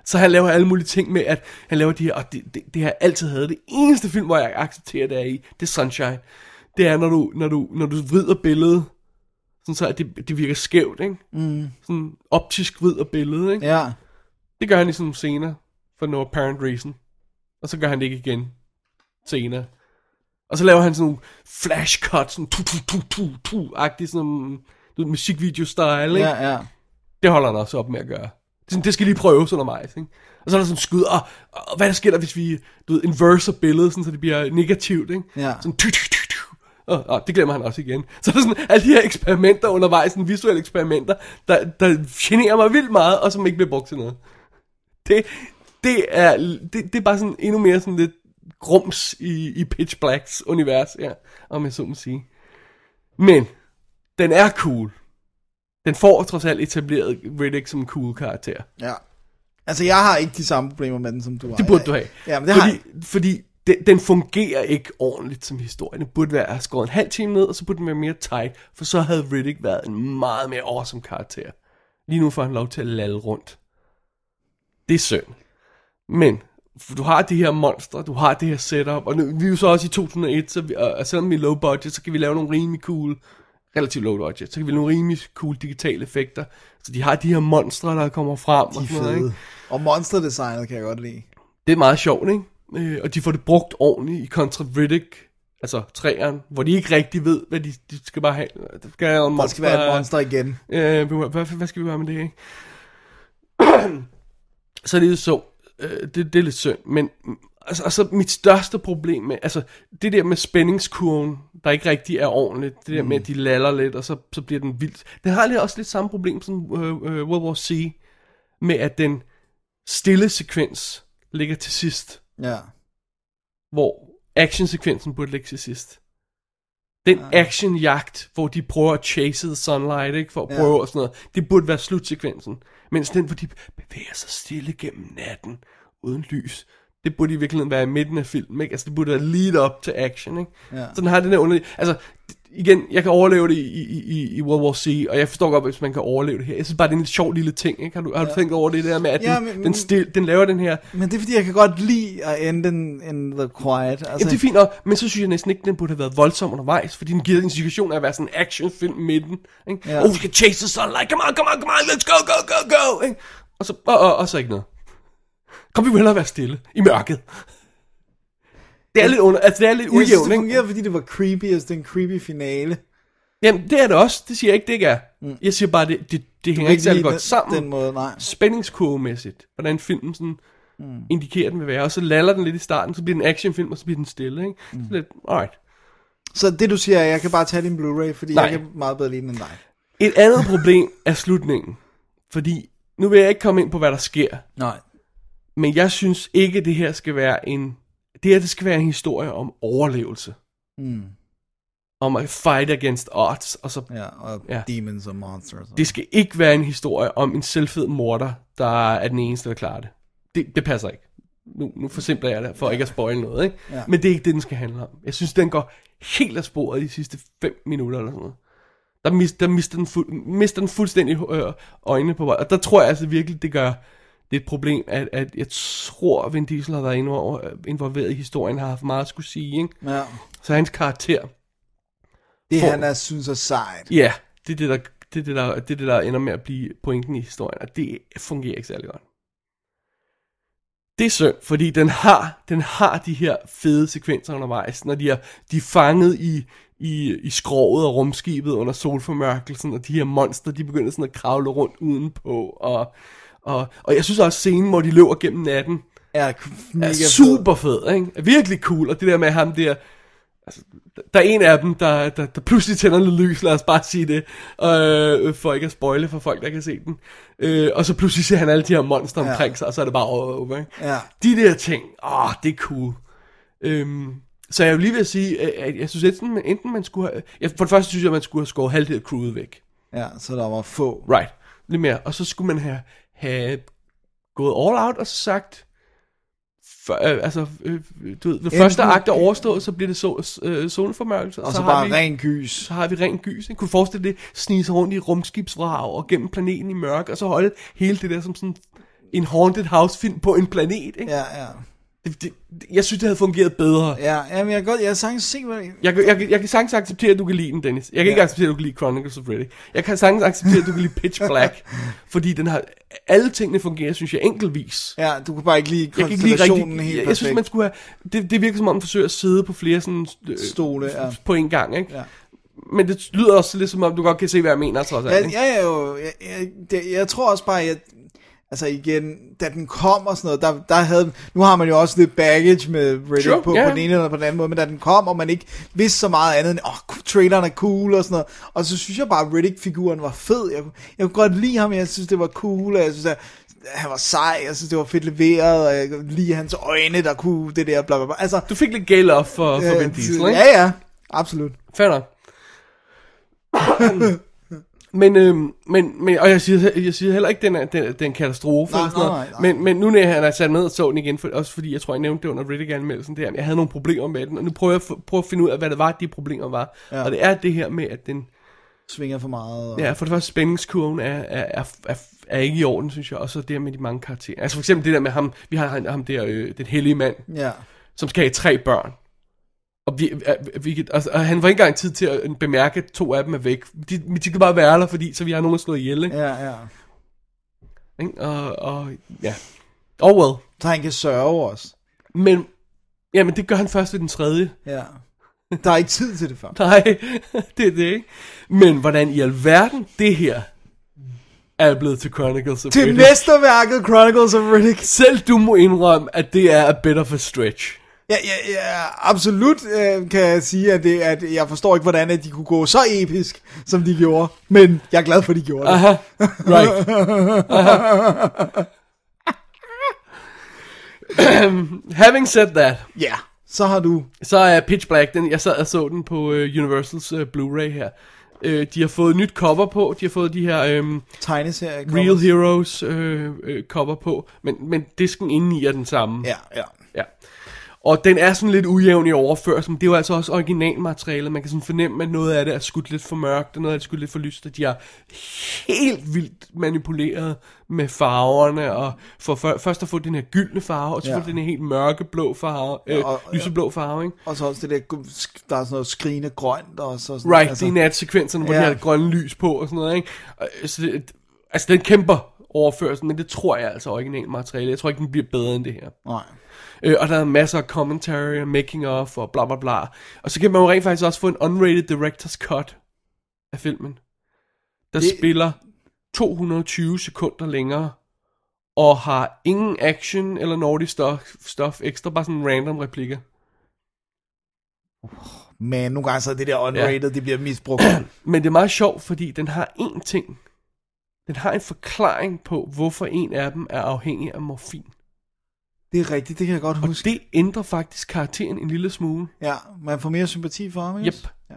Speaker 5: Så han laver alle mulige ting med, at han laver de her, og det, det, det har jeg altid havde. Det eneste film, hvor jeg accepterer det er i, det er Sunshine. Det er, når du, når du, når du vrider billedet, sådan så at det, det virker skævt, ikke? Mm. Sådan optisk vrider billedet, ikke?
Speaker 6: Ja.
Speaker 5: Det gør han i sådan nogle scener, for no apparent reason. Og så gør han det ikke igen senere. Og så laver han sådan nogle flash cuts, sådan tu tu tu tu tu agtig sådan nogle- du ved, musikvideo-style, ikke?
Speaker 6: Ja, ja.
Speaker 5: Det holder han også op med at gøre. Det, er sådan, det skal lige prøves undervejs, ikke? Og så er der sådan skud, og, og hvad der sker der, hvis vi, du ved, inverser billedet, sådan, så det bliver negativt, ikke?
Speaker 6: Ja.
Speaker 5: Sådan tu tu tu tu. Og, og, det glemmer han også igen. Så er der sådan alle de her eksperimenter undervejs, sådan visuelle eksperimenter, der, der generer mig vildt meget, og som ikke bliver brugt til noget. Det, det er, det, det er bare sådan endnu mere sådan lidt grums i, i Pitch Blacks univers, ja, om jeg så må sige. Men, den er cool. Den får trods alt etableret Riddick som en cool karakter.
Speaker 6: Ja. Altså, jeg har ikke de samme problemer med den, som du har.
Speaker 5: Det burde du have.
Speaker 6: Ja, men det har
Speaker 5: fordi,
Speaker 6: jeg.
Speaker 5: Fordi den, den fungerer ikke ordentligt som historie. Den burde være skåret en halv time ned, og så burde den være mere tight, for så havde Riddick været en meget mere awesome karakter. Lige nu får han lov til at lalle rundt. Det er synd. Men for du har de her monstre, du har det her setup, og nu, vi er jo så også i 2001, så vi, og, og selvom vi er low budget, så kan vi lave nogle rimelig cool, relativt low budget, så kan vi lave nogle rimelig cool digitale effekter. Så de har de her monstre, der kommer frem.
Speaker 6: De
Speaker 5: og
Speaker 6: er
Speaker 5: sådan Noget,
Speaker 6: fede.
Speaker 5: ikke?
Speaker 6: Og monsterdesignet kan jeg godt lide.
Speaker 5: det er meget sjovt, ikke? Øh, og de får det brugt ordentligt i Contra Riddick, altså træeren, hvor de ikke rigtig ved, hvad de, de skal bare have. Der skal, være en
Speaker 6: Der skal være et monster igen.
Speaker 5: Øh, hvad, hvad, hvad skal vi gøre med det, ikke? så det er det så, øh, det, det er lidt synd, men mm, altså, altså mit største problem med, altså det der med spændingskurven, der ikke rigtig er ordentligt, det der mm. med, at de laller lidt, og så, så bliver den vildt. Den har lidt, også lidt samme problem som øh, øh, World War C, med at den stille sekvens ligger til sidst
Speaker 6: Ja.
Speaker 5: hvor actionsekvensen burde ligge til sidst. Den
Speaker 6: Ah.
Speaker 5: actionjagt, hvor de prøver at chase the sunlight, ikke, for at
Speaker 6: Ja.
Speaker 5: prøve og sådan noget, det burde være slutsekvensen. Mens den, hvor de bevæger sig stille gennem natten, uden lys, det burde i virkeligheden være i midten af filmen, ikke? Altså, det burde være lead up til action, ikke?
Speaker 6: Ja.
Speaker 5: Så den har den der underlige... Altså, igen, jeg kan overleve det i, i, i- i World War C, og jeg forstår godt, hvis man kan overleve det her. Jeg synes bare, det er en sjov lille ting, ikke? Har du, har du tænkt over det der med, at
Speaker 6: Ja,
Speaker 5: den,
Speaker 6: men-
Speaker 5: den,
Speaker 6: men-
Speaker 5: stil, den laver den her
Speaker 6: Men det er fordi, jeg kan godt lide at ende in, in the quiet.
Speaker 5: Altså,
Speaker 6: Altså,
Speaker 5: Jamen, det er fint nok, men så synes jeg næsten ikke, den burde have været voldsom undervejs, fordi den giver en situation af at være sådan en actionfilm i midten. Ikke?
Speaker 6: Ja.
Speaker 5: Yeah. Oh, vi skal chase the sunlight, come on, come on, come on, let's go, go, go, go. Ikke? Og, så, og, og, og så ikke noget. Kom, vi vil hellere være stille i mørket. Det er lidt, under, altså, det er lidt
Speaker 6: jeg synes,
Speaker 5: ujævnt,
Speaker 6: det
Speaker 5: ikke?
Speaker 6: fungerer, fordi det var creepy, altså det er en creepy finale.
Speaker 5: Jamen, det er det også. Det siger jeg ikke, det ikke er. Mm. Jeg siger bare, det, det, det hænger ikke særlig
Speaker 6: lide
Speaker 5: godt
Speaker 6: den,
Speaker 5: sammen.
Speaker 6: Den måde, nej.
Speaker 5: spændingskurvemæssigt, hvordan filmen sådan mm. indikerer, den vil være. Og så laller den lidt i starten, så bliver den actionfilm, og så bliver den stille, ikke? Mm. Så lidt, alright.
Speaker 6: Så det du siger, er, at jeg kan bare tage din Blu-ray, fordi
Speaker 5: Nej.
Speaker 6: jeg kan meget bedre lide den end dig.
Speaker 5: Et andet problem er slutningen. Fordi, nu vil jeg ikke komme ind på, hvad der sker.
Speaker 6: Nej.
Speaker 5: Men jeg synes ikke, det her skal være en... Det her, det skal være en historie om overlevelse.
Speaker 6: Mm.
Speaker 5: Om at fight against odds. Og så,
Speaker 6: Ja, og
Speaker 5: Ja.
Speaker 6: ja. demons og monsters. Og...
Speaker 5: det skal ikke være en historie om en selvfed morder, der er den eneste, der klarer det. Det, det passer ikke. Nu, nu forsimpler jeg det, for ikke at spoil noget. Ikke?
Speaker 6: Ja.
Speaker 5: Men det er ikke det, den skal handle om. Jeg synes, den går helt af sporet i de sidste 5 minutter eller sådan noget. Der, mis, der mister, den fu, mister den fuldstændig øh, øjnene på vej. Og der tror jeg altså virkelig, det gør det er et problem, at, at jeg tror, Vin Diesel har været involver- øh, involveret i historien, har haft meget at skulle sige. Ikke?
Speaker 6: Ja.
Speaker 5: Så hans karakter,
Speaker 6: Det
Speaker 5: For-
Speaker 6: han er, synes er sejt.
Speaker 5: ja, yeah, det er det, der, det, er det, der, det, er det, der ender med at blive pointen i historien, og det fungerer ikke særlig godt. Det er synd, fordi den har, den har de her fede sekvenser undervejs, når de er, de er fanget i, i, i skroget og rumskibet under solformørkelsen, og de her monster, de begynder sådan at kravle rundt udenpå, og, og, og jeg synes også scenen, hvor de løber gennem natten,
Speaker 6: Er mega
Speaker 5: er
Speaker 6: fed.
Speaker 5: super fed, ikke? Er virkelig cool, og det der med ham der, Altså, der er en af dem, der, der, der pludselig tænder lidt lys, lad os bare sige det, øh, for ikke at spoile for folk, der kan se den. Øh, og så pludselig ser han alle de her monster
Speaker 6: Ja.
Speaker 5: omkring sig, og så er det bare over, over ikke?
Speaker 6: Ja.
Speaker 5: De der ting, åh, det er cool. Øhm, så jeg vil lige ved at sige, øh, at jeg synes enten, enten man skulle have, jeg, for det første synes jeg, man skulle have skåret halvdelen af crewet væk.
Speaker 6: ja, så der var få.
Speaker 5: Right. Lidt mere. Og så skulle man have, have gået all out og så sagt, for, øh, altså, øh, du ved, ved første
Speaker 6: Enten-
Speaker 5: akt er overstået, så bliver det sol, øh, solformørkelse,
Speaker 6: Og så, så bare
Speaker 5: vi,
Speaker 6: ren gys.
Speaker 5: så har vi ren gys. Ikke? Kunne du forestille det, snige sig rundt i rumskibsvrag og gennem planeten i mørke, og så holde hele det der som sådan en haunted house film på en planet, ikke?
Speaker 6: Ja, ja.
Speaker 5: Det, det, det- jeg synes, det havde fungeret bedre.
Speaker 6: Ja, jamen, jeg kan godt, jeg kan sagtens se, hvad det
Speaker 5: Jeg, kan- jeg, kan- jeg kan sagtens acceptere, at du kan lide den, Dennis. Jeg kan ja. ikke
Speaker 6: Ja.
Speaker 5: acceptere, at du kan lide Chronicles of Riddick. Jeg kan sagtens acceptere, at du kan lide Pitch Black. fordi den har... Alle tingene fungerer, synes jeg, enkeltvis.
Speaker 6: Ja, du kunne bare ikke lide
Speaker 5: Jeg kan ikke lide
Speaker 6: konstellationen
Speaker 5: rigtig...
Speaker 6: helt
Speaker 5: Jeg, jeg
Speaker 6: perfekt.
Speaker 5: synes, man skulle have... Det, det virker som om, man forsøger at sidde på flere sådan... Øh,
Speaker 6: Stole, ja.
Speaker 5: På en gang, ikke?
Speaker 6: Ja.
Speaker 5: Men det lyder også lidt som om, du godt kan se, hvad jeg mener, trods alt.
Speaker 6: Ja,
Speaker 5: ikke?
Speaker 6: ja, ja, jo. Jeg, jeg, det, jeg tror også bare, jeg, altså igen, da den kom og sådan noget, der, der havde, nu har man jo også lidt baggage med Reddit
Speaker 5: Sure,
Speaker 6: sure, på,
Speaker 5: ja.
Speaker 6: yeah. på den ene eller på den anden måde, men da den kom, og man ikke vidste så meget andet end, åh, oh, traileren er cool og sådan noget, og så synes jeg bare, at Riddick-figuren var fed. Jeg, kunne- jeg kunne godt lide ham, jeg synes, det var cool, og jeg synes, at han var sej, jeg synes, det var fedt leveret, og jeg kunne lide hans øjne, der kunne det der, bla bla bla. Altså,
Speaker 5: Du fik lidt gale off for, for Vin
Speaker 6: øh,
Speaker 5: Diesel, ikke?
Speaker 6: ja, ja, absolut.
Speaker 5: Fair nok. men, øhm, men, men, og jeg siger, jeg siger heller ikke, den er, den, den er en katastrofe.
Speaker 6: Nej,
Speaker 5: eller sådan
Speaker 6: nej,
Speaker 5: noget.
Speaker 6: nej, nej.
Speaker 5: Men, men nu når han er sat ned og så den igen, for, også fordi jeg tror, jeg nævnte det under Riddick-anmeldelsen, det her, jeg havde nogle problemer med den, og nu prøver jeg at få- prøver at finde ud af, hvad det var, de problemer var. Ja.
Speaker 6: Ja.
Speaker 5: Og det er det her med, at den,
Speaker 6: Svinger for meget. Og...
Speaker 5: ja, for det første spændingskurven er, er, er, er, er ikke i orden, synes jeg, og så det her med de mange karakterer. Altså for eksempel det der med ham, vi har ham- ham der, øh, den hellige mand,
Speaker 6: ja.
Speaker 5: som skal have tre børn. Og, vi, øh, vi, og, og han får ikke engang tid til at bemærke, at to af dem er væk. De, de kan bare være der, fordi så vi har nogen at slå ihjel. Ikke?
Speaker 6: Ja, ja.
Speaker 5: Ja. Og, og ja. Oh well.
Speaker 6: Så han kan sørge også.
Speaker 5: Men, jamen det gør han først ved den tredje.
Speaker 6: Ja. Der er ikke tid til det før.
Speaker 5: Nej, det er det ikke. Men hvordan i alverden det her er blevet til Chronicles of
Speaker 6: Til
Speaker 5: Riddick.
Speaker 6: mesterværket Chronicles of Riddick.
Speaker 5: Selv du må indrømme, at det er a bit of a stretch.
Speaker 6: Ja, ja, ja absolut øh, kan jeg sige, at, det, at jeg forstår ikke, hvordan at de kunne gå så episk, som de gjorde. Men jeg er glad for, at de gjorde det.
Speaker 5: Aha, right. Aha. Having said that,
Speaker 6: Ja, så har du...
Speaker 5: så er Pitch Black, den, jeg sad og så den på øh, Universals øh, Blu-ray her. Øh, de har fået nyt cover på, de har fået de her øh,
Speaker 6: Tegneserie.
Speaker 5: Real Heroes øh, øh, cover på, men, men disken indeni er den samme.
Speaker 6: Ja, ja.
Speaker 5: Ja. Og den er sådan lidt ujævn i overførsel, men det er jo altså også originalmaterialet. Man kan sådan fornemme, at noget af det er skudt lidt for mørkt, og noget af det er skudt lidt for lyst, og de har helt vildt manipuleret med farverne, og for, for først at få den her gyldne farve, og så ja.
Speaker 6: Ja.
Speaker 5: få den her helt mørkeblå farve, øh, ja,
Speaker 6: og-
Speaker 5: lyseblå farve, ikke?
Speaker 6: Og så også det der, der er sådan noget skrigende grønt og så sådan...
Speaker 5: Right, altså, det er natsekvenserne, hvor ja.
Speaker 6: Ja.
Speaker 5: de har det grønne lys på og sådan noget, ikke? Og, øh, Så det, altså, den kæmper overførsel, men det tror jeg altså originalmaterialet. Jeg tror ikke, den bliver bedre end det her.
Speaker 6: Nej.
Speaker 5: Øh, og der er masser af commentary og making of og bla bla bla. Og så kan man jo rent faktisk også få en unrated director's cut af filmen. Der det...
Speaker 6: Det-
Speaker 5: spiller 220 sekunder længere og har ingen action eller naughty stuff, stuff ekstra, bare sådan random replikker.
Speaker 6: Men nogle gange så er det der unrated, ja. det bliver misbrugt.
Speaker 5: Men det er meget sjovt, fordi den har én ting. Den har en forklaring på, hvorfor en af dem er afhængig af morfin.
Speaker 6: det er rigtigt, det kan jeg godt
Speaker 5: Og
Speaker 6: huske.
Speaker 5: det ændrer faktisk karakteren en lille smule.
Speaker 6: Ja, man får mere sympati for ham, ikke?
Speaker 5: Yep.
Speaker 6: Ja.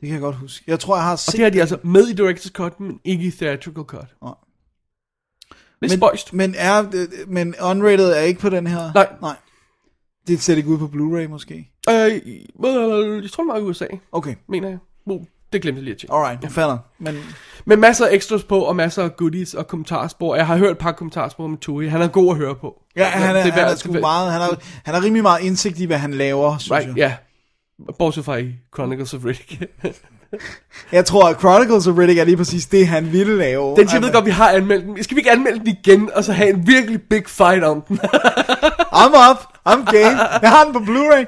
Speaker 6: Det kan jeg godt huske. Jeg tror, jeg har
Speaker 5: Og
Speaker 6: set
Speaker 5: det har de altså med i Director's Cut, men ikke i Theatrical Cut.
Speaker 6: Nej.
Speaker 5: Lidt
Speaker 6: men,
Speaker 5: spøjst.
Speaker 6: Men, er, øh, men Unrated er ikke på den her?
Speaker 5: Nej.
Speaker 6: Nej. Det ser ikke ud på Blu-ray måske?
Speaker 5: Øh, øh, jeg tror, den var i USA,
Speaker 6: Okay,
Speaker 5: mener jeg. Uh, det glemte jeg lige at tjekke.
Speaker 6: alright, ja. fatter. Men
Speaker 5: Men masser af extras på, og masser af goodies og kommentarspor. Jeg har hørt et par kommentarspor med Tui. Han er god at høre på.
Speaker 6: ja, han, er,
Speaker 5: Det
Speaker 6: han,
Speaker 5: værd-
Speaker 6: er
Speaker 5: det
Speaker 6: sgu
Speaker 5: værd-
Speaker 6: meget, han, er, han er rimelig meget indsigt i, hvad han laver, synes
Speaker 5: Right,
Speaker 6: jeg.
Speaker 5: ja. Bortset fra i Chronicles of Riddick.
Speaker 6: Jeg tror, at Chronicles of Riddick er lige præcis det, han ville lave. Altså,
Speaker 5: den, jeg ved
Speaker 6: I'm-
Speaker 5: godt, vi har anmeldt den. Skal vi ikke anmelde den igen, og så have en virkelig big fight om den?
Speaker 6: I'm up, I'm game. Jeg har den på Blu-ray.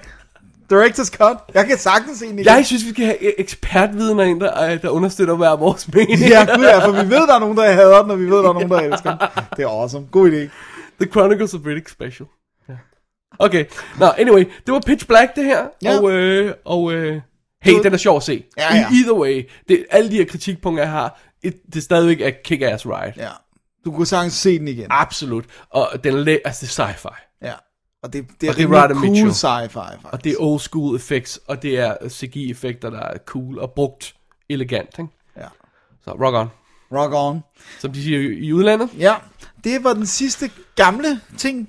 Speaker 6: Director's Cut. Jeg kan sagtens se den igen.
Speaker 5: Jeg synes, vi skal have e- ekspertvidner ind, der, øh, der understøtter hver vores mening.
Speaker 6: Ja, gud ja, for vi ved, der er nogen, der hader den, og vi ved, der er nogen, der elsker den. Det er awesome. God idé.
Speaker 5: The Chronicles of Riddick special. Okay, nå, anyway, det var Pitch Black det her,
Speaker 6: Ja.
Speaker 5: og, øh, og øh, hey, den er sjov at se.
Speaker 6: Ja, ja.
Speaker 5: I- Either way, det, alle de her kritikpunkter, jeg har, et, det er stadigvæk er kick-ass ride.
Speaker 6: Ja. Du kunne sagtens se den igen.
Speaker 5: Absolut, og den er, la- altså det er sci-fi,
Speaker 6: Ja. Og det, det er,
Speaker 5: Og det er
Speaker 6: rimelig
Speaker 5: Radha
Speaker 6: cool
Speaker 5: Mitchell.
Speaker 6: sci-fi, faktisk.
Speaker 5: og det er old school effects, og det er CG-effekter, der er cool og brugt elegant, ikke?
Speaker 6: Ja.
Speaker 5: Så rock on,
Speaker 6: Rock on.
Speaker 5: som de siger i i udlandet.
Speaker 6: Ja, det var den sidste gamle ting.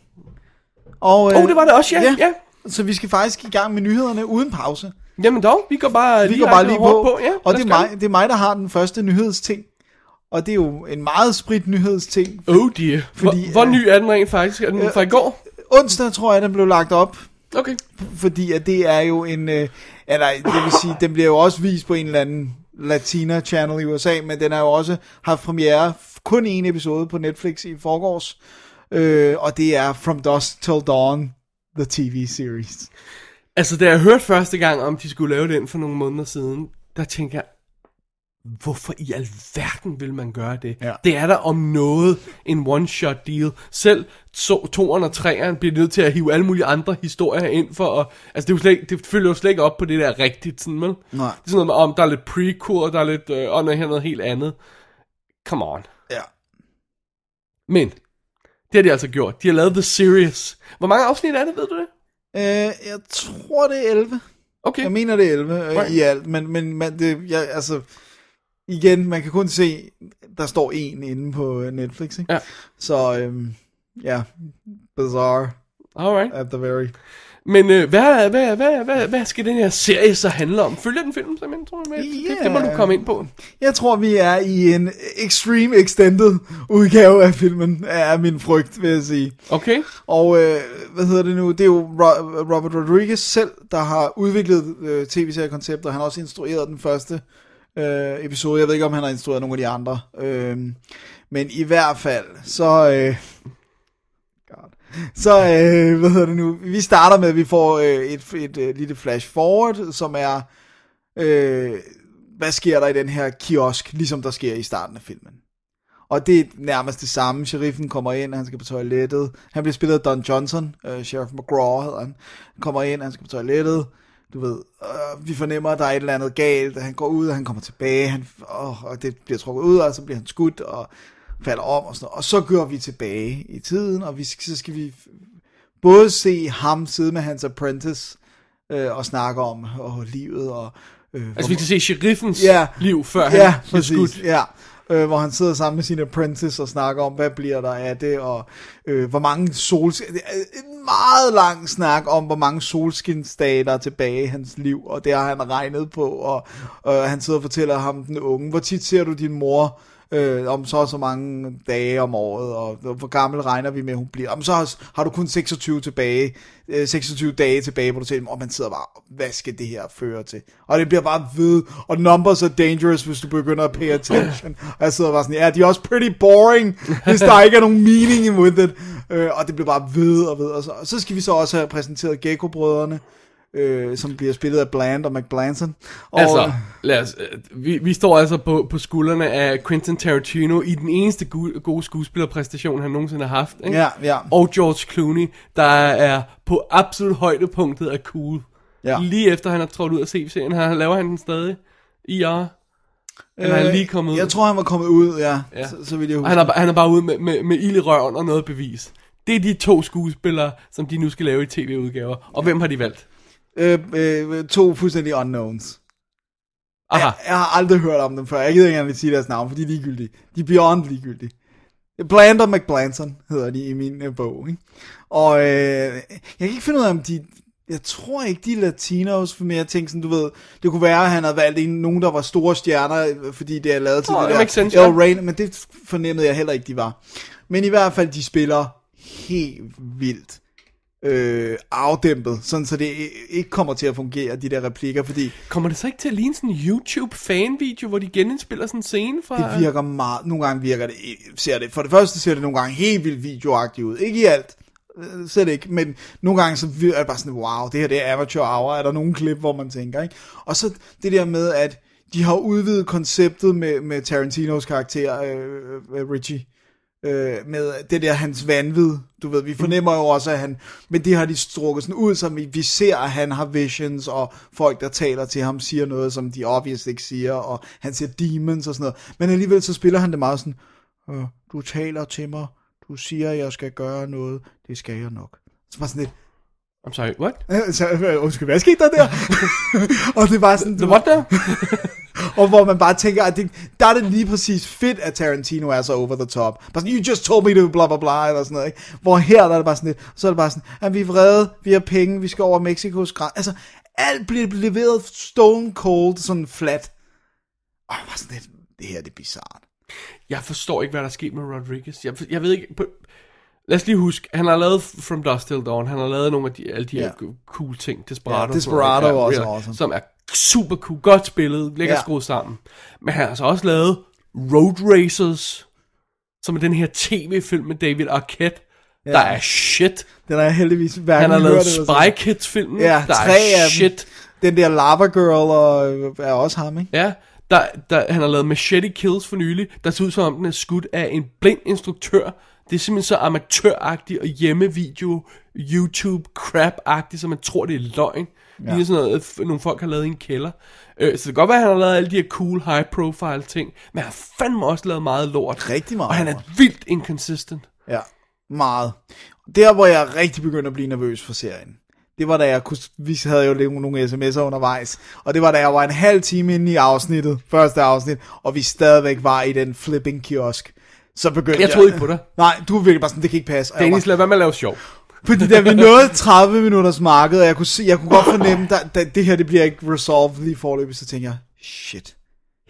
Speaker 6: Og, øh,
Speaker 5: Åh, oh, det var det også, ja. ja. ja.
Speaker 6: Så vi skal faktisk i gang med nyhederne uden pause.
Speaker 5: Jamen dog, vi går bare
Speaker 6: Vi
Speaker 5: lige,
Speaker 6: går bare lige på,
Speaker 5: på ja,
Speaker 6: og
Speaker 5: lad
Speaker 6: det er,
Speaker 5: os gøre
Speaker 6: mig, det er mig, der har den første nyhedsting. Og det er jo en meget sprit nyhedsting.
Speaker 5: Oh dear. Fordi,
Speaker 6: Fordi,
Speaker 5: hvor, hvor
Speaker 6: øh,
Speaker 5: ny er den rent faktisk? Er den
Speaker 6: øh,
Speaker 5: fra i går?
Speaker 6: Onsdag tror jeg, den blev lagt op,
Speaker 5: Okay.
Speaker 6: fordi at det er jo en... Øh, ja, nej, det vil sige, den bliver jo også vist på en eller anden Latina Channel i USA, men den har jo også haft premiere f- kun en episode på Netflix i forgårs. Øh, og det er From Dusk Till Dawn, the TV series.
Speaker 5: Altså, da jeg hørte første gang, om de skulle lave den for nogle måneder siden, der tænkte jeg, hvorfor i alverden vil man gøre det?
Speaker 6: Ja.
Speaker 5: Det er der om noget en one-shot deal. Selv to, toeren og treeren bliver nødt til at hive alle mulige andre historier ind for at... Altså, det, er jo slet, ikke- det følger jo slet ikke op på det der rigtigt, sådan, vel?
Speaker 6: Nej.
Speaker 5: Det er sådan noget med, om der er lidt prequel, og der er lidt... Øh, og noget her noget helt andet. Come on.
Speaker 6: Ja.
Speaker 5: Men, det har de altså gjort. De har lavet The Series. Hvor mange afsnit er det, ved du det?
Speaker 6: Øh, jeg tror, det er 11.
Speaker 5: Okay.
Speaker 6: Jeg mener, det er 11 øh,
Speaker 5: Right.
Speaker 6: i alt, men, men man, det, jeg, altså, igen, man kan kun se, der står en inde på øh, Netflix, ikke?
Speaker 5: Ja.
Speaker 6: Så, øhm, ja, bizarre
Speaker 5: Alright.
Speaker 6: at the very...
Speaker 5: Men øh, hvad, hvad, hvad, hvad, hvad skal den her serie så handle om? Følger den film, simpelthen, tror jeg? Med? Det, det må
Speaker 6: Ja.
Speaker 5: du komme ind på.
Speaker 6: Jeg tror, vi er i en extreme extended udgave af filmen, er min frygt, vil jeg sige.
Speaker 5: Okay?
Speaker 6: Og øh, hvad hedder det nu? Det er jo Ro- Robert Rodriguez selv, der har udviklet øh, tv-seriekonceptet, og han har også instrueret den første øh, episode. Jeg ved ikke, om han har instrueret nogle af de andre. Øh, men i hvert fald, så... Øh, God. Så, øh, hvad hedder det nu? Vi starter med, at vi får øh, et, et øh, lille flash forward, som er... Øh, hvad sker der i den her kiosk, ligesom der sker i starten af filmen? Og det er nærmest det samme. Sheriffen kommer ind, han skal på toilettet. Han bliver spillet af Don Johnson. Øh, Sheriff McGraw hedder han. Han kommer ind, han skal på toilettet. Du ved, øh, vi fornemmer, at der er et eller andet galt. Han går ud, og han kommer tilbage. Han, åh, og det bliver trukket ud, og så bliver han skudt og falder om og sådan noget. Og så går vi tilbage i tiden, og vi, skal- så skal vi både se ham sidde med hans apprentice øh, og snakke om åh, livet og... Øh,
Speaker 5: Altså, vi skal se sheriffens
Speaker 6: Ja.
Speaker 5: liv, før
Speaker 6: ja,
Speaker 5: han bliver
Speaker 6: præcis,
Speaker 5: skudt.
Speaker 6: Ja, øh, hvor han sidder sammen med sin apprentice og snakker om, hvad bliver der af det, og øh, hvor mange solskin... det er øh, En meget lang snak om, hvor mange solskinsdage der er tilbage i hans liv, og det har han regnet på, og øh, han sidder og fortæller ham, den unge, hvor tit ser du din mor øh, om så og så mange dage om året, og hvor gammel regner vi med, hun bliver. Om så har, har du kun 26, tilbage, øh, 26 dage tilbage, hvor du tænker, og man sidder bare, hvad skal det her føre til? Og det bliver bare ved, og numbers are dangerous, hvis du begynder at pay attention. Og jeg sidder bare sådan, ja, de er også pretty boring, hvis der ikke er nogen meaning with it. Øh, og det bliver bare ved og ved. Og så, og så skal vi så også have præsenteret Gecko-brødrene, øh, som bliver spillet af Bland og McBlanson. Og,
Speaker 5: Altså, lad os, øh, vi, vi står altså på, på skuldrene af Quentin Tarantino i den eneste gu- gode skuespillerpræstation, han nogensinde har haft. Ikke?
Speaker 6: Ja, ja.
Speaker 5: Og George Clooney, der er på absolut højdepunktet af cool.
Speaker 6: Ja.
Speaker 5: Lige efter han er trådt ud af CV-serien, har- laver han den stadig i år. Eller er han lige kommet ud?
Speaker 6: Øh, Jeg tror, han var kommet ud, ja.
Speaker 5: Ja.
Speaker 6: ja. Så, så vil jeg
Speaker 5: Og
Speaker 6: huske.
Speaker 5: han er, han er bare ude med, med, med ild i røven og noget bevis. Det er de to skuespillere, som de nu skal lave i tv-udgaver. Og ja. hvem har de valgt?
Speaker 6: øh, øh, to fuldstændig unknowns.
Speaker 5: Aha,
Speaker 6: Jeg har aldrig hørt om dem før. Jeg gider ikke engang sige deres navn, for de er ligegyldige. De er beyond ligegyldige. Bland og McBlanson hedder de i min øh, bog. Ikke? Og øh, jeg kan ikke finde ud af, om de... Jeg tror ikke, de er latinos, for mere jeg tænkte sådan, du ved, det kunne være, at han havde valgt en, nogen, der var store stjerner, øh, fordi det er lavet til
Speaker 5: Åh,
Speaker 6: det
Speaker 5: det makes
Speaker 6: der
Speaker 5: sense, ja.
Speaker 6: El Rain, men det fornemmede jeg heller ikke, de var. Men i hvert fald, de spiller helt vildt øh, afdæmpet, sådan så det i- ikke kommer til at fungere, de der replikker, fordi
Speaker 5: kommer det så ikke til at ligne sådan en YouTube-fanvideo, hvor de genindspiller sådan en scene fra...
Speaker 6: Det virker meget, nogle gange virker det, ser det, for det første ser det nogle gange helt vildt videoagtigt ud, ikke i alt, øh, slet ikke, men nogle gange så vir- er det bare sådan, wow, det her det er amateur hour, er der nogle klip, hvor man tænker, ikke? Og så det der med, at de har udvidet konceptet med, med Tarantinos karakter, øh, øh, Richie, øh, med det der hans vanvid. Du ved, vi fornemmer jo også, at han... Men det har de strukket sådan ud, som vi, vi ser, at han har visions, og folk, der taler til ham, siger noget, som de obviously ikke siger, og han siger demons og sådan noget. Men alligevel så spiller han det meget sådan, øh, du taler til mig, du siger, at jeg skal gøre noget, det skal jeg nok. Så var sådan lidt,
Speaker 5: I'm sorry, what?
Speaker 6: øh, så, øh, undskyld, hvad skete der der? og det var sådan,
Speaker 5: The what now?
Speaker 6: og hvor man bare tænker, at det, der er det lige præcis fedt, at Tarantino er så over the top. Bare sådan, you just told me to blah blah blah, eller sådan noget, ikke? Hvor her der er det bare sådan lidt, så er det bare sådan, at vi er vrede, vi har penge, vi skal over Mexikos grænse. Altså, alt bliver leveret stone cold, sådan flat. Og jeg var sådan lidt, det her det er bizarrt.
Speaker 5: Jeg forstår ikke, hvad der er sket med Rodriguez. Jeg, for- jeg ved ikke... På, lad os lige huske, han har lavet From Dusk Till Dawn, han har lavet nogle af de, alle de
Speaker 6: Ja.
Speaker 5: her cool ting, Desperado.
Speaker 6: Ja, Desperado
Speaker 5: sådan noget,
Speaker 6: er også
Speaker 5: ja,
Speaker 6: awesome.
Speaker 5: Som er super cool, godt spillet, lækkert
Speaker 6: Ja.
Speaker 5: ja. skruet sammen. Men han har så også lavet Road Racers, som er den her tv-film med David Arquette, ja. der er shit.
Speaker 6: Den er heldigvis hverken
Speaker 5: Han har lavet
Speaker 6: hørt eller set.
Speaker 5: Spy Kids-filmen,
Speaker 6: Ja,
Speaker 5: der
Speaker 6: tre af
Speaker 5: er
Speaker 6: dem.
Speaker 5: shit.
Speaker 6: Den der Lava Girl og, øh, er også ham, ikke?
Speaker 5: Ja, der, der, han har lavet Machete Kills for nylig, der ser ud som om den er skudt af en blind instruktør. Det er simpelthen så amatøragtigt og hjemmevideo, YouTube crap-agtigt, så man tror, det er løgn. Ja. Det er sådan noget, f- nogle folk har lavet i en kælder. Øh, så det kan godt være, at han har lavet alle de her cool, high-profile ting, men han har fandme også lavet meget lort.
Speaker 6: Rigtig meget
Speaker 5: Og han er
Speaker 6: lort.
Speaker 5: vildt inconsistent.
Speaker 6: Ja, meget. Der, hvor jeg rigtig begyndte at blive nervøs for serien, det var da jeg kunne, vi havde jo lidt nogle sms'er undervejs, og det var da jeg var en halv time inde i afsnittet, første afsnit, og vi stadigvæk var i den flipping kiosk. Så begyndte
Speaker 5: Jeg troede ikke på dig.
Speaker 6: Nej, du var virkelig bare sådan, det kan ikke passe. Og jeg var-
Speaker 5: Dennis, lad være med at lave sjov.
Speaker 6: fordi da vi nåede 30 minutters marked, og jeg kunne, se, jeg kunne godt fornemme, at det her det bliver ikke resolved lige forløbig, så tænker jeg, shit,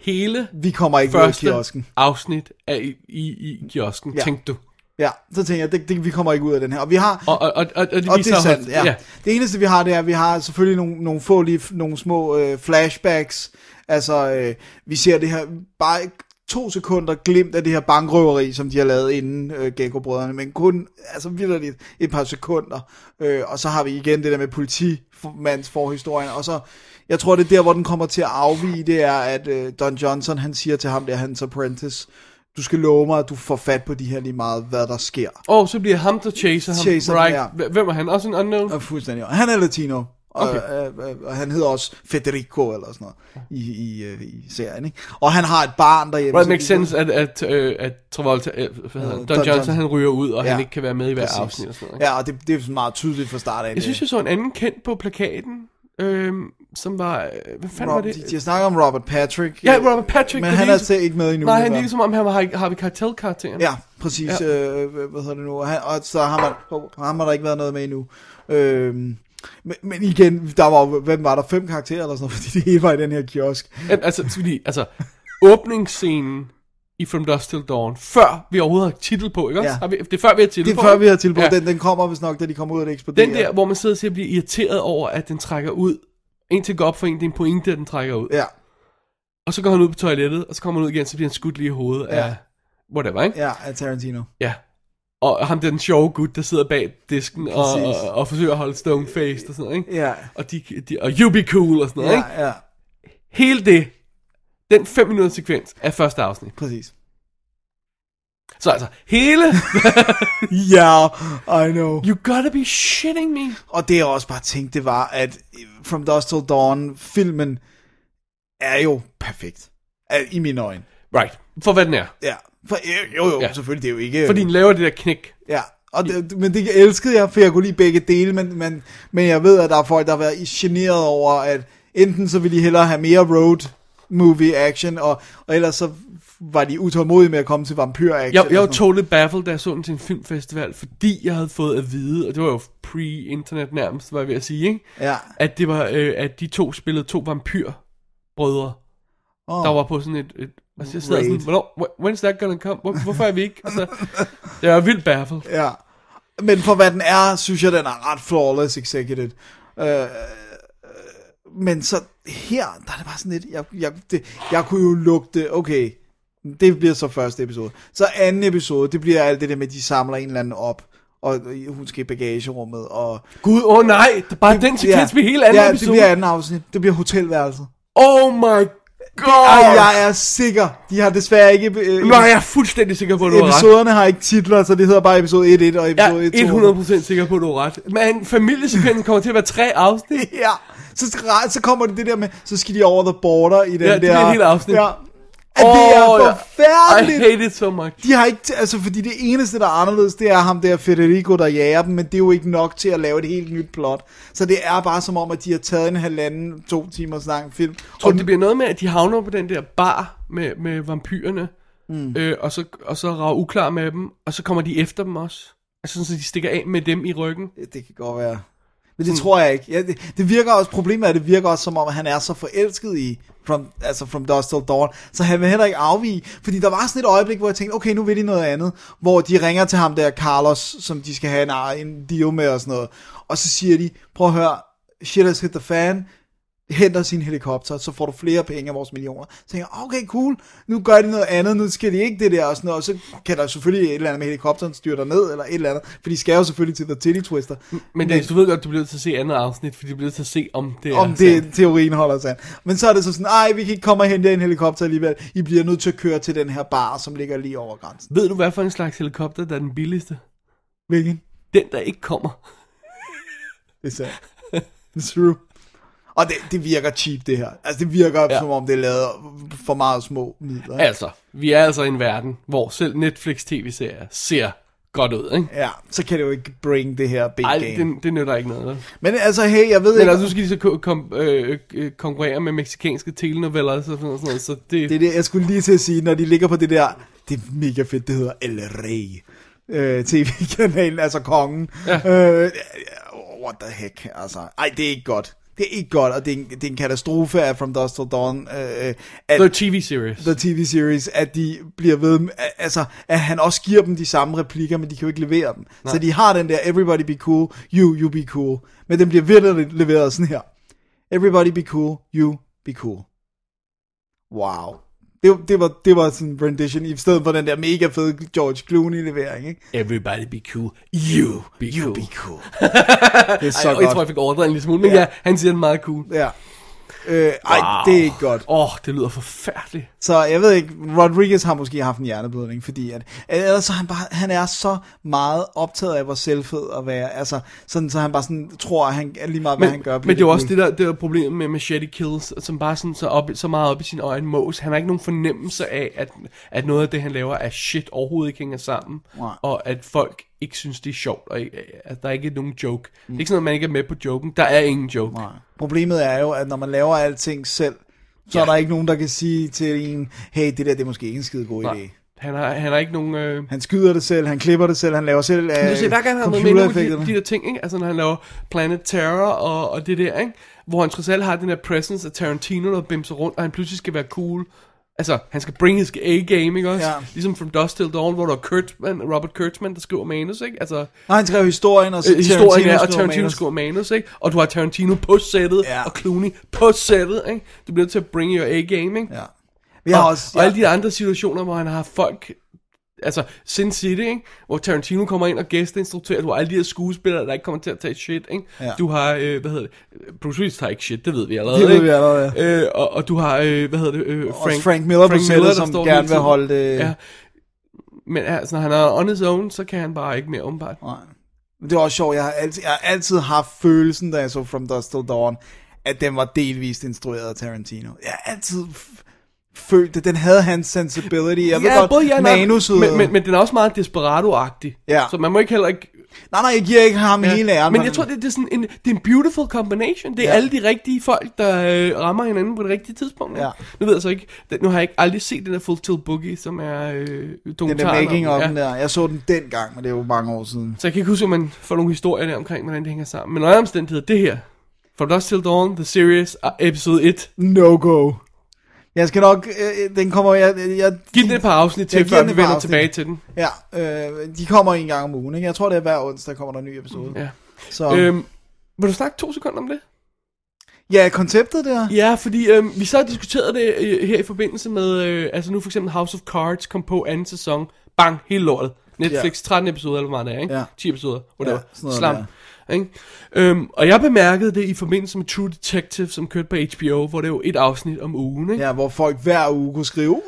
Speaker 5: Hele
Speaker 6: vi kommer ikke ud af
Speaker 5: første
Speaker 6: kiosken.
Speaker 5: afsnit af i, i, i kiosken,
Speaker 6: Ja.
Speaker 5: ja. tænkte du.
Speaker 6: Ja, så tænker jeg, det, det, vi kommer ikke ud af den her. Og vi har,
Speaker 5: Og, og, og, og, det,
Speaker 6: Og det
Speaker 5: viser
Speaker 6: er
Speaker 5: sig-
Speaker 6: sandt, ja. ja. Det eneste vi har, det er, at vi har selvfølgelig nogle, nogle få lige, nogle små øh, flashbacks. Altså, øh, vi ser det her, bare to sekunder glimt af det her bankrøveri, som de har lavet inden øh, Gekko-brødrene, men kun, altså vildt et par sekunder. Øh, og så har vi igen det der med politimands forhistorien, og så, jeg tror det er der, hvor den kommer til at afvige, det er, at øh, Don Johnson, han siger til ham der, hans apprentice, du skal love mig, at du får fat på de her lige meget, hvad der sker.
Speaker 5: Og så bliver ham, der chaser ham.
Speaker 6: Chaser ham,
Speaker 5: right.
Speaker 6: ja.
Speaker 5: H- Hvem er han? Også en unknown?
Speaker 6: Og fuldstændig. Og han er latino. Og,
Speaker 5: Okay.
Speaker 6: øh, øh, og han hedder også Federico eller sådan noget i, i, øh, i serien. Ikke? Og han har et barn derhjemme.
Speaker 5: Well, it
Speaker 6: så-
Speaker 5: makes sense, at, at, øh, at Travolta, øh, hvad hedder han? Don
Speaker 6: Øh, Don
Speaker 5: Johnson,
Speaker 6: Johnson.
Speaker 5: han ryger ud, og ja.
Speaker 6: Ja,
Speaker 5: han ikke kan være med i hver
Speaker 6: Præcis.
Speaker 5: afsnit. Og sådan noget, ikke?
Speaker 6: Ja, og det, det er sådan meget tydeligt fra start af.
Speaker 5: Jeg synes, jeg så en anden kendt på plakaten, øhm, som var... øh, Hvad fanden var
Speaker 6: Rob,
Speaker 5: det?
Speaker 6: de, de har snakket om Robert Patrick.
Speaker 5: Ja,
Speaker 6: øh,
Speaker 5: Robert Patrick.
Speaker 6: Men
Speaker 5: der
Speaker 6: han er
Speaker 5: ligner-
Speaker 6: altså ikke med endnu.
Speaker 5: Nej,
Speaker 6: i
Speaker 5: han
Speaker 6: hvert
Speaker 5: ligger som om, han var Har- Harvey Keitel-karakteren.
Speaker 6: Ja, præcis. Ja. Øh, hvad hedder det nu? Og Han, og så har man, oh, ham har der ikke været noget med endnu. Øhm, men, men igen, der var, jo- hvem var der? Fem karakterer eller sådan noget, fordi det hele var i den her kiosk.
Speaker 5: At- Altså, fordi, altså, åbningsscenen i From Dusk Till Dawn, før vi overhovedet har titel på, ikke også?
Speaker 6: Ja.
Speaker 5: Har vi, det er før, vi har titel
Speaker 6: Det er
Speaker 5: på.
Speaker 6: før
Speaker 5: ikke?
Speaker 6: vi har tilbudt. Ja. Den, den kommer vist nok, da de kommer ud og det eksploderer.
Speaker 5: Den der, hvor man sidder til at blive irriteret over, at den trækker ud. Indtil det går op for en, det er en pointe, at den trækker ud.
Speaker 6: Ja,
Speaker 5: Og så går han ud på toilettet, og så kommer han ud igen, så bliver han skudt lige i hovedet ja.
Speaker 6: Ja.
Speaker 5: af whatever, ikke?
Speaker 6: ja, af Tarantino.
Speaker 5: Ja. Og ham der den sjove gut, der sidder bag disken og,
Speaker 6: Præcis.
Speaker 5: og, og, forsøger at holde stone faced og sådan noget, ikke?
Speaker 6: Ja.
Speaker 5: Og, de, de, og you be cool og sådan noget, ikke?
Speaker 6: Ja, ja,
Speaker 5: Hele det, den 5 minutters sekvens af første afsnit.
Speaker 6: præcis.
Speaker 5: Så altså, hele,
Speaker 6: Ja, yeah, I know.
Speaker 5: you gotta be shitting me.
Speaker 6: Og det jeg også bare tænkte, det var, at øh, From Dusk Till Dawn, filmen er jo perfekt. Al- I mine øjne.
Speaker 5: Right, for hvad den er.
Speaker 6: Ja. For, jo, jo, ja.
Speaker 5: Ja.
Speaker 6: selvfølgelig, det er jo ikke...
Speaker 5: Fordi den laver det der knæk.
Speaker 6: Ja, og det, men det elskede jeg, for jeg kunne lide begge dele, men, men, men jeg ved, at der er folk, der har været generet over, at enten så ville de hellere have mere road movie action, og, og ellers så var de utålmodige med at komme til vampyr action.
Speaker 5: Jeg, jeg var totally baffled, da jeg så den til en filmfestival, fordi jeg havde fået at vide, og det var jo pre-internet nærmest, var jeg ved at sige, ikke?
Speaker 6: Ja.
Speaker 5: at det var, øh, at de to spillede to vampyrbrødre,
Speaker 6: Oh.
Speaker 5: der var på sådan et, et altså jeg sad sådan,
Speaker 6: Raid.
Speaker 5: hvornår, wh- when's that gonna come? Hvor, hvorfor er vi ikke? Altså, jeg var vildt baffled.
Speaker 6: Ja. Men for hvad den er, synes jeg, den er ret flawless executed. Øh, øh, men så her, der er det bare sådan lidt, jeg, jeg, det, jeg kunne jo lugte, okay, det bliver så første episode. Så anden episode, det bliver alt det der med, at de samler en eller anden op, og hun skal i bagagerummet, og...
Speaker 5: Gud, åh oh, nej, det er bare den sekvens, vi altså hele anden
Speaker 6: ja,
Speaker 5: episode.
Speaker 6: det bliver anden afsnit. Det bliver hotelværelset.
Speaker 5: Oh my god!
Speaker 6: Ej, jeg er sikker. De har desværre ikke... Øh,
Speaker 5: Nå, jeg er fuldstændig sikker på, at du har ret.
Speaker 6: episoderne har ikke titler, så det hedder bare episode 1.1 og
Speaker 5: Jeg
Speaker 6: episode
Speaker 5: er
Speaker 6: 1.2.
Speaker 5: 100% sikker på, at du har ret. Men familiesekvensen kommer til at være tre afsnit.
Speaker 6: Ja, så, skal- så kommer det det der med, så skal de over the border i den
Speaker 5: Ja, det
Speaker 6: der...
Speaker 5: bliver et helt afsnit.
Speaker 6: Ja. At det er
Speaker 5: Åh, ja. I
Speaker 6: forfærdeligt.
Speaker 5: hate it so much.
Speaker 6: De har ikke, t- altså fordi det eneste, der er anderledes, det er ham der Federico, der jager dem, men det er jo ikke nok til at lave et helt nyt plot. Så det er bare som om, at de har taget en halvanden, to timers lang film.
Speaker 5: Tror
Speaker 6: og
Speaker 5: du, det bliver noget med, at de havner på den der bar med, med vampyrerne, mm. øh, og så, og så rager uklar med dem, og så kommer de efter dem også? Altså sådan, så de stikker af med dem i ryggen.
Speaker 6: det, det kan godt være. Men det tror jeg ikke. Ja, det, det, virker også, problemet er, at det virker også som om, at han er så forelsket i from, altså from Dust Till Dawn, så han vil heller ikke afvige. Fordi der var sådan et øjeblik, hvor jeg tænkte, okay, nu vil de noget andet. Hvor de ringer til ham der, Carlos, som de skal have en, en deal med og sådan noget. Og så siger de, prøv at høre, shit has hit the fan, henter sin helikopter, så får du flere penge af vores millioner. Så tænker jeg, okay, cool, nu gør de noget andet, nu skal de ikke det der og sådan noget, og så kan der selvfølgelig et eller andet med helikopteren styrter ned, eller et eller andet, for de skal jo selvfølgelig til The Titty Twister,
Speaker 5: Men Dennis, du ved godt, du bliver nødt til at se andet afsnit, fordi du bliver nødt til at se, om det
Speaker 6: om
Speaker 5: er
Speaker 6: det
Speaker 5: sandt.
Speaker 6: teorien holder sand. Men så er det så sådan, ej, vi kan ikke komme og hente jer en helikopter alligevel, I bliver nødt til at køre til den her bar, som ligger lige over grænsen.
Speaker 5: Ved du, hvad for en slags helikopter, der er den billigste?
Speaker 6: Hvilken?
Speaker 5: Den, der ikke kommer.
Speaker 6: Det er sandt. It's true. Og det, det virker cheap, det her. Altså, det virker, ja.
Speaker 5: Ja.
Speaker 6: som om det er lavet for meget små midler. ikke?
Speaker 5: Altså, vi er altså i en verden, hvor selv Netflix-tv-serier ser godt ud, ikke?
Speaker 6: Ja, så kan det jo ikke bringe det her
Speaker 5: Ej,
Speaker 6: big game.
Speaker 5: det, det nytter ikke noget. vel?
Speaker 6: Men altså, hey, jeg ved
Speaker 5: Men
Speaker 6: ikke...
Speaker 5: altså, nu skal de så ko- kom, øh, øh, konkurrere med meksikanske telenoveller og sådan noget, sådan noget så det,
Speaker 6: Det er det, jeg skulle lige til at sige, når de ligger på det der, det er mega fedt, det hedder El Rey, øh, tv-kanalen, altså kongen. Ja. Øh, what the heck, altså. Ej, det er ikke godt. Det er ikke godt, og det er en, det er en katastrofe af From Dusk Till Dawn, øh, at
Speaker 5: The TV-series.
Speaker 6: the tv-series, at de bliver ved, med- at- altså, at han også giver dem de samme replikker, men de kan jo ikke levere dem. Nej. Så de har den der, everybody be cool, you, you be cool, men den bliver virkelig leveret sådan her. Everybody be cool, you be cool. Wow. Det, det, var, det var sådan en rendition, i stedet for den der mega fede George Clooney-levering, ikke?
Speaker 5: Everybody be cool. You be
Speaker 6: You
Speaker 5: cool.
Speaker 6: be cool. det er så
Speaker 5: Ej, og
Speaker 6: godt.
Speaker 5: jeg tror, jeg fik overdrevet en lille smule, men
Speaker 6: Ja.
Speaker 5: ja, han siger den meget cool.
Speaker 6: Ja. Øh, ej, wow. det er ikke godt.
Speaker 5: Åh, oh, det lyder forfærdeligt.
Speaker 6: Så jeg ved ikke, Rodriguez har måske haft en hjerneblødning, fordi at, ellers så er han, bare, han er så meget optaget af, hvor selvfed at være, altså sådan, så han bare sådan tror, at han er lige meget, hvad
Speaker 5: Men,
Speaker 6: han gør.
Speaker 5: men det er jo også det der, det der problem med Machete Kills, som bare sådan så, op, så meget op i sin øjne mås. Han har ikke nogen fornemmelse af, at, at noget af det, han laver, er shit overhovedet ikke hænger sammen.
Speaker 6: Nej.
Speaker 5: Og at folk ikke synes, det er sjovt, og ikke- at der ikke er nogen joke. Mm. Det er ikke sådan, at man ikke er med på joken. Der er ingen joke.
Speaker 6: Nej. Problemet er jo, at når man laver alting selv, så ja. er der ikke nogen, der kan sige til en, hey, det der, det er måske ikke en skide god idé.
Speaker 5: Han har, han har ikke nogen... Øh...
Speaker 6: Han skyder det selv, han klipper det selv, han laver selv
Speaker 5: Men du ser, hver
Speaker 6: øh,
Speaker 5: gang han har været med i nogle af de, de der ting, ikke? Altså, når han laver Planet Terror og, og det der, ikke? Hvor han trods alt har den der presence af Tarantino, der bimser rundt, og han pludselig skal være cool. Altså, han skal bring his A-game, ikke også?
Speaker 6: Ja.
Speaker 5: Ja. Ligesom From Dust Till Dawn, hvor der er Kurtzman, Robert Kurtzman, der skriver manus, ikke? Altså,
Speaker 6: Nej, han skrev historien, og så
Speaker 5: øh, historien er, og
Speaker 6: skriver
Speaker 5: Tarantino
Speaker 6: manus.
Speaker 5: skriver manus, ikke? Og du har Tarantino på sættet,
Speaker 6: Ja.
Speaker 5: ja. og Clooney på sættet, ikke? Du bliver nødt til at bring your A-game, ikke?
Speaker 6: Ja. Vi har
Speaker 5: og,
Speaker 6: også,
Speaker 5: og alle de andre situationer, hvor han har folk... Altså, Sin City, ikke? hvor Tarantino kommer ind og gæsteinstruerer. Du har alle de her skuespillere, der ikke kommer til at tage shit. Ikke?
Speaker 6: Ja.
Speaker 5: Du har, øh, hvad hedder det? Bruce Willis tager ikke shit, det ved vi allerede.
Speaker 6: Det ved
Speaker 5: ikke?
Speaker 6: vi allerede,
Speaker 5: Øh, og, og du har, øh, hvad hedder det? Øh,
Speaker 6: Frank, Frank Miller på sættet,
Speaker 5: der
Speaker 6: som
Speaker 5: står hele
Speaker 6: gerne vil
Speaker 5: tiden.
Speaker 6: holde det...
Speaker 5: Ja. Men altså, når han er on his own, så kan han bare ikke mere åbenbart.
Speaker 6: Nej. Men det var også sjovt, jeg har, altid, jeg har altid haft følelsen, da jeg så From Dusk Till Dawn, at den var delvist instrueret af Tarantino. Jeg har altid f- følt det. Den havde hans sensibility. Jeg ved godt,
Speaker 5: og nej.
Speaker 6: manuset...
Speaker 5: men, men, men den er også meget desperado-agtig.
Speaker 6: Ja.
Speaker 5: Så man må ikke heller ikke
Speaker 6: Nej, nej, jeg giver ikke ham ja. hele æren.
Speaker 5: Men jeg tror, det, det, er sådan en, det er en beautiful combination. Det er
Speaker 6: Ja.
Speaker 5: ja. alle de rigtige folk, der øh, rammer hinanden på det rigtige tidspunkt.
Speaker 6: Ja.
Speaker 5: Ja. Nu ved jeg så ikke, den, nu har jeg ikke aldrig set den der Full Tilt Boogie, som er øh,
Speaker 6: Den der
Speaker 5: dokumentaren.
Speaker 6: making
Speaker 5: om-
Speaker 6: of ja. den der. Jeg så den dengang, men det er jo mange år siden.
Speaker 5: Så jeg kan ikke huske, om man får nogle historier der omkring, hvordan det hænger sammen. Men under omstændigheder, det her. From Dusk Till Dawn, The Series, uh, episode 1.
Speaker 6: No go. Jeg skal nok... Øh, den kommer... Jeg, jeg,
Speaker 5: Giv den et par afsnit
Speaker 6: Jeg
Speaker 5: til,
Speaker 6: giver
Speaker 5: før
Speaker 6: den et
Speaker 5: vi
Speaker 6: par
Speaker 5: vender
Speaker 6: afsnit.
Speaker 5: tilbage til den.
Speaker 6: Ja, øh, de kommer en gang om ugen. Ikke? Jeg tror, det er hver onsdag, kommer der en ny episode.
Speaker 5: Ja.
Speaker 6: Så, øh,
Speaker 5: Øhm, vil du snakke to sekunder om det?
Speaker 6: ja, konceptet der.
Speaker 5: Ja, fordi øh, vi så diskuterede det øh, her i forbindelse med, øh, altså nu for eksempel House of Cards kom på anden sæson, bang, hele lortet. Netflix, 13 episoder, eller hvor meget det er, ikke?
Speaker 6: Ja.
Speaker 5: 10 episoder, whatever.
Speaker 6: Ja, sådan noget
Speaker 5: Slam. Ikke? Øhm, og jeg bemærkede det i forbindelse med True Detective, som kørte på HBO, hvor det er jo et afsnit om ugen, ikke?
Speaker 6: Ja, hvor folk hver uge kunne skrive, "Wow!"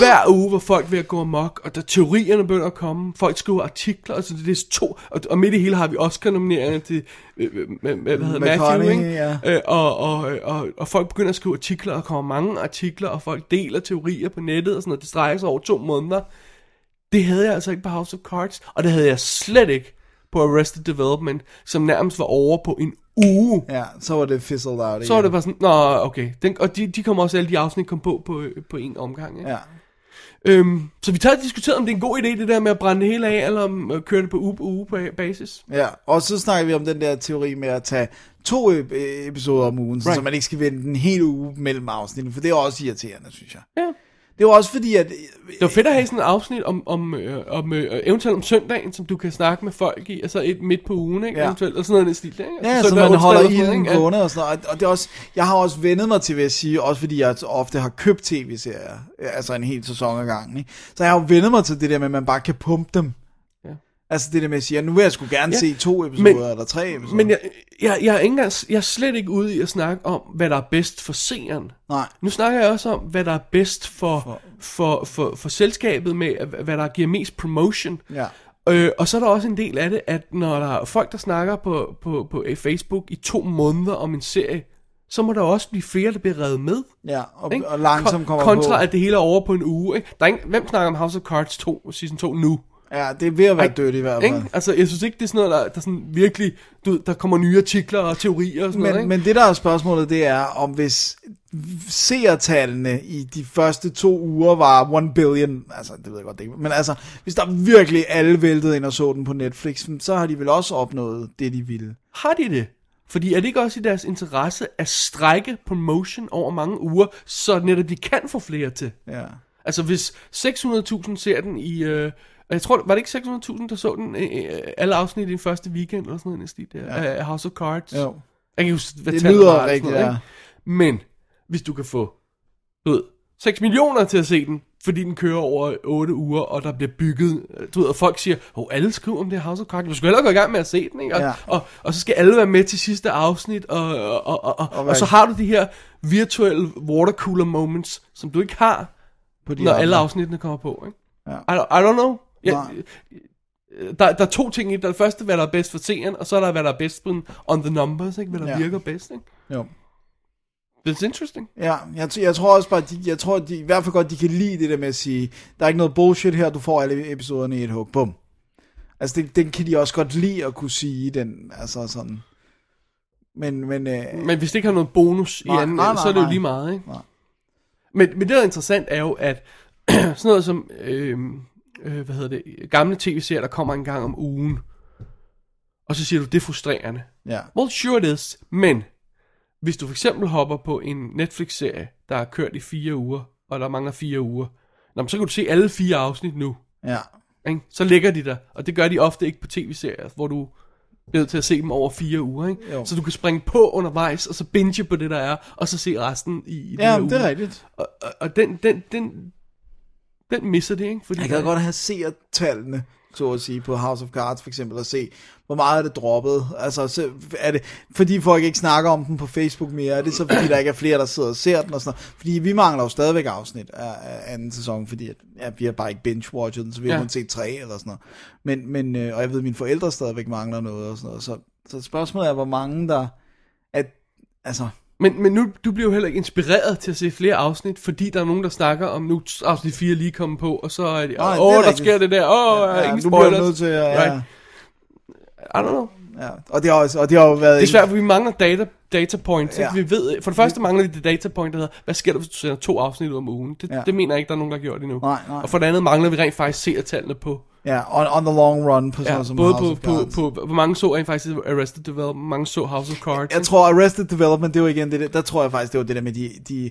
Speaker 5: hver uge var folk ved at gå amok, og der teorierne begynder at komme, folk skriver artikler, og så det er to, og, og midt i hele har vi Oscar-nomineringerne til, øh, øh, med, med, hvad hedder Matthew,
Speaker 6: McConaughey,
Speaker 5: ikke?
Speaker 6: ja.
Speaker 5: Øh, og, og, øh, og, og folk begynder at skrive artikler, og der kommer mange artikler, og folk deler teorier på nettet, og sådan noget, det strækker sig over to måneder. Det havde jeg altså ikke på House of Cards, og det havde jeg slet ikke på Arrested Development, som nærmest var over på en uge.
Speaker 6: ja, så var det fizzled out
Speaker 5: Så var det
Speaker 6: igen.
Speaker 5: bare sådan, nå, okay. Den, og de, de kom også, alle de afsnit kom på på, på en omgang. Ikke?
Speaker 6: Ja.
Speaker 5: Øhm, så vi tager og diskuterer, om det er en god idé, det der med at brænde det hele af, eller om at køre det på uge på uge på basis.
Speaker 6: Ja, og så snakker vi om den der teori med at tage to ep- øh, episoder om ugen, right. så
Speaker 5: Right.
Speaker 6: man ikke skal vente en hel uge mellem afsnittene, for det er også irriterende, synes jeg. Ja. Det var også fordi, at...
Speaker 5: Det var fedt at have sådan et afsnit om, om, øh, om øh, eventuelt om søndagen, som du kan snakke med folk i, og så et midt på ugen, ikke?
Speaker 6: Ja.
Speaker 5: Ja. Eventuelt, og sådan noget i den stil, ikke? Og
Speaker 6: Ja,
Speaker 5: søndag
Speaker 6: så
Speaker 5: og
Speaker 6: man
Speaker 5: onsdag
Speaker 6: holder
Speaker 5: eller sådan noget,
Speaker 6: ilden
Speaker 5: ikke? Ja.
Speaker 6: gående og sådan noget. Og- Og det er også, jeg har også vendet mig til, vil jeg sige, også fordi jeg ofte har købt tv-serier, øh, altså en hel sæson ad gangen. Ikke? Så jeg har jo vendet mig til det der med, at man bare kan pumpe dem.
Speaker 5: Ja.
Speaker 6: Altså det der med at sige, at nu vil jeg sgu gerne ja.
Speaker 5: Ja,
Speaker 6: se to episoder men, eller tre episoder.
Speaker 5: Men jeg, jeg, jeg, er ikke engang, jeg er slet ikke ude i at snakke om, hvad der er bedst for seeren.
Speaker 6: Nej.
Speaker 5: Nu snakker jeg også om, hvad der er bedst for, for, for, for, for selskabet med, hva- hvad der giver mest promotion.
Speaker 6: Ja.
Speaker 5: Øh, og så er der også en del af det, at når der er folk, der snakker på, på, på øh, Facebook i to måneder om en serie, så må der også blive flere, der bliver reddet med.
Speaker 6: Ja, og,
Speaker 5: ikke?
Speaker 6: og langsomt kommer
Speaker 5: Ko- Kontra,
Speaker 6: på.
Speaker 5: at det hele er over på en uge. Ikke? Der er ingen, hvem snakker om House of Cards 2, season 2 nu?
Speaker 6: Ja, det er ved at være
Speaker 5: Ikke?
Speaker 6: dødt i hvert fald.
Speaker 5: Ikke? Altså, jeg synes ikke, det er sådan noget, der, der sådan virkelig... Du, ved, der kommer nye artikler og teorier og sådan noget,
Speaker 6: Men,
Speaker 5: ikke?
Speaker 6: men det der er spørgsmålet, det er, om hvis seertallene i de første to uger var 1 billion, altså det ved jeg godt, det ikke, men altså, hvis der virkelig alle væltede ind og så den på Netflix, så har de vel også opnået det, de ville.
Speaker 5: Har de det? Fordi er det ikke også i deres interesse at strække promotion over mange uger, så netop de kan få flere til?
Speaker 6: Ja.
Speaker 5: Altså hvis 600.000 ser den i... Øh, jeg tror, var det ikke 600.000, der så den øh, øh, alle afsnit i den første weekend, eller sådan noget, i den stil der, ja. af House of Cards?
Speaker 6: Jo.
Speaker 5: Jeg kan huske, hvad
Speaker 6: Det
Speaker 5: tallet
Speaker 6: lyder
Speaker 5: var, eller
Speaker 6: rigtigt,
Speaker 5: sådan noget, ikke? Men hvis du kan få, du ved, 6 millioner til at se den, fordi den kører over 8 uger, og der bliver bygget, øh, du ved, og folk siger, åh, oh, alle skriver om det her House of Cards, du skal hellere gå i gang med at se den, ikke? Og,
Speaker 6: Ja.
Speaker 5: og, og så skal alle være med til sidste afsnit, og, og, og, og, og, og,
Speaker 6: hvad-
Speaker 5: og så har du de her virtuelle watercooler moments, som du ikke har,
Speaker 6: På de
Speaker 5: når
Speaker 6: andre.
Speaker 5: alle afsnittene kommer på, ikke?
Speaker 6: Ja.
Speaker 5: I, don't, I don't know. Jeg,
Speaker 6: Nej.
Speaker 5: der, der er to ting i det. Der er det første, hvad der er bedst for seeren, og så er der, hvad der er bedst på den, on the numbers, ikke? Hvad der
Speaker 6: Ja.
Speaker 5: ja. virker bedst, ikke?
Speaker 6: Jo.
Speaker 5: That's interesting.
Speaker 6: Ja, jeg, t- jeg tror også bare, de, jeg tror de, i hvert fald godt, de kan lide det der med at sige, der er ikke noget bullshit her, du får alle episoderne i et hug. Bum. Altså, det, den kan de også godt lide at kunne sige, den, altså sådan. Men, men, øh,
Speaker 5: Men hvis det ikke har noget bonus nej, i anden nej, nej, så er det jo
Speaker 6: nej.
Speaker 5: lige meget, ikke?
Speaker 6: Nej.
Speaker 5: Men, men det, der er interessant, er jo, at sådan noget som, øh, øh, hvad hedder det, gamle tv-serier, der kommer en gang om ugen, og så siger du, det er frustrerende.
Speaker 6: ja.
Speaker 5: Well, sure it is, men hvis du for eksempel hopper på en Netflix-serie, der er kørt i fire uger, og der mangler fire uger, nå, men så kan du se alle fire afsnit nu.
Speaker 6: Ja,
Speaker 5: Ikke? Så ligger de der, og det gør de ofte ikke på tv-serier, hvor du bliver nødt til at se dem over fire uger. Ikke?
Speaker 6: Jo.
Speaker 5: Så du kan springe på undervejs, og så binge på det, der er, og så se resten i, i den
Speaker 6: ja
Speaker 5: her
Speaker 6: men
Speaker 5: uge.
Speaker 6: det er rigtigt.
Speaker 5: Og, og, og den, den, den, den misser det, ikke? Fordi
Speaker 6: Jeg kan
Speaker 5: der-
Speaker 6: godt have set tallene, så at sige, på House of Cards for eksempel, og se, hvor meget er det droppet. Altså, så er det, fordi folk ikke snakker om den på Facebook mere, er det så fordi, der ikke er flere, der sidder og ser den og sådan noget. Fordi vi mangler jo stadigvæk afsnit af, af anden sæson, fordi at, ja, vi har bare ikke binge-watchet den, så vi har
Speaker 5: Ja.
Speaker 6: kun set tre eller sådan noget. Men, men, øh, og jeg ved, at mine forældre stadigvæk mangler noget og sådan noget. Så, så spørgsmålet er, hvor mange der... At, altså,
Speaker 5: Men, men nu, du bliver jo heller ikke inspireret til at se flere afsnit, fordi der er nogen, der snakker om, nu er afsnit 4 lige kommet på, og så er det, åh,
Speaker 6: Nej, det er
Speaker 5: oh, der
Speaker 6: rigtigt.
Speaker 5: sker det der, åh, oh, ja,
Speaker 6: ja,
Speaker 5: ingen
Speaker 6: nu bliver jeg
Speaker 5: spoilers.
Speaker 6: nødt til at... Ja,
Speaker 5: Right. I don't know.
Speaker 6: ja. Og, det har, også, og det har jo været...
Speaker 5: Det er svært, for vi mangler data, data points. Ja.
Speaker 6: Ja.
Speaker 5: Vi ved, for det første mangler vi det data point, der hedder, hvad sker der, hvis du sender to afsnit ud om ugen? Det,
Speaker 6: Ja.
Speaker 5: ja. det mener jeg ikke, der er nogen, der har gjort endnu.
Speaker 6: Nej, nej.
Speaker 5: Og for det andet mangler vi rent faktisk seertallene på.
Speaker 6: Ja, on, on the long run på sådan ja,
Speaker 5: Ja,
Speaker 6: noget som
Speaker 5: både
Speaker 6: House
Speaker 5: på,
Speaker 6: of
Speaker 5: på,
Speaker 6: Cards.
Speaker 5: på, hvor mange så rent faktisk Arrested Development, hvor mange så House of Cards.
Speaker 6: Jeg tror Arrested Development, det var igen det der, der tror jeg faktisk, det var det der med, de, de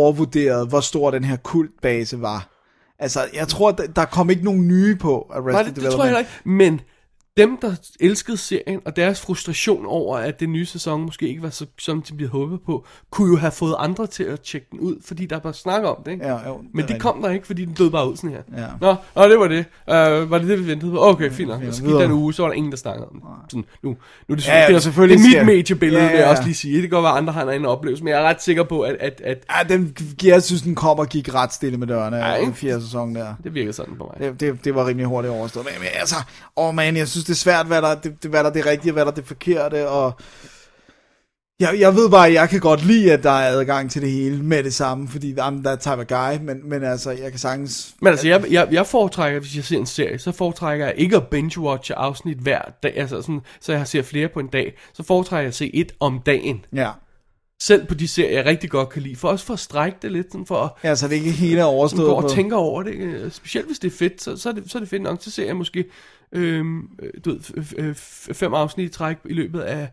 Speaker 6: overvurderede, hvor stor den her kultbase var. Altså, jeg tror, der, der kom ikke nogen nye på Arrested
Speaker 5: Nej, det, det
Speaker 6: Development.
Speaker 5: tror jeg heller ikke. Men dem, der elskede serien, og deres frustration over, at den nye sæson måske ikke var så, som de blev håbet på, kunne jo have fået andre til at tjekke den ud, fordi der var snak om det, ikke?
Speaker 6: Ja, jo, det er
Speaker 5: Men det
Speaker 6: rigtigt.
Speaker 5: kom der ikke, fordi den døde bare ud sådan her.
Speaker 6: Ja.
Speaker 5: Nå, nå, det var det. Uh, var det det, vi ventede på? Okay, fint nok.
Speaker 6: fint nok.
Speaker 5: Så gik der en uge, så var der ingen, der snakkede om det. Sådan, nu, nu er det,
Speaker 6: Ja, ja,
Speaker 5: det, er,
Speaker 6: selvfølgelig
Speaker 5: det er
Speaker 6: ser-
Speaker 5: mit mediebillede,
Speaker 6: Ja,
Speaker 5: ja,
Speaker 6: ja,
Speaker 5: vil jeg
Speaker 6: ja.
Speaker 5: også lige sige. Det kan godt være, andre har en anden oplevelse, men jeg er ret sikker på, at, at, at
Speaker 6: Ja, den, jeg synes, den kom og gik ret stille med dørene
Speaker 5: Ja,
Speaker 6: i
Speaker 5: ikke?
Speaker 6: den fjerde sæson der.
Speaker 5: det virker sådan på mig.
Speaker 6: Det, det, det var rimelig hurtigt overstået. Men, men altså, åh oh man, jeg synes, det er svært, hvad der, er det, det- hvad der er det rigtige, hvad der er det forkerte, og... Jeg, jeg ved bare, at jeg kan godt lide, at der er adgang til det hele med det samme, fordi I'm that type of guy, men, men altså, jeg kan sagtens...
Speaker 5: Men altså, jeg, jeg, jeg foretrækker, hvis jeg ser en serie, så foretrækker jeg ikke at binge-watche afsnit hver dag, altså sådan, så jeg ser flere på en dag. Så foretrækker jeg at se et om dagen.
Speaker 6: Ja,
Speaker 5: Selv på de serier, jeg rigtig godt kan lide. For også for at strække det lidt, sådan for at
Speaker 6: ja så Altså, det er ikke hele er
Speaker 5: sådan
Speaker 6: overstået
Speaker 5: går
Speaker 6: på...
Speaker 5: og tænker over det. ikke? Specielt hvis det er fedt, så, så, er, det, så er det fedt nok. Så ser jeg måske øhm, øh, du ved, f- øh, f- fem afsnit i træk i løbet af,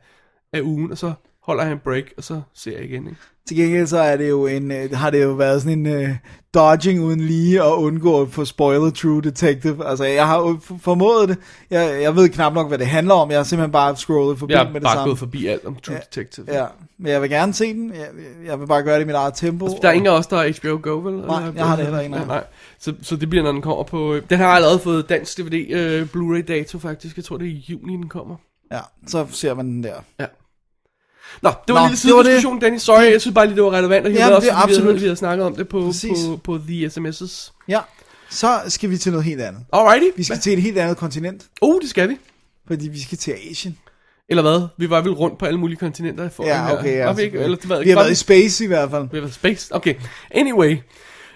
Speaker 5: af ugen, og så holder jeg en break, og så ser jeg igen. Ikke?
Speaker 6: Til gengæld så er det jo en, øh, har det jo været sådan en uh, dodging uden lige at undgå at få spoilet True Detective. Altså, jeg har jo f- formået det. Jeg, jeg ved knap nok, hvad det handler om. Jeg har simpelthen bare scrollet forbi
Speaker 5: Jeg
Speaker 6: med
Speaker 5: er
Speaker 6: det
Speaker 5: bare
Speaker 6: samme.
Speaker 5: gået forbi alt om True Detective.
Speaker 6: Ja, men jeg vil gerne se den. Jeg, jeg vil bare gøre det i mit eget tempo.
Speaker 5: Altså, der er ingen af os, der har HBO Go, vel?
Speaker 6: Nej,
Speaker 5: Eller-
Speaker 6: jeg har det heller ikke, nej.
Speaker 5: Nej, nej. Så, så det bliver, når den kommer på... øh, Den har allerede fået dansk DVD, øh, Blu-ray dato faktisk. Jeg tror, det er i juni, den kommer.
Speaker 6: Ja, så ser man den der.
Speaker 5: Ja. Nå, det var
Speaker 6: Nå,
Speaker 5: en lille
Speaker 6: det var det.
Speaker 5: sidediskussion, Danny. Sorry, jeg synes bare lige, det var relevant at hive
Speaker 6: Jamen,
Speaker 5: med os,
Speaker 6: det er
Speaker 5: fordi vi havde-
Speaker 6: absolut.
Speaker 5: Vi havde snakket om det på,
Speaker 6: Præcis.
Speaker 5: på, på The SMS's.
Speaker 6: Ja, så skal vi til noget helt andet.
Speaker 5: Alrighty.
Speaker 6: Vi skal til et helt andet kontinent,
Speaker 5: Oh, det skal vi.
Speaker 6: fordi vi skal til Asien.
Speaker 5: Eller hvad? Vi var vel rundt på alle mulige kontinenter. For
Speaker 6: Ja, okay. Ja,
Speaker 5: Var vi ikke? Eller, det var,
Speaker 6: vi har
Speaker 5: var
Speaker 6: været i space i hvert fald.
Speaker 5: Vi har været space. Okay. Anyway.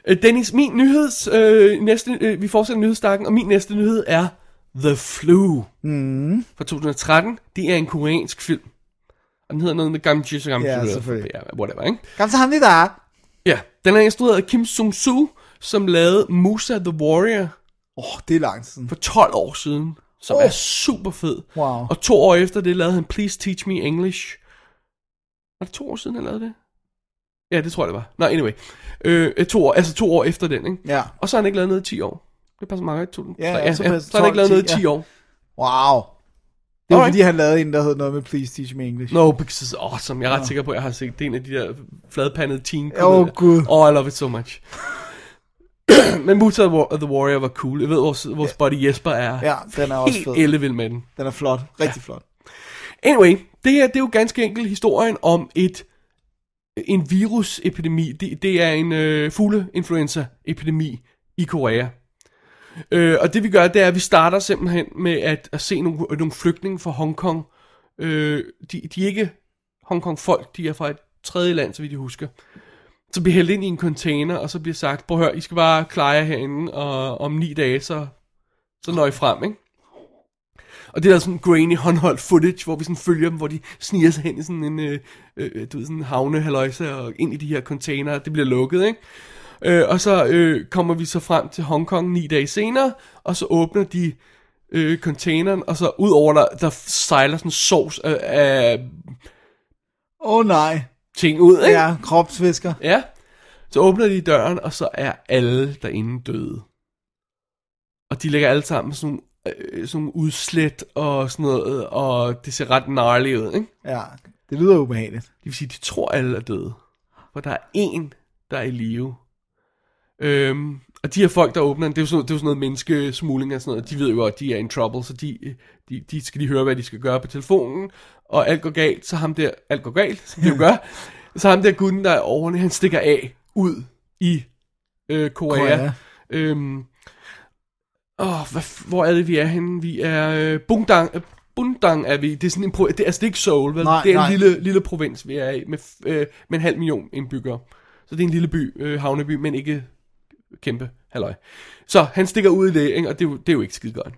Speaker 5: Øh, Dennis, min nyheds... Øh, næste, øh, vi fortsætter nyhedsstakken, og min næste nyhed er The Flu. Mm. Fra 2013. Det er en koreansk film. Og den hedder noget med Gamji, så Gamji.
Speaker 6: Ja,
Speaker 5: eller-
Speaker 6: selvfølgelig.
Speaker 5: Ja, whatever, ikke?
Speaker 6: Kom så ham lige der.
Speaker 5: Ja. Den er instrueret af Kim Sung-soo, som lavede Musa the Warrior
Speaker 6: Åh, oh, det er langt siden.
Speaker 5: for 12 år siden, som
Speaker 6: Oh.
Speaker 5: oh. er super fed.
Speaker 6: Wow.
Speaker 5: Og to år efter det lavede han Please Teach Me English. Var det to år siden, han lavede det? Ja, det tror jeg, det var. Nå, anyway. Øh, to år, altså to år efter den, ikke?
Speaker 6: Ja.
Speaker 5: Og så har han ikke lavet noget i 10 år. Det passer meget godt. to-
Speaker 6: Ja, ja,
Speaker 5: tre-
Speaker 6: så
Speaker 5: så, ja.
Speaker 6: passer
Speaker 5: så har han
Speaker 6: 12,
Speaker 5: ikke lavet noget i
Speaker 6: 10,
Speaker 5: 10 år.
Speaker 6: Wow. Det var
Speaker 5: Alright.
Speaker 6: fordi, han lavede en, der hed noget med Please Teach Me English.
Speaker 5: No, because it's awesome. Jeg er ret sikker på, at jeg har set det er en af de der fladpandede teen
Speaker 6: Åh, Gud.
Speaker 5: Oh, I love it so much. Men Muta of the Warrior var cool. Jeg ved, vores, vores buddy Jesper er
Speaker 6: Ja, den er også
Speaker 5: helt
Speaker 6: fed.
Speaker 5: ellevild med den.
Speaker 6: Den er flot. Rigtig flot.
Speaker 5: Anyway, det her det er jo ganske enkelt historien om et en virusepidemi. Det, det er en øh, fugleinfluenza-epidemi i Korea. Øh, og det vi gør, det er, at vi starter simpelthen med at, at se nogle, nogle flygtninge fra Hongkong. Øh, de, de er ikke Hongkong-folk, de er fra et tredje land, så vidt jeg husker. Så bliver hældt ind i en container, og så bliver sagt, prøv at høre, I skal bare klare jer herinde, og om ni dage, så, så når I frem, ikke? Og det er der sådan grainy håndholdt footage, hvor vi sådan følger dem, hvor de sniger sig hen i sådan en, øh, øh, du ved, sådan en havnehaløjse og ind i de her container, det bliver lukket, ikke? Øh, og så øh, kommer vi så frem til Hongkong ni dage senere, og så åbner de øh, containeren, og så ud over der, der sejler sådan sovs af, af
Speaker 6: Åh oh, nej.
Speaker 5: ting ud, ikke?
Speaker 6: Ja, kropsfisker.
Speaker 5: Ja. Så åbner de døren, og så er alle derinde døde. Og de ligger alle sammen med sådan, nogle, øh, sådan nogle udslæt og sådan noget, og det ser ret gnarly ud, ikke?
Speaker 6: Ja, det lyder ubehageligt.
Speaker 5: Det vil sige, de tror alle er døde. For der er en, der er i live. Øhm, og de her folk, der åbner, den, det er jo sådan, det er jo sådan noget menneskesmugling og sådan noget, de ved jo godt, de er in trouble, så de, de, de skal lige høre, hvad de skal gøre på telefonen, og alt går galt, så ham der, alt går galt, som de jo gør, så ham der gutten, der er overne, han stikker af ud i øh, Korea.
Speaker 6: Korea.
Speaker 5: Korea. Øhm, Åh, oh, hvor er det, vi er henne? Vi er øh, Bundang, øh, Bundang er vi. Det er sådan en pro- det, er- altså, det er ikke Seoul, vel?
Speaker 6: Nej,
Speaker 5: det er
Speaker 6: nej.
Speaker 5: en lille, lille provins, vi er i, med, f- øh, med en halv million indbyggere. Så det er en lille by, øh, havneby, men ikke kæmpe halløj. Så han stikker ud i det, ikke? og det er, jo, det er jo ikke skide godt.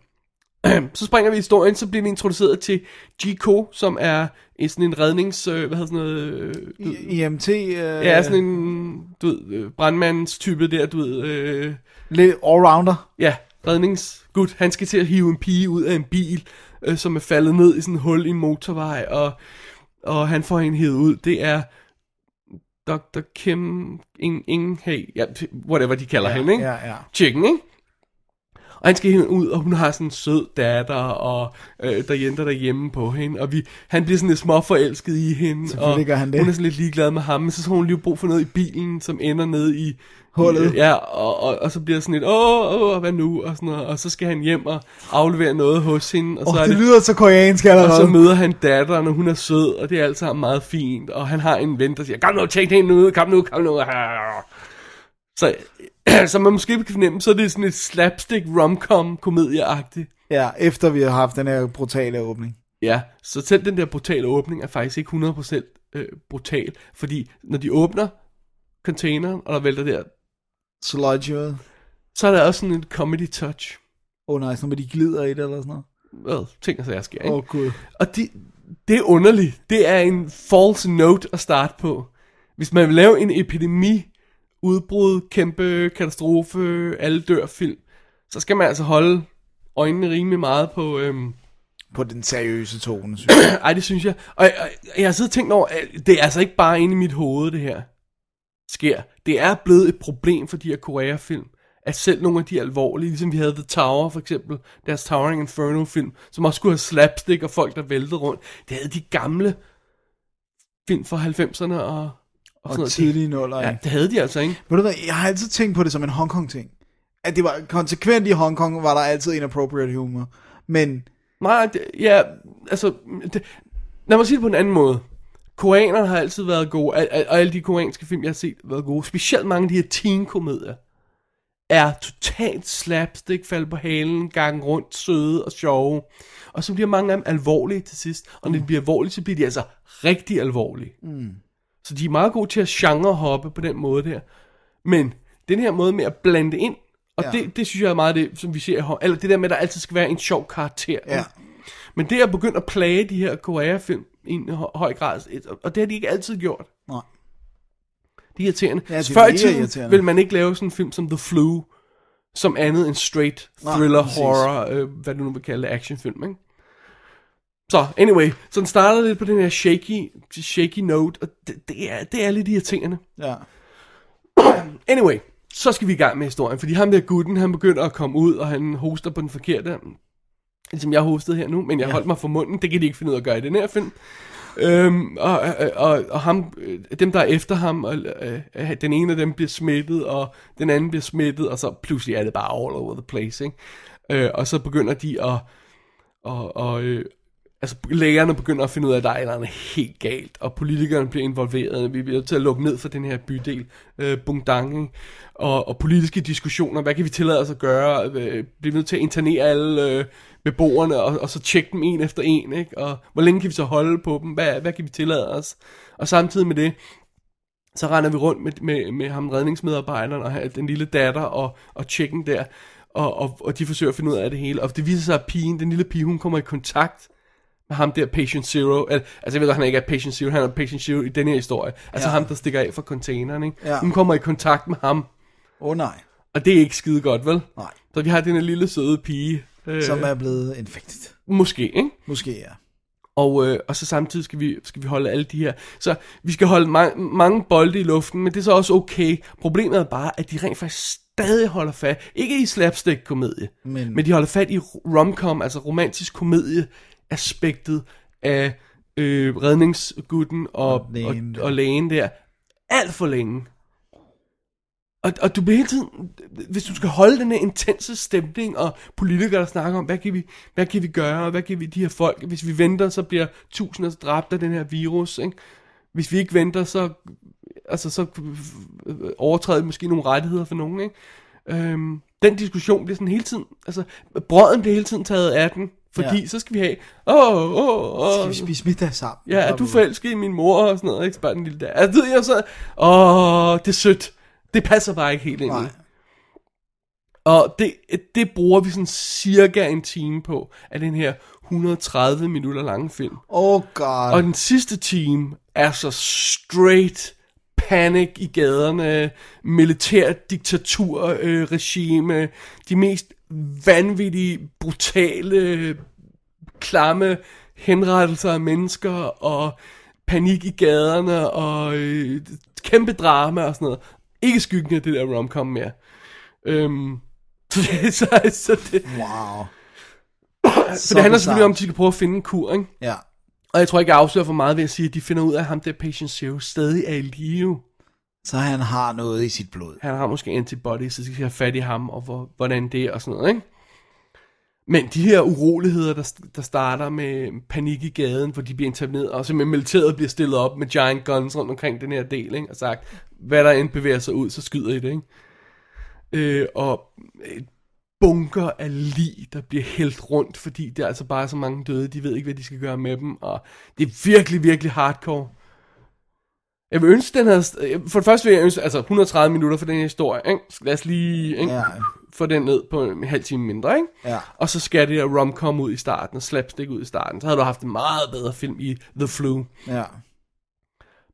Speaker 5: så springer vi i historien, så bliver vi introduceret til G.K., som er en- sådan en rednings... Øh, hvad hedder sådan noget... Øh, du-
Speaker 6: I- IMT. Øh,
Speaker 5: ja, sådan en, du ved, øh, brandmandstype der, du ved, øh,
Speaker 6: Lidt allrounder.
Speaker 5: Ja, redningsgud, han skal til at hive en pige ud af en bil, øh, som er faldet ned i sådan et hul i en motorvej, og, og han får hende hævet ud. Det er Dr. Kim Ing, Ing hey, ja, whatever de kalder ja, hende, ikke?
Speaker 6: Ja, ja.
Speaker 5: Chicken, ikke? Og han skal hende ud, og hun har sådan en sød datter, og øh, der jenter derhjemme på hende. Og vi, han bliver sådan lidt småforelsket i hende.
Speaker 6: Selvfølgelig
Speaker 5: og
Speaker 6: gør han det.
Speaker 5: Hun er sådan lidt ligeglad med ham, men så har hun lige brug for noget i bilen, som ender nede i...
Speaker 6: Hullet.
Speaker 5: I, ja, og, og, og, så bliver det sådan lidt, åh, åh, hvad nu? Og, sådan noget. og så skal han hjem og aflevere noget hos hende. Og så
Speaker 6: Åh,
Speaker 5: er
Speaker 6: oh, det lyder så koreansk
Speaker 5: og så
Speaker 6: allerede.
Speaker 5: møder han datteren, og hun er sød, og det er alt sammen meget fint. Og han har en ven, der siger, kom nu, tjek det nu, kom nu, kom nu. Så, som man måske kan fornemme, så er det sådan et slapstick romcom komedieagtigt
Speaker 6: Ja, efter vi har haft den her brutale åbning.
Speaker 5: Ja, så selv den der brutale åbning er faktisk ikke 100% øh, brutal, fordi når de åbner containeren, og der vælter der,
Speaker 6: Sludge ud.
Speaker 5: så er der også sådan en comedy touch.
Speaker 6: Åh oh, nej, sådan, hvor de glider i det eller sådan noget.
Speaker 5: Hvad, ting og sager sker, ikke?
Speaker 6: Åh oh, gud.
Speaker 5: Og det, det er underligt. Det er en false note at starte på. Hvis man vil lave en epidemi, udbrud, kæmpe katastrofe, alle dør film, så skal man altså holde øjnene rimelig meget på... Øhm,
Speaker 6: På den seriøse tone, synes jeg.
Speaker 5: ej, det synes jeg. Og, og, og jeg har siddet og tænkt over, at det er altså ikke bare inde i mit hoved, det her sker. Det er blevet et problem for de her Korea-film, at selv nogle af de alvorlige, ligesom vi havde The Tower for eksempel, deres Towering Inferno-film, som også skulle have slapstick og folk, der væltede rundt, det havde de gamle film fra 90'erne og, og, sådan
Speaker 6: Og
Speaker 5: noget.
Speaker 6: tidlige nuller,
Speaker 5: Ja,
Speaker 6: ja.
Speaker 5: det havde de altså, ikke?
Speaker 6: Ved du hvad, jeg har altid tænkt på det som en Hongkong-ting. At det var konsekvent i Hongkong, var der altid inappropriate humor. Men
Speaker 5: Nej, det, ja, altså, det, lad mig sige det på en anden måde. Koreanerne har altid været gode, al, al, og alle de koreanske film, jeg har set, har været gode. Specielt mange af de her teen-komedier er totalt slapstick, falde på halen, gang rundt, søde og sjove. Og så bliver mange af dem alvorlige til sidst. Og når de bliver alvorlige, så bliver de altså rigtig alvorlige. Mm. Så de er meget gode til at genrehoppe på den måde der. Men den her måde med at blande ind, og
Speaker 6: Ja.
Speaker 5: ja. det, det synes jeg er meget det, som vi ser i Hong- Eller det der med, at der altid skal være en sjov karakter.
Speaker 6: ja,
Speaker 5: Men det er begyndt at plage de her Korea-film i en hø- høj grad, og det har de ikke altid gjort.
Speaker 6: nej.
Speaker 5: Det er irriterende.
Speaker 6: Ja, det er
Speaker 5: Før i
Speaker 6: mega
Speaker 5: tiden
Speaker 6: irriterende.
Speaker 5: ville man ikke lave sådan en film som The Flu, som andet end straight
Speaker 6: Nej,
Speaker 5: thriller,
Speaker 6: præcis.
Speaker 5: horror, øh, hvad du nu vil kalde det, actionfilm, ikke? Så, anyway, så den startede lidt på den her shaky, shaky note, og det, det, er, det er lidt irriterende.
Speaker 6: Ja.
Speaker 5: Anyway, så skal vi i gang med historien, fordi ham der gutten, han begynder at komme ud, og han hoster på den forkerte, ligesom jeg hostede her nu, men jeg ja. holdt mig for munden, det kan de ikke finde ud af at gøre i den her film. Øhm, og, og, og, og ham, øh, dem der er efter ham, og, øh, øh, den ene af dem bliver smittet, og den anden bliver smittet, og så pludselig er det bare all over the place, ikke? Øh, og så begynder de at, og, og øh, altså lægerne begynder at finde ud af, at der er et eller andet helt galt, og politikerne bliver involveret, vi bliver nødt til at lukke ned for den her bydel, øh, Bungdang, ikke? og, og politiske diskussioner, hvad kan vi tillade os at gøre, øh, bliver vi nødt til at internere alle øh, beboerne, og, og så tjekke dem en efter en, ikke? og hvor længe kan vi så holde på dem, hvad, hvad kan vi tillade os, og samtidig med det, så render vi rundt med, med, med ham redningsmedarbejderen og han- den lille datter og, og chicken der, og, og, og de forsøger at finde ud af det hele. Og det viser sig, at pigen, den lille pige, hun kommer i kontakt med ham der Patient Zero. Al, altså jeg ved godt, han ikke er Patient Zero, han er Patient Zero i den her historie. Altså
Speaker 6: Ja.
Speaker 5: ham, der stikker af fra containeren, ikke?
Speaker 6: Ja.
Speaker 5: Hun kommer i kontakt med ham,
Speaker 6: Åh oh, nej.
Speaker 5: og det er ikke skide godt, vel?
Speaker 6: Nej.
Speaker 5: Så vi har den her lille søde pige, øh,
Speaker 6: Som er blevet infected.
Speaker 5: måske, ikke?
Speaker 6: Måske, ja.
Speaker 5: Og, øh, og så samtidig skal vi, skal vi holde alle de her. Så vi skal holde ma- mange bolde i luften, men det er så også okay. Problemet er bare, at de rent faktisk stadig holder fat. Ikke i slapstick-komedie,
Speaker 6: Men-
Speaker 5: men... men de holder fat i romcom, altså romantisk komedie-aspektet af øh, redningsgutten og, og,
Speaker 6: lægen
Speaker 5: og,
Speaker 6: der.
Speaker 5: og lægen der. Alt for længe. Og, og du bliver hele tiden, hvis du skal holde den her intense stemning, og politikere, der snakker om, hvad kan vi, hvad kan vi gøre, og hvad kan vi de her folk, hvis vi venter, så bliver tusinder dræbt af den her virus, ikke? Hvis vi ikke venter, så, altså, så øh, overtræder vi måske nogle rettigheder for nogen, ikke? Øhm, den diskussion bliver sådan hele tiden, altså, brøden bliver hele tiden taget af den, fordi
Speaker 6: Ja.
Speaker 5: ja. så skal vi have, åh, åh,
Speaker 6: Skal
Speaker 5: åh,
Speaker 6: vi spise middag sammen?
Speaker 5: Ja, er du forelsket i min mor og sådan noget, ikke? Spørg den lille der. Altså, det er så, åh, det er sødt. Det passer bare ikke helt ind. i.
Speaker 6: Nej.
Speaker 5: Og det, det bruger vi sådan cirka en time på, af den her 130 minutter lange film.
Speaker 6: Oh god.
Speaker 5: Og den sidste time er så straight panic i gaderne, militær diktatur, øh, regime, de mest vanvittige, brutale, klamme henrettelser af mennesker, og panik i gaderne, og øh, kæmpe drama og sådan noget. Ikke skyggen af det der romcom mere. Øhm, Så det, så, så det,
Speaker 6: Wow.
Speaker 5: så det handler selvfølgelig om, at de skal prøve at finde en kur, ikke?
Speaker 6: Ja.
Speaker 5: Og jeg tror ikke, jeg afslører for meget ved at sige, at de finder ud af, at ham der Patient Zero stadig er i live.
Speaker 6: Så han har noget i sit blod.
Speaker 5: Han har måske antibodies, så de skal have fat i ham, og hvor, hvordan det er, og sådan noget, ikke? Men de her uroligheder, der, der starter med panik i gaden, hvor de bliver interveneret, og simpelthen militæret bliver stillet op med giant guns rundt omkring den her del, ikke? og sagt, hvad der end bevæger sig ud, så skyder I det. Ikke? Øh, og et bunker af lig, der bliver hældt rundt, fordi der er altså bare så mange døde, de ved ikke, hvad de skal gøre med dem, og det er virkelig, virkelig hardcore. Jeg vil ønske, den havde... For det første vil jeg ønske, altså 130 minutter for den her historie, ikke? Så Lad os lige... Ikke?
Speaker 6: Ja.
Speaker 5: Få den ned på en halv time mindre, ikke?
Speaker 6: Ja.
Speaker 5: Og så skal det der rom-com ud i starten, og slapstick ud i starten. Så havde du haft en meget bedre film i The Flu.
Speaker 6: Ja.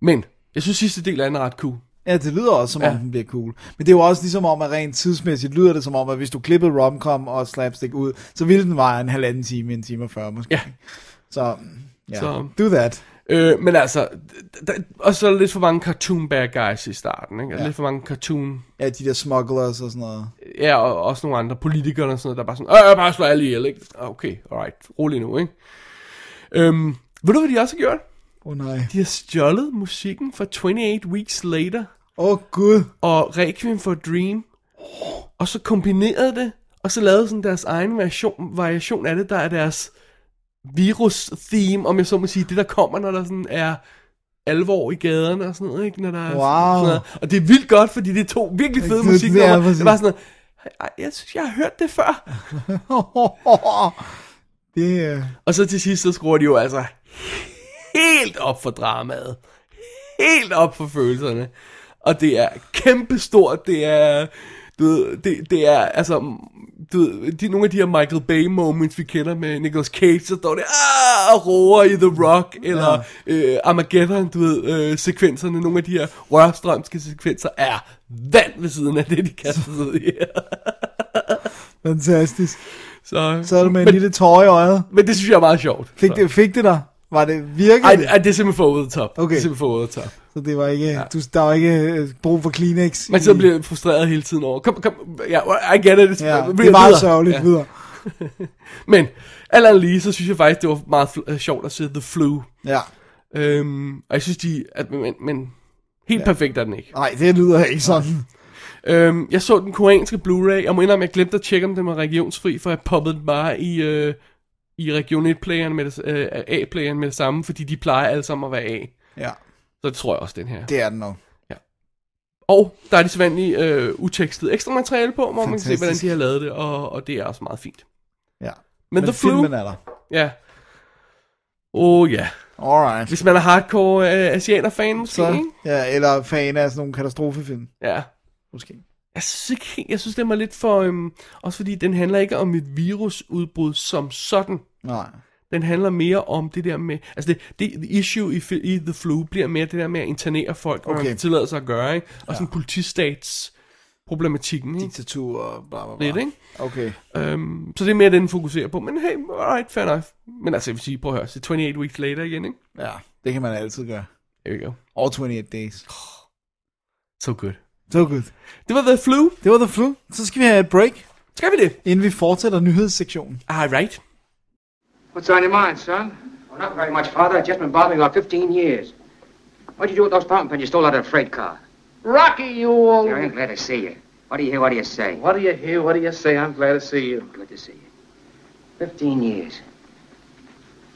Speaker 5: Men, jeg synes sidste del af den er ret cool.
Speaker 6: Ja, det lyder også, som om den bliver cool. Men det er jo også ligesom om, at rent tidsmæssigt lyder det som om, at hvis du klippede romcom og slapstick ud, så ville den vare en halvanden time, en time og 40 måske.
Speaker 5: Ja.
Speaker 6: Så,
Speaker 5: Så-
Speaker 6: ja. Så. Do that.
Speaker 5: Øh, men altså, d- d- og så er der lidt for mange cartoon bad guys i starten, ikke? Ja. Lidt for mange cartoon...
Speaker 6: Ja, de der smugglers og sådan noget.
Speaker 5: Ja, og også nogle andre politikere og sådan noget, der bare sådan, øh, bare slå alle ihjel, ikke? Ah, Okay, alright, rolig nu, ikke? Øhm, ved du, hvad de også har gjort?
Speaker 6: Åh oh, nej.
Speaker 5: De har stjålet musikken fra 28 Weeks Later
Speaker 6: Åh oh, gud.
Speaker 5: og Requiem for a Dream, og så kombineret det, og så lavet sådan deres egen version, variation af det, der er deres virus-theme, om jeg så må sige, det der kommer, når der sådan er alvor i gaderne og sådan noget, ikke? Når der er
Speaker 6: Wow.
Speaker 5: sådan noget. Og det er vildt godt, fordi det er to virkelig fede
Speaker 6: Det-
Speaker 5: musik.
Speaker 6: det er
Speaker 5: Det,
Speaker 6: præcis.
Speaker 5: det var sådan noget, "Ej, jeg synes, jeg har hørt det før.
Speaker 6: det er...
Speaker 5: Og så til sidst, så skruer de jo altså helt op for dramaet. Helt op for følelserne. Og det er kæmpestort, det er... Du ved, det, det er altså... Du ved, de, nogle af de her Michael Bay moments, vi kender med Nicolas Cage, så står det "Ah!" og roer i The Rock, eller ja. øh, Armageddon, du ved, øh, sekvenserne, nogle af de her rørstrømske sekvenser, er vand ved siden af det, de kaster sig ud i.
Speaker 6: Fantastisk.
Speaker 5: Så,
Speaker 6: Så er du med en
Speaker 5: men,
Speaker 6: lille tår i øjet.
Speaker 5: men det synes jeg er meget sjovt.
Speaker 6: Fik
Speaker 5: Så.
Speaker 6: det, fik det dig? Var det virkelig?
Speaker 5: Ej, ej, det er simpelthen for over the top. Det
Speaker 6: Okay.
Speaker 5: er simpelthen for over the top.
Speaker 6: Så det var ikke, du, der var ikke øh, brug for Kleenex.
Speaker 5: Man
Speaker 6: i-
Speaker 5: så bliver jeg frustreret hele tiden over. Kom, kom, ja, I get it.
Speaker 6: Ja,
Speaker 5: Vi-
Speaker 6: det er meget
Speaker 5: videre.
Speaker 6: sørgeligt
Speaker 5: Ja.
Speaker 6: videre.
Speaker 5: Men, alt andet lige, så synes jeg faktisk, det var meget fl- øh, sjovt at se The Flu.
Speaker 6: Ja.
Speaker 5: Øhm, og jeg synes, de... At, men, men helt ja. perfekt er den ikke.
Speaker 6: Nej, det lyder ikke sådan.
Speaker 5: Øhm, jeg så den koreanske Blu-ray. Jeg må indrømme, jeg glemte at tjekke, om den var regionsfri, for jeg poppede den bare i... Øh, i region 1-playeren med det, øh, A-playeren med det samme, fordi de plejer alle sammen at være A.
Speaker 6: Ja,
Speaker 5: Så det tror jeg også, den her.
Speaker 6: det er den nok.
Speaker 5: Og der er de sædvanlige øh, utekstet ekstra materiale på, hvor Fantastisk. man kan se,
Speaker 6: Fantastisk.
Speaker 5: hvordan de har lavet det, og, og det er også meget fint.
Speaker 6: Ja.
Speaker 5: Men, The Flu,
Speaker 6: filmen
Speaker 5: ja.
Speaker 6: er der.
Speaker 5: Yeah. Oh ja. Yeah.
Speaker 6: Alright.
Speaker 5: Hvis man er hardcore øh, asianer-fan måske,
Speaker 6: Så,
Speaker 5: så. ikke?
Speaker 6: ja, eller fan af sådan nogle katastrofefilm,
Speaker 5: Ja.
Speaker 6: måske.
Speaker 5: Jeg synes ikke helt, jeg synes, det var lidt for... Øhm, også fordi den handler ikke om et virusudbrud som sådan.
Speaker 6: Nej.
Speaker 5: Den handler mere om det der med... Altså, det, det the issue i, fi- i The Flu bliver mere det der med at internere folk, okay. og
Speaker 6: Okay.
Speaker 5: man tillader sig at gøre, ikke? Og ja. sådan politistats problematikken, ikke?
Speaker 6: Diktatur og bla bla bla.
Speaker 5: Lidt, ikke?
Speaker 6: Okay.
Speaker 5: Øhm, så det er mere den, den fokuserer på. Men hey, alright, fair enough. Men altså, jeg vil sige, prøv at høre, så 28 weeks later igen, ikke?
Speaker 6: Ja, det kan man altid gøre.
Speaker 5: There you go.
Speaker 6: All 28 days.
Speaker 5: So good.
Speaker 6: Så godt.
Speaker 5: Det var The Flu.
Speaker 6: Det var The Flu. Så skal vi have et break,
Speaker 5: Skal vi det?
Speaker 6: inden vi fortsætter nyhedssektionen.
Speaker 5: Alright.
Speaker 7: What's on your mind, son? Well, not very much, Father. I've just been bothering about 15 years. What'd you do with those fountain pens you stole out of the freight car?
Speaker 9: Rocky, you
Speaker 7: Here,
Speaker 9: old.
Speaker 7: I'm glad to see you. What do you hear? What do you say?
Speaker 9: What do you hear? What do you say? I'm glad to see you.
Speaker 7: Good to see you. 15 years.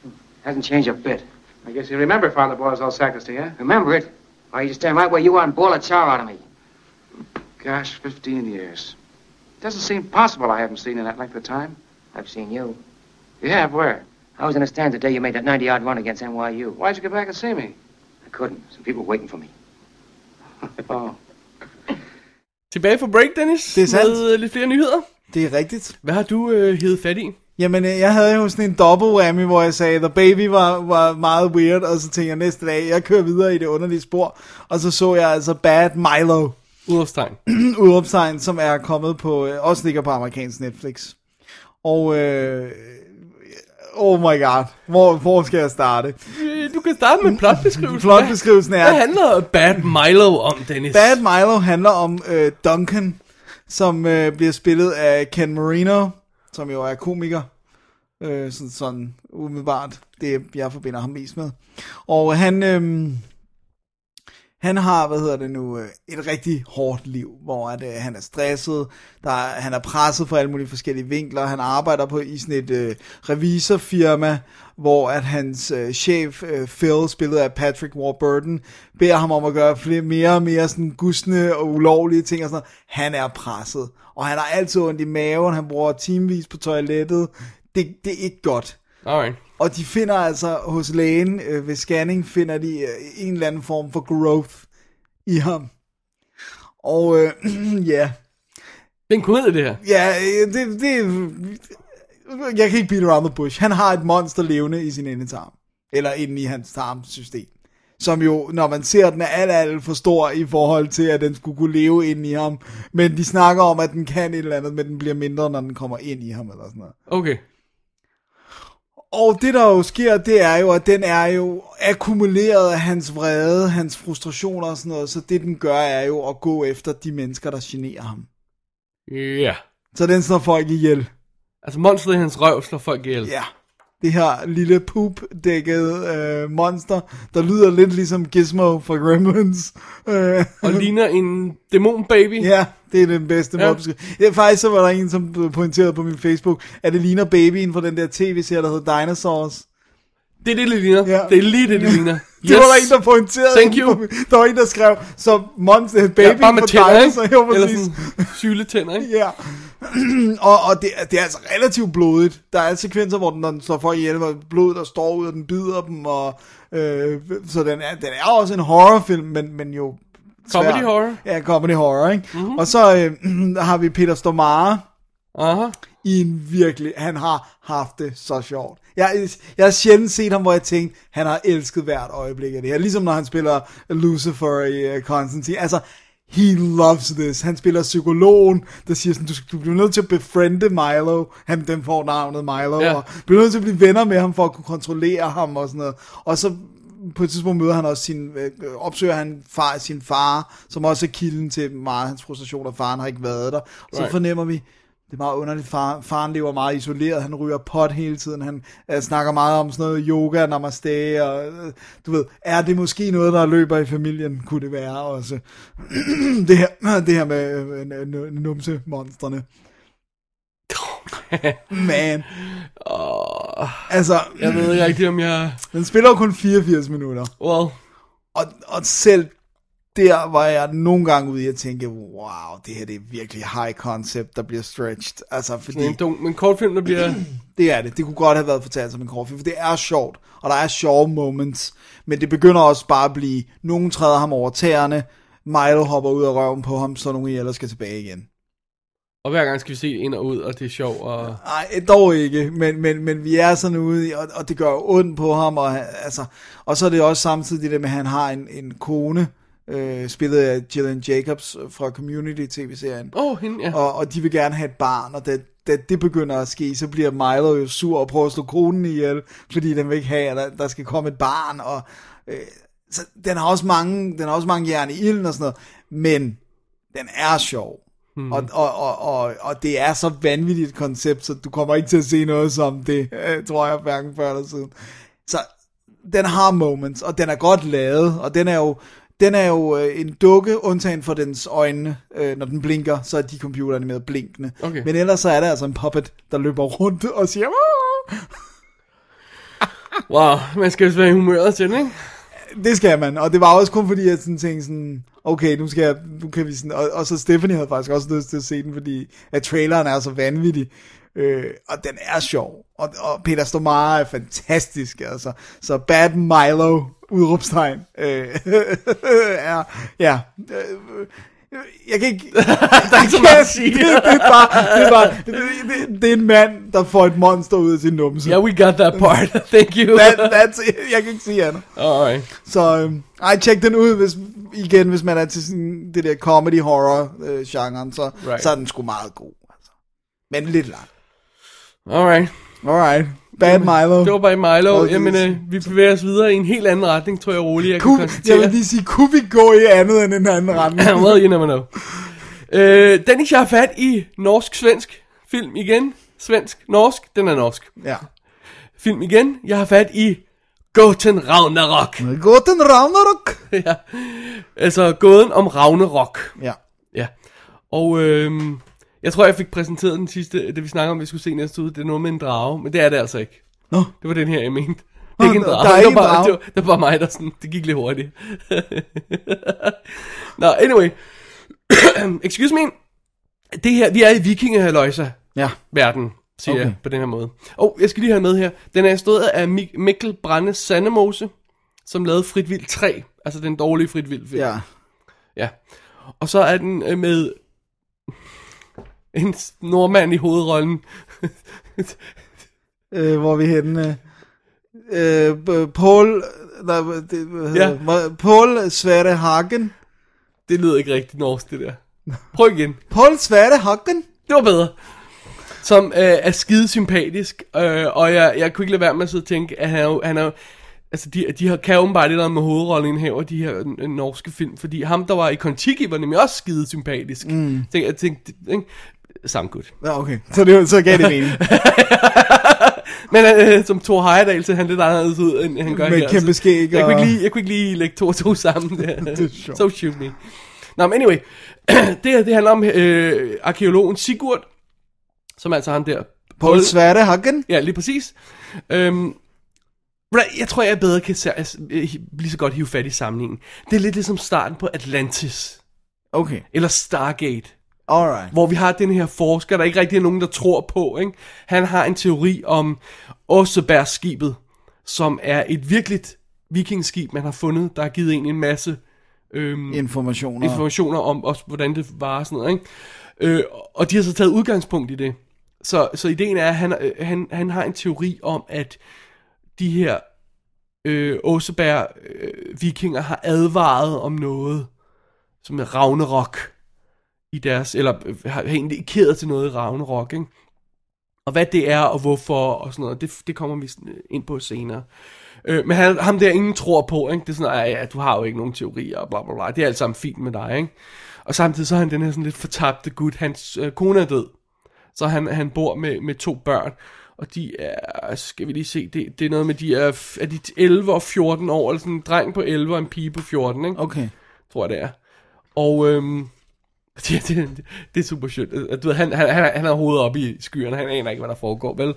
Speaker 7: Hmm, Hasn't changed a bit.
Speaker 9: I guess you remember Father Borzell's sacristy, huh?
Speaker 7: Remember it? Why, you just stand right where you are and boil a char out of me.
Speaker 9: Gosh, 15 years. Doesn't seem possible I haven't seen you in that length of time.
Speaker 7: I've seen you.
Speaker 9: You have? Where?
Speaker 7: I was in a stand the day you made that 90 yard run against NYU.
Speaker 9: Why'd you get back and see me?
Speaker 7: I couldn't. Some people waiting for me.
Speaker 9: oh.
Speaker 5: Tilbage fra break, Dennis.
Speaker 6: Det er sandt.
Speaker 5: Med øh, lidt flere nyheder.
Speaker 6: Det er rigtigt.
Speaker 5: Hvad har du øh, hævet fat i?
Speaker 6: Jamen, øh, jeg havde jo sådan en double whammy, hvor jeg sagde, The Baby var, var meget weird, og så tænkte jeg næste dag, jeg kører videre i det underlige spor. Og så så jeg altså Bad Milo.
Speaker 5: Udrupstegn.
Speaker 6: udopstegn, som er kommet på, øh, også ligger på amerikansk Netflix. Og, øh, oh my god, hvor, hvor skal jeg starte?
Speaker 5: Øh, Du kan starte med plotbeskrivelsen.
Speaker 6: Mm. Plotbeskrivelsen
Speaker 5: Hvad, hvad
Speaker 6: er,
Speaker 5: handler Bad Milo om, Dennis?
Speaker 6: Bad Milo handler om øh, Duncan, som øh, bliver spillet af Ken Marino, som jo er komiker. Øh, sådan, sådan umiddelbart, det er, jeg forbinder ham mest med. Og han, øh, han har, hvad hedder det nu, øh, et rigtig hårdt liv, hvor at, øh, han er stresset, der, er- han er presset fra alle mulige forskellige vinkler, han arbejder på i sådan et øh, revisorfirma, hvor at hans øh, chef, øh, Phil, spillet af Patrick Warburton, beder ham om at gøre flere, mere og mere sådan gusne og ulovlige ting og sådan noget. Han er presset, og han har altid ondt i maven, han bruger timevis på toilettet, det, det er ikke godt.
Speaker 5: Alright.
Speaker 6: Og de finder altså hos lægen øh, ved scanning, finder de øh, en eller anden form for growth i ham. Og øh, ja,
Speaker 5: Det er en kode, det her.
Speaker 6: ja øh, det, det, jeg kan ikke beat around the bush. Han har et monster levende i sin endetarm, eller inde i hans tarmsystem. Som jo, når man ser den, er alt, alt for stor i forhold til, at den skulle kunne leve inde i ham. Men de snakker om, at den kan et eller andet, men den bliver mindre, når den kommer ind i ham eller sådan noget.
Speaker 5: Okay.
Speaker 6: Og det der jo sker, det er jo, at den er jo akkumuleret af hans vrede, hans frustrationer og sådan noget, så det den gør er jo at gå efter de mennesker, der generer ham.
Speaker 5: Ja. Yeah.
Speaker 6: Så den slår folk ihjel.
Speaker 5: Altså monsteret i hans røv slår folk ihjel.
Speaker 6: Ja. Det her lille poop-dækkede øh, monster, der lyder lidt ligesom Gizmo fra Gremlins. Øh,
Speaker 5: Og ligner en dæmonbaby.
Speaker 6: ja, det er den bedste
Speaker 5: Ja.
Speaker 6: måde. Ja. Ja, faktisk så var der en, som pointerede på min Facebook, at det ligner babyen fra den der tv-serie, der hedder Dinosaurs.
Speaker 5: Det er det, det ligner.
Speaker 6: Ja.
Speaker 5: Det er lige det, det ligner.
Speaker 6: Det var der en, der pointerede.
Speaker 5: Thank you.
Speaker 6: Der var en, der skrev, så monster, baby
Speaker 5: ja, bare med
Speaker 6: for
Speaker 5: tænder,
Speaker 6: dig,
Speaker 5: ikke?
Speaker 6: så jo,
Speaker 5: Eller
Speaker 6: præcis.
Speaker 5: sådan syletænder, ikke?
Speaker 6: Ja. og, og det, er- det er altså relativt blodigt. Der er sekvenser, hvor den, når den slår folk ihjel, hvor blodet der står ud, og den bider dem, og øh, så den er, den er også en horrorfilm, men, men jo svær.
Speaker 5: Comedy horror. Mhm.
Speaker 6: Ja, comedy horror, ikke? Mm-hmm. Og så øh, har vi Peter Stormare,
Speaker 5: Aha.
Speaker 6: i en virkelig, han har haft det så sjovt. Jeg, jeg har sjældent set ham, hvor jeg tænkte, han har elsket hvert øjeblik af det her. Ligesom når han spiller Lucifer i uh, Constantine. Altså, he loves this. Han spiller psykologen, der siger sådan, du, skal- du bliver nødt til at befriende Milo. Han, den får navnet Milo.
Speaker 5: Ja.
Speaker 6: Ja. Og bliver nødt til at blive venner med ham, for at kunne kontrollere ham og sådan noget. Og så på et tidspunkt møder han også sin, øh, opsøger han far, sin far, som også er kilden til meget af hans frustration, og faren har ikke været der. Så
Speaker 5: Right.
Speaker 6: right. fornemmer vi, det er meget underligt, Far, faren lever meget isoleret, han ryger pot hele tiden, han øh, snakker meget om sådan noget yoga, namaste, og øh, du ved, er det måske noget, der løber i familien, kunne det være også. det, her, det her med øh, n- n- numse-monstrene. Man,
Speaker 5: Åh,
Speaker 6: altså,
Speaker 5: jeg ved ikke rigtigt, om jeg...
Speaker 6: den spiller jo kun 84 minutter.
Speaker 5: Well,
Speaker 6: Og, og selv der var jeg nogle gange ude i at tænke, wow, det her det er virkelig high concept, der bliver stretched. Altså,
Speaker 5: det er
Speaker 6: fordi
Speaker 5: en dum, men kortfilm, der bliver...
Speaker 6: det er det. Det kunne godt have været fortalt som en kortfilm, for det er sjovt, og der er sjove moments. Men det begynder også bare at blive, nogen træder ham over tæerne, Milo hopper ud af røven på ham, så nogen ellers skal tilbage igen.
Speaker 5: Og hver gang skal vi se det ind og ud, og det er sjovt, og...
Speaker 6: Nej, dog ikke, men, men, men vi er sådan ude, i, og, og det gør jo ondt på ham, og, han- altså, og så er det også samtidig det der med, at han har en, en kone, øh, spillet af Jillian Jacobs fra Community-tv-serien,
Speaker 5: Åh, oh, hende, ja.
Speaker 6: og, og de vil gerne have et barn, og da, da det begynder at ske, så bliver Milo jo sur og prøver at slå konen ihjel, fordi den vil ikke have, at der, der skal komme et barn, og øh, så den har også mange, den har også mange jern i ilden og sådan noget, men den er sjov. Mm. Og, og, og, og, og det er så vanvittigt et koncept, så du kommer ikke til at se noget som det, øh, tror jeg, hverken før eller siden. Så den har moments, og den er godt lavet, og den er jo, den er jo øh, en dukke, undtagen for dens øjne, øh, når den blinker, så er de computeranimeret blinkende.
Speaker 5: Okay.
Speaker 6: Men ellers så er der altså en puppet, der løber rundt og siger, "Wah!"
Speaker 5: Wow, man skal vist være i humøret til den, ikke?
Speaker 6: det skal man, og det var også kun fordi, jeg sådan tænkte sådan, okay, nu, skal jeg, nu kan vi sådan, og, og så Stephanie havde faktisk også lyst til at se den, fordi at traileren er så vanvittig, øh, og den er sjov, og, og Peter Stormare er fantastisk, altså, så Bad Milo, udråbstegn, øh, er, ja, øh, jeg kan ikke... der er ikke så meget at sige. Det, det, er bare, det, er bare, det, det, det, er en mand, der får et monster ud af sin numse.
Speaker 5: Yeah, we got that part. Thank you.
Speaker 6: That, that's it. Jeg kan ikke sige andet.
Speaker 5: Alright.
Speaker 6: Så øhm, ej, tjek den ud, hvis, igen, hvis man er til sådan, det der comedy horror øh, genren, så,
Speaker 5: Right.
Speaker 6: right. så er den sgu meget god. Altså. Men lidt lang.
Speaker 5: Alright.
Speaker 6: Alright. Bad Milo.
Speaker 5: Det var bare Milo.
Speaker 6: Okay.
Speaker 5: Jamen, øh, vi bevæger os videre i en helt anden retning, tror jeg roligt, jeg kan
Speaker 6: Kunne,
Speaker 5: konstatere.
Speaker 6: jeg vil lige sige, kunne vi gå i andet end en anden retning?
Speaker 5: well, you never know. Øh, Dennis, jeg har fat i norsk-svensk film igen. Svensk-norsk, den er norsk.
Speaker 6: Ja.
Speaker 5: Film igen, jeg har fat i Goten Ragnarok.
Speaker 6: Goten Ragnarok.
Speaker 5: ja. Altså, gåden om Ragnarok.
Speaker 6: Ja.
Speaker 5: Ja. Og øhm, jeg tror, jeg fik præsenteret den sidste, det vi snakker om, vi skulle se næste uge. Det er noget med en drage, men det er det altså ikke.
Speaker 6: Nå,
Speaker 5: Det var den her, jeg mente. Det er ikke en
Speaker 6: Nå,
Speaker 5: drage.
Speaker 6: der er
Speaker 5: det,
Speaker 6: ikke
Speaker 5: var
Speaker 6: en
Speaker 5: bare,
Speaker 6: drage.
Speaker 5: det, var, det var bare mig, der sådan, det gik lidt hurtigt. Nå, anyway. Excuse me. Det her, vi er i vikingehaløjsa
Speaker 6: ja.
Speaker 5: verden siger okay.
Speaker 6: Okay.
Speaker 5: jeg på den her måde. Og jeg skal lige have med her. Den er instrueret af Mik- Mikkel Brande Sandemose, som lavede Frit Vild 3. Altså den dårlige Frit Vild film.
Speaker 6: Ja.
Speaker 5: Ja. Og så er den øh, med en s- nordmand i hovedrollen.
Speaker 6: Øh, hvor er vi henne? øh? Øh, b- Paul... Nej, det,
Speaker 5: Ja.
Speaker 6: ja. Paul Sverre Hagen.
Speaker 5: det lyder ikke rigtig norsk, det der. Prøv igen.
Speaker 6: Paul Sverre Hagen?
Speaker 5: Det var bedre. Som øh, er skide sympatisk, øh, og jeg, jeg kunne ikke lade være med at sidde og tænke, at han er, jo- han er jo- Altså, de, de har, kan åbenbart lidt om med hovedrollen her og de her øh, norske film, fordi ham, der var i Kon-Tiki, var nemlig også skide sympatisk. Mm. Tænk, jeg tænkte, ikke? Sound good.
Speaker 6: Ja, okay. Så, det, så gav det mening.
Speaker 5: Men øh, som Thor Heyerdahl ser han lidt anderledes ud, end han gør
Speaker 6: Med
Speaker 5: her.
Speaker 6: kæmpe
Speaker 5: så
Speaker 6: skæg
Speaker 5: jeg, kunne
Speaker 6: og-
Speaker 5: ikke lige, jeg kunne ikke lige lægge to og to sammen. det
Speaker 6: er sjovt.
Speaker 5: So shoot me. Nå, men anyway. det her, det handler om øh, arkeologen Sigurd, som er altså ham der.
Speaker 6: Paul Sverre Hagen?
Speaker 5: Ja, lige præcis. Øhm, ved du hvad, jeg tror, jeg bedre kan se- altså, øh, hi- lige så godt hive fat i sammenhængen. Det er lidt ligesom starten på Atlantis,
Speaker 6: Okay.
Speaker 5: eller Stargate,
Speaker 6: Alright.
Speaker 5: hvor vi har den her forsker, der ikke rigtig er nogen, der tror på. Ikke? Han har en teori om Åsebergskibet, som er et virkeligt vikingskib, man har fundet, der har givet en en masse øhm,
Speaker 6: Informationer.
Speaker 5: informationer om også, hvordan det var og sådan noget, ikke? Øh, og de har så taget udgangspunkt i det. Så, så ideen er, at han, øh, han, han har en teori om, at de her øh, Åseberg øh, vikinger har advaret om noget, som er Ragnarok i deres, eller øh, har har indikeret til noget i Ragnarok, ikke? Og hvad det er, og hvorfor, og sådan noget, det, det kommer vi sådan ind på senere. Øh, men han, ham der ingen tror på, ikke? Det er sådan, "Ej, ja, du har jo ikke nogen teorier, og bla bla bla. Det er alt sammen fint med dig, ikke? Og samtidig så er han den her sådan lidt fortabte gut. Hans øh, kone er død. Så han, han bor med, med to børn. Og de er, altså, skal vi lige se, det, det er noget med, de er, f- er de 11 og 14 år, eller sådan en dreng på 11 og en pige på 14, ikke?
Speaker 6: Okay.
Speaker 5: tror jeg det er. Og øhm, det, det, det er super sjovt. Øh, Du ved, han, han, han, han har hovedet op i skyerne, han aner ikke, hvad der foregår, vel?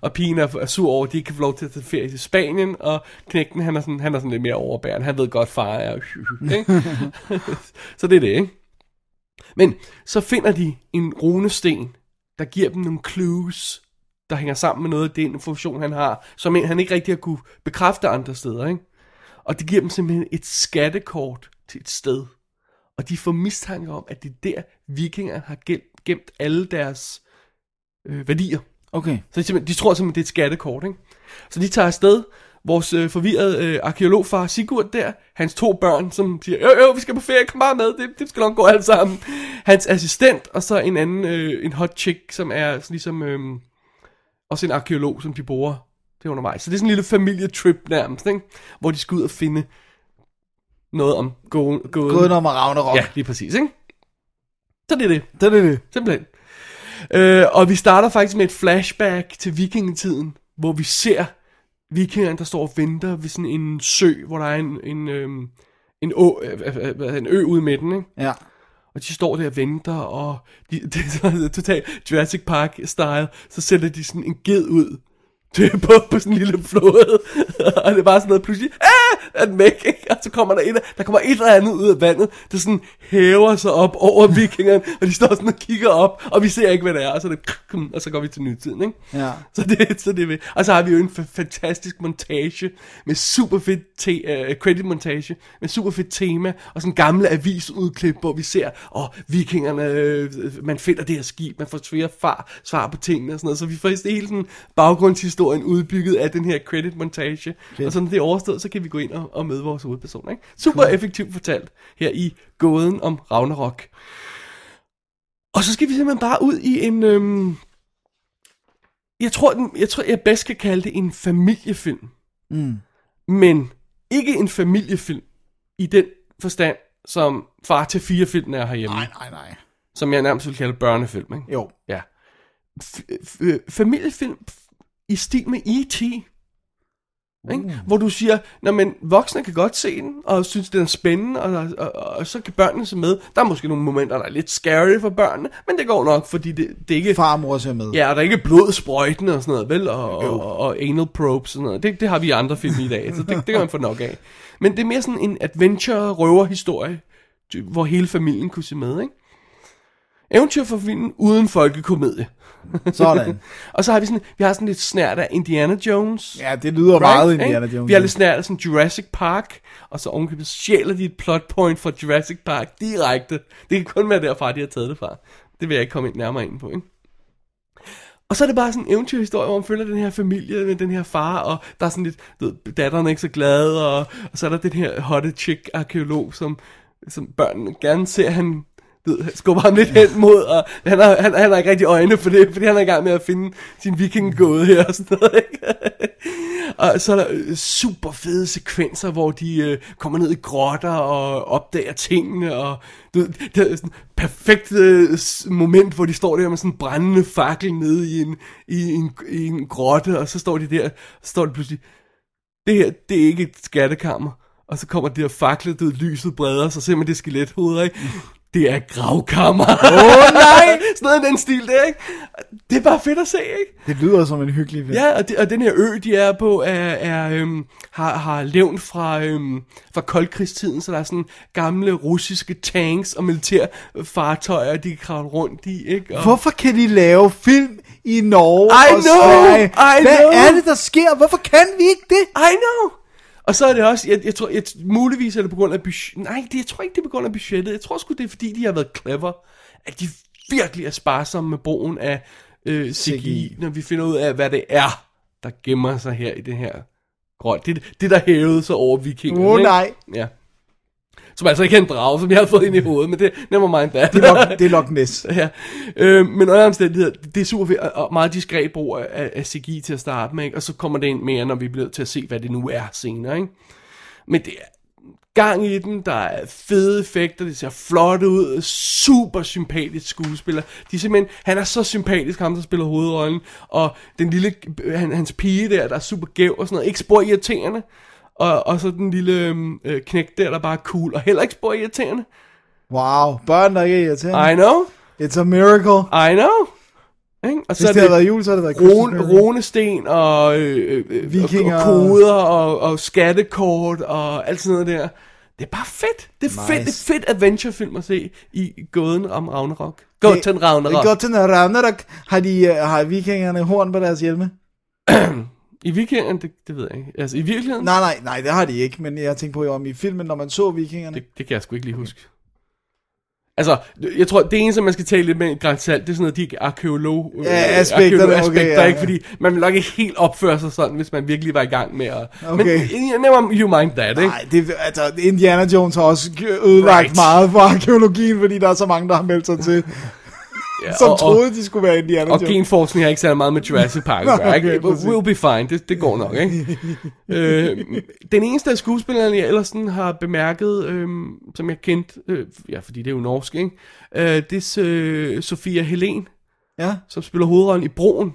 Speaker 5: Og pigen er, er sur over, at de ikke kan få lov til at tage ferie til Spanien, og knægten, han er sådan, han er sådan lidt mere overbærende. Han ved godt, far er... Ikke? så det er det, ikke? Men så finder de en runesten, der giver dem nogle clues, der hænger sammen med noget af den information, han har, som han ikke rigtig har kunne bekræfte andre steder, ikke? Og det giver dem simpelthen et skattekort til et sted. Og de får mistanke om, at det er der, vikinger har gemt, gemt alle deres øh, værdier.
Speaker 6: Okay.
Speaker 5: Så de, simpelthen- de tror simpelthen, det er et skattekort, ikke? Så de tager afsted. Vores øh, forvirrede øh, arkeologfar Sigurd der, hans to børn, som siger, øh, øh, vi skal på ferie, kom bare med, det, det skal nok gå alt sammen. Hans assistent, og så en anden, øh, en hot chick, som er sådan ligesom, øh, også en arkeolog, som de bruger det er undervejs. Så det er sådan en lille familietrip nærmest, ikke? Hvor de skal ud og finde noget om gåden.
Speaker 6: Gåden om Ragnarok.
Speaker 5: Ja, lige præcis, ikke? Så det er det.
Speaker 6: Det er det.
Speaker 5: Simpelthen. Øh, og vi starter faktisk med et flashback til vikingetiden, hvor vi ser vikingerne, der står og venter ved sådan en sø, hvor der er en, en, øhm, en, å, øh, øh, øh, hvad hedder det, en ø ude i midten, ikke?
Speaker 6: Ja.
Speaker 5: Og de står der og venter, og de, det er sådan totalt Jurassic Park-style, så sætter de sådan en ged ud til- på, på sådan en lille flåde, og det er bare sådan noget, pludselig, ah, at væk, ikke? og så kommer der et, der kommer et eller andet ud af vandet, der sådan hæver sig op over vikingerne, og de står sådan og kigger op, og vi ser ikke, hvad det er, og så, er det, krak, og så går vi til nytiden, ikke?
Speaker 6: Ja.
Speaker 5: Så det, så det er ved. Og så har vi jo en fa- fantastisk montage med super fedt te- uh, credit montage med super fedt tema og sådan gamle avisudklip, hvor vi ser, og oh, vikingerne, øh, man finder det her skib, man får svære far, svar på tingene og sådan noget. Så vi får faktisk hele sådan baggrundshistorien udbygget af den her credit montage. Og så når det er overstået, så kan vi gå ind og, og møde vores hovedpersoner. Ikke? Super effektivt fortalt her i gåden om Ragnarok. Og så skal vi simpelthen bare ud i en... Øhm, jeg tror, den, jeg tror, jeg bedst kan kalde det en familiefilm. Mm. Men ikke en familiefilm i den forstand, som far til fire filmen er herhjemme.
Speaker 6: nej, nej.
Speaker 5: Som jeg nærmest vil kalde børnefilm, ikke?
Speaker 6: Jo.
Speaker 5: Ja. F- f- familiefilm f- i stil med E.T. Ikke? Hvor du siger, Nå, men voksne kan godt se den, og synes, den er spændende, og, og, og, og så kan børnene se med. Der er måske nogle momenter, der er lidt scary for børnene, men det går nok, fordi det, det er ikke...
Speaker 6: Far og mor ser med.
Speaker 5: Ja, og der er ikke blod sprøjtende og sådan noget, vel? Og, og, og anal probes og sådan noget. Det, det har vi i andre film i dag, så det, det kan man få nok af. Men det er mere sådan en adventure-røverhistorie, ty- hvor hele familien kunne se med, ikke? Eventyr for filmen uden folkekomedie.
Speaker 6: Sådan.
Speaker 5: Og så har vi sådan, vi har sådan lidt snært af Indiana Jones.
Speaker 6: Ja, det lyder
Speaker 5: Right,
Speaker 6: meget
Speaker 5: ikke?
Speaker 6: Indiana Jones.
Speaker 5: Vi har lidt snært af sådan Jurassic Park, og så ovenkøbet sjæler de et plot point fra Jurassic Park direkte. Det kan kun være derfra, de har taget det fra. Det vil jeg ikke komme ind nærmere ind på, ikke? Og så er det bare sådan en eventyrhistorie, hvor man følger den her familie med den her far, og der er sådan lidt, du ved, datteren er ikke så glad, og, og så er der den her hotte chick arkeolog, som, som børnene gerne ser, han du ved, skubber ham lidt hen mod, og han har, han, han har ikke rigtig øjne for det, fordi han er i gang med at finde sin vikinggåde her og sådan noget, ikke? Og så er der øh, super fede sekvenser, hvor de øh, kommer ned i grotter og opdager tingene, og du, ved, det er sådan et perfekt øh, s- moment, hvor de står der med sådan en brændende fakkel nede i en, i, en, i en grotte, og så står de der, og så står de pludselig, det her, det er ikke et skattekammer. Og så kommer det der fakle, det lyset breder sig, ser man det skelethoveder, ikke? Det er gravkammer. Åh oh, nej! Sådan noget i den stil der, ikke? Det er bare fedt at se, ikke?
Speaker 6: Det lyder som en hyggelig film.
Speaker 5: Ja, og, de, og den her ø, de er på, er, er, øhm, har, har levn fra, øhm, fra koldkrigstiden, så der er sådan gamle russiske tanks og militærfartøjer, de kan kravle rundt i, ikke? Og,
Speaker 6: Hvorfor kan de lave film i Norge
Speaker 5: I
Speaker 6: og
Speaker 5: know,
Speaker 6: Sverige?
Speaker 5: I
Speaker 6: Hvad
Speaker 5: know.
Speaker 6: er det, der sker? Hvorfor kan vi ikke det?
Speaker 5: I know! Og så er det også, jeg, jeg tror, jeg, muligvis er det på grund af budget, nej, det, jeg tror ikke, det er på grund af budgettet, jeg tror sgu, det er fordi, de har været clever, at de virkelig er sparsomme med brugen af øh, CGI,
Speaker 6: CGI.
Speaker 5: når vi finder ud af, hvad det er, der gemmer sig her i det her grønt. Det, det der hævede sig over vikingerne.
Speaker 6: Åh,
Speaker 5: ikke?
Speaker 6: nej.
Speaker 5: Ja. Som altså ikke er en drage, som jeg har fået ind i hovedet, men det never mind that.
Speaker 6: Det er Loch, det er Loch Ness.
Speaker 5: Ja, øh, men under omstændigheder, det er super fedt, og- og meget diskret brug af, af- af CGI til at starte med, ikke? og så kommer det ind mere, når vi bliver nødt til at se, hvad det nu er senere. Ikke? Men det er gang i den, der er fede effekter, det ser flot ud, super sympatisk skuespiller. De er simpelthen, han er så sympatisk, ham der spiller hovedrollen, og den lille, øh, han, hans pige der, der er super gæv og sådan noget, ikke spor irriterende. Og, og så den lille øhm, øh, knæk der, der bare er cool, og heller ikke spor irriterende.
Speaker 6: Wow, børn, der ikke er irriterende.
Speaker 5: I know,
Speaker 6: It's a miracle.
Speaker 5: I know. Ikke? Og så
Speaker 6: Hvis
Speaker 5: er
Speaker 6: det havde været jul, så havde det været Christmas
Speaker 5: Rune,
Speaker 6: miracle.
Speaker 5: runesten og, øh, øh, øh,
Speaker 6: Vikinger.
Speaker 5: og koder og, og skattekort og alt sådan noget der. Det er bare fedt. Det er nice. fedt, det er fedt adventurefilm at se i gåden om Ragnarok. Gå til Ragnarok.
Speaker 6: Godt til Ragnarok. Har, de, øh, har vikingerne horn på deres hjelme?
Speaker 5: Mm. I weekenden, det, det ved jeg ikke. Altså i virkeligheden,
Speaker 6: Nej, nej, nej, det har de ikke. Men jeg tænkte på, om i filmen, når man så vikingerne.
Speaker 5: det, det kan jeg sgu ikke lige huske. Altså, jeg tror, det eneste, man skal tale lidt med Grand Salt, det er sådan noget, de arkeolog, øh,
Speaker 6: Ja, aspekterne, okay,
Speaker 5: aspekter,
Speaker 6: ja,
Speaker 5: ikke?
Speaker 6: ja.
Speaker 5: Fordi man vil nok ikke helt opføre sig sådan, hvis man virkelig var i gang med at...
Speaker 6: Okay.
Speaker 5: Men never you mind that, ikke?
Speaker 6: Nej, det, altså, Indiana Jones har også g- ødelagt
Speaker 5: Right.
Speaker 6: right. meget for arkeologien, fordi der er så mange, der har meldt sig til,
Speaker 5: Ja,
Speaker 6: som
Speaker 5: og- og-
Speaker 6: troede, de skulle være
Speaker 5: Og
Speaker 6: Indiana Jones.
Speaker 5: genforskning har ikke særlig meget med Jurassic Park
Speaker 6: Nå,
Speaker 5: at gøre, ikke?
Speaker 6: okay, præcis.
Speaker 5: We'll be fine, det, det går nok, ikke? øh, den eneste af skuespillerne, jeg ellers sådan har bemærket, øh, som jeg kendte, øh, ja, fordi det er jo norsk, ikke? Øh, det er øh, Sofia Helen,
Speaker 6: Ja,
Speaker 5: som spiller hovedrollen i Broen.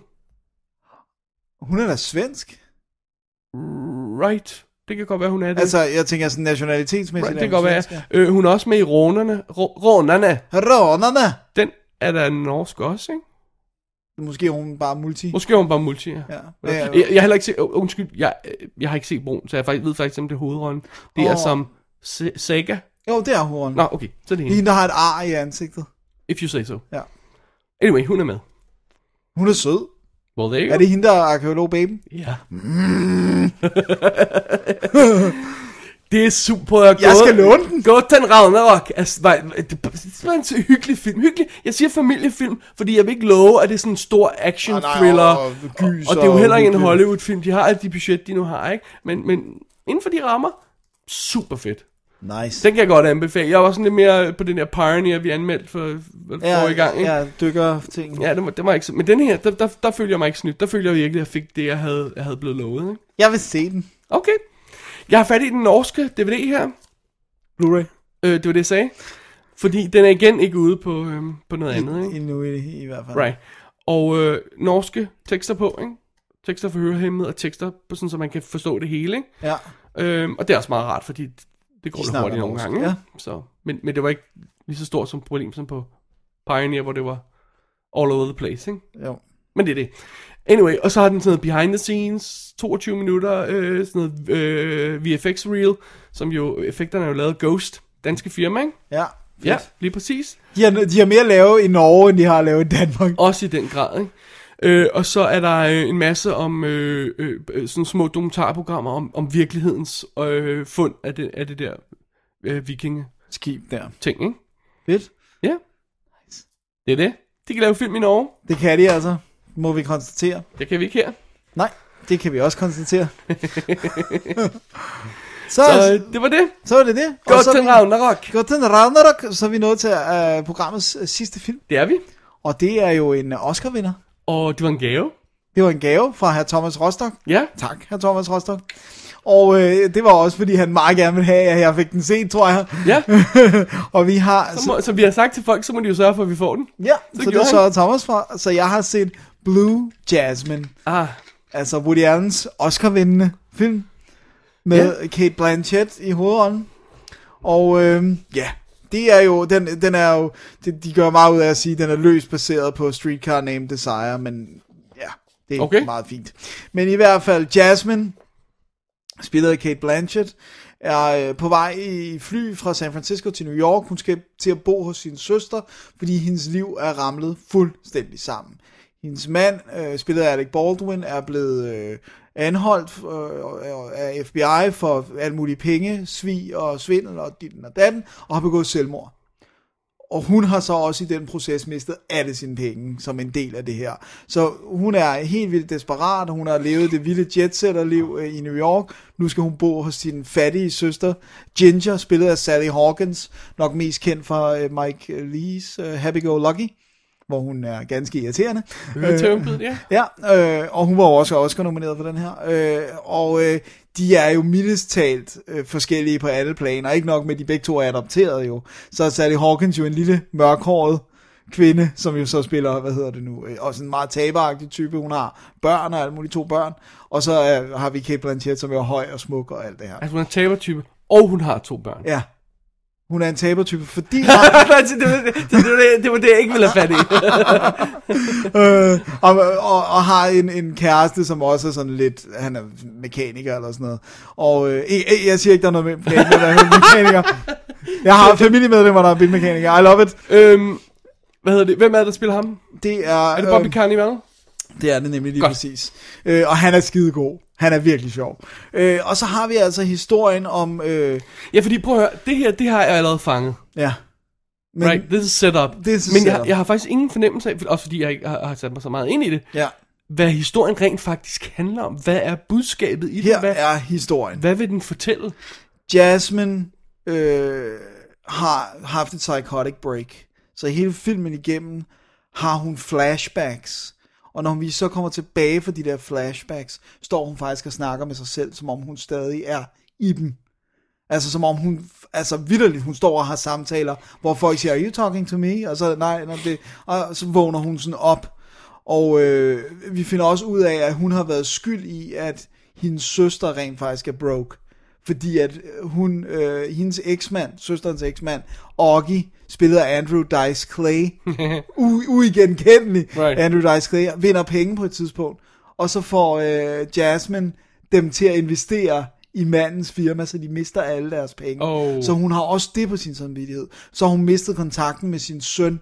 Speaker 6: hun er da svensk.
Speaker 5: Right, det kan godt være, hun er det.
Speaker 6: Altså, jeg tænker sådan nationalitetsmæssigt.
Speaker 5: right,
Speaker 6: er
Speaker 5: det kan
Speaker 6: hun
Speaker 5: godt være.
Speaker 6: svensk, ja.
Speaker 5: Øh, hun er også med i Rånerne. Rå- Rånerne,
Speaker 6: Rånerne!
Speaker 5: den er da norsk også, ikke?
Speaker 6: Måske er hun bare multi.
Speaker 5: Måske er hun bare multi, ja.
Speaker 6: Ja.
Speaker 5: Ja.
Speaker 6: Ja,
Speaker 5: Jeg, jeg har heller ikke set, uh, undskyld, jeg, øh, jeg har ikke set Broen, så jeg faktisk, ved faktisk, om det er hovedrollen. Det oh. er
Speaker 6: Åh.
Speaker 5: som Se- Sega.
Speaker 6: Jo, det er hun.
Speaker 5: Nå, okay, så er det hende.
Speaker 6: Hende, der har et ar i ansigtet.
Speaker 5: If you say so.
Speaker 6: Ja.
Speaker 5: Anyway, hun er med.
Speaker 6: Hun er sød.
Speaker 5: Well, there you
Speaker 6: Er
Speaker 5: go.
Speaker 6: det hende, der er arkeolog baby?
Speaker 5: Ja. det er super prøv at
Speaker 6: Jeg
Speaker 5: gå-
Speaker 6: skal låne den.
Speaker 5: Gå til en Ragnarok. Altså, nej, det, det er en så hyggelig film. Hyggelig. Jeg siger familiefilm, fordi jeg vil ikke love, at det er sådan en stor action
Speaker 6: Ah, nej,
Speaker 5: thriller.
Speaker 6: og- og
Speaker 5: og,
Speaker 6: gys
Speaker 5: og det er jo
Speaker 6: og
Speaker 5: heller ikke en
Speaker 6: uhyggeligt.
Speaker 5: Hollywood-film. De har alt de budget, de nu har, ikke? Men, men inden for de rammer, super fedt.
Speaker 6: Nice.
Speaker 5: Den kan jeg godt anbefale. Jeg var sådan lidt mere på den der Pioneer, vi anmeldte for, for ja, forrige gang, ikke?
Speaker 6: Ja, dykker ting. Ja.
Speaker 5: Ja, det var, det var ikke så. Men den her, der, der, der følger jeg mig ikke snydt. Der følger jeg virkelig, at jeg fik det, jeg havde, jeg havde blevet lovet. Ikke?
Speaker 6: Jeg vil se den.
Speaker 5: Okay. Jeg har fat i den norske DVD her.
Speaker 6: Blu-ray.
Speaker 5: Øh, det var det, jeg sagde. Fordi den er igen ikke ude på, øhm, på noget andet, ikke?
Speaker 6: Endnu i, i hvert fald.
Speaker 5: Right. Og øh, norske tekster på, ikke? Tekster for hørehæmmede og tekster, på sådan, så man kan forstå det hele, ikke?
Speaker 6: Ja.
Speaker 5: Øhm, og det er også meget rart, fordi det går
Speaker 6: De
Speaker 5: lidt
Speaker 6: snakker
Speaker 5: hurtigt nogle
Speaker 6: norsk,
Speaker 5: gange. Ja.
Speaker 6: ja.
Speaker 5: Så, men, men det var ikke lige så stort som problem som på Pioneer, hvor det var all over the place, ikke?
Speaker 6: Jo.
Speaker 5: Men det er det. Anyway, og så har den sådan noget behind the scenes, 22 minutter, øh, sådan noget øh, VFX reel, som jo, effekterne er jo lavet af Ghost, danske firma, ikke?
Speaker 6: Ja.
Speaker 5: Ja, lige præcis.
Speaker 6: De har, de har mere lavet i Norge, end de har lavet i Danmark.
Speaker 5: Også i den grad, ikke? Øh, og så er der øh, en masse om øh, øh, øh, sådan små dokumentarprogrammer om, om virkelighedens øh, fund af det, af det der øh, vikinge-ting,
Speaker 6: Skib der.
Speaker 5: ikke?
Speaker 6: Fedt.
Speaker 5: Ja. Det er det. De kan lave film i Norge.
Speaker 6: Det kan de altså, må vi konstatere.
Speaker 5: Det kan vi ikke her.
Speaker 6: Nej, det kan vi også konstatere. så,
Speaker 5: Så
Speaker 6: så,
Speaker 5: øh, det var det.
Speaker 6: så var det det. Og så er
Speaker 5: Godt til
Speaker 6: vi-
Speaker 5: Ragnarok.
Speaker 6: Godt til Ragnarok, så er vi nået til uh, programmets øh, sidste film.
Speaker 5: Det er vi.
Speaker 6: Og det er jo en øh, Oscar-vinder.
Speaker 5: Og det var en gave.
Speaker 6: Det var en gave fra hr. Thomas Rostock.
Speaker 5: Ja.
Speaker 6: Tak, hr. Thomas Rostock. Og øh, det var også, fordi han meget gerne ville have, at jeg fik den set, tror jeg.
Speaker 5: Ja.
Speaker 6: og vi har...
Speaker 5: Så må, som vi har sagt til folk, så må de jo sørge for, at vi får den.
Speaker 6: ja,
Speaker 5: så
Speaker 6: så, så
Speaker 5: gjorde
Speaker 6: det så Thomas for. Så jeg har set Blue Jasmine.
Speaker 5: Ah,
Speaker 6: Altså Woody Allens Oscar-vindende film. Med ja. Kate Blanchett i hovedånden. Og øhm, ja, det er jo, den, den er jo, de, de gør meget ud af at sige, at den er løst baseret på Streetcar Named Desire, men ja, det er
Speaker 5: Okay.
Speaker 6: okay. meget fint. Men i hvert fald, Jasmine, spillet af Kate Blanchett, er øh, på vej i fly fra San Francisco til New York. Hun skal til at bo hos sin søster, fordi hendes liv er ramlet fuldstændig sammen. Hendes mand, øh, spillet af Alec Baldwin, er blevet øh, anholdt øh, af FBI for alt muligt penge, svig og svindel og ditten og datten, og har begået selvmord. Og hun har så også i den proces mistet alle sine penge som en del af det her. Så hun er helt vildt desperat, hun har levet det vilde jetsetterliv øh, i New York. Nu skal hun bo hos sin fattige søster Ginger, spillet af Sally Hawkins, nok mest kendt fra øh, Mike Lees øh, Happy Go Lucky, hvor hun er ganske irriterende.
Speaker 5: høretømpet, ja.
Speaker 6: Ja, øh, og hun var jo også Oscar-nomineret for den her. Øh, og øh, de er jo mildest talt øh, forskellige på alle planer. Ikke nok med, at de begge to er adopteret jo. Så er Sally Hawkins jo en lille mørkhåret kvinde, som jo så spiller, hvad hedder det nu, øh, også en meget taberagtig type. Hun har børn og alt muligt, to børn. Og så øh, har vi Kate Blanchett, som jo er høj og smuk og alt det her.
Speaker 5: Altså, hun er en tabertype, og hun har to børn.
Speaker 6: Ja, hun er en tabertype, fordi...
Speaker 5: det, det, det, det, det, det var det, jeg ikke ville have fat i.
Speaker 6: øh, og, og, og har en, en kæreste, som også er sådan lidt, han er mekaniker eller sådan noget. Og øh, jeg, jeg siger ikke, der er noget med planen, der er mekaniker. Jeg har familiemedlemmer, der er bilmekanikere. I love it.
Speaker 5: øhm, hvad hedder det? Hvem er det, der spiller ham?
Speaker 6: Det er,
Speaker 5: Er det Bobby
Speaker 6: øh,
Speaker 5: Carnival?
Speaker 6: det er det nemlig lige
Speaker 5: Godt.
Speaker 6: Godt. præcis. Øh, og han er skidegod. Han er virkelig sjov. Øh, og så har vi altså historien om... Øh,
Speaker 5: Ja, fordi prøv at høre, det her, det har jeg allerede fanget.
Speaker 6: ja.
Speaker 5: Men, right, this is setup.
Speaker 6: This is
Speaker 5: Men Jeg,
Speaker 6: setup.
Speaker 5: jeg har faktisk ingen fornemmelse af, for- også fordi jeg ikke har, har sat mig så meget ind i det,
Speaker 6: ja,
Speaker 5: hvad historien rent faktisk handler om. Hvad er budskabet i
Speaker 6: her
Speaker 5: det? Hvad,
Speaker 6: er historien.
Speaker 5: hvad vil den fortælle?
Speaker 6: Jasmine øh, har haft et psychotic break. Så hele filmen igennem har hun flashbacks. Og når vi så kommer tilbage fra de der flashbacks, står hun faktisk og snakker med sig selv, som om hun stadig er i dem. Altså som om hun, altså vidderligt, hun står og har samtaler, hvor folk siger, are you talking to me? Og så, nej, nej det, og så vågner hun sådan op. Og øh, vi finder også ud af, at hun har været skyld i, at hendes søster rent faktisk er broke. Fordi at hun, øh, hendes eksmand, søsterens eksmand, Oggy, spillet af Andrew Dice Clay, u- uigenkendelig
Speaker 5: Right.
Speaker 6: Andrew Dice Clay, vinder penge på et tidspunkt. Og så får øh, Jasmine dem til at investere i mandens firma, så de mister alle deres penge.
Speaker 5: Oh.
Speaker 6: Så hun har også det på sin samvittighed. Så har hun mistet kontakten med sin søn,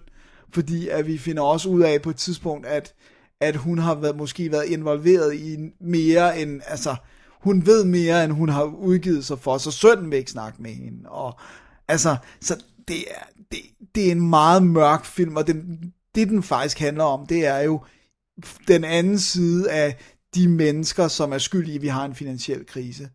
Speaker 6: fordi at vi finder også ud af på et tidspunkt, at, at hun har været, måske været involveret i mere end, altså, hun ved mere, end hun har udgivet sig for, så sønnen vil ikke snakke med hende. Og, altså, så det er, det, det er en meget mørk film, og den, det den faktisk handler om, det er jo den anden side af de mennesker, som er skyldige, at vi har en finansiel krise.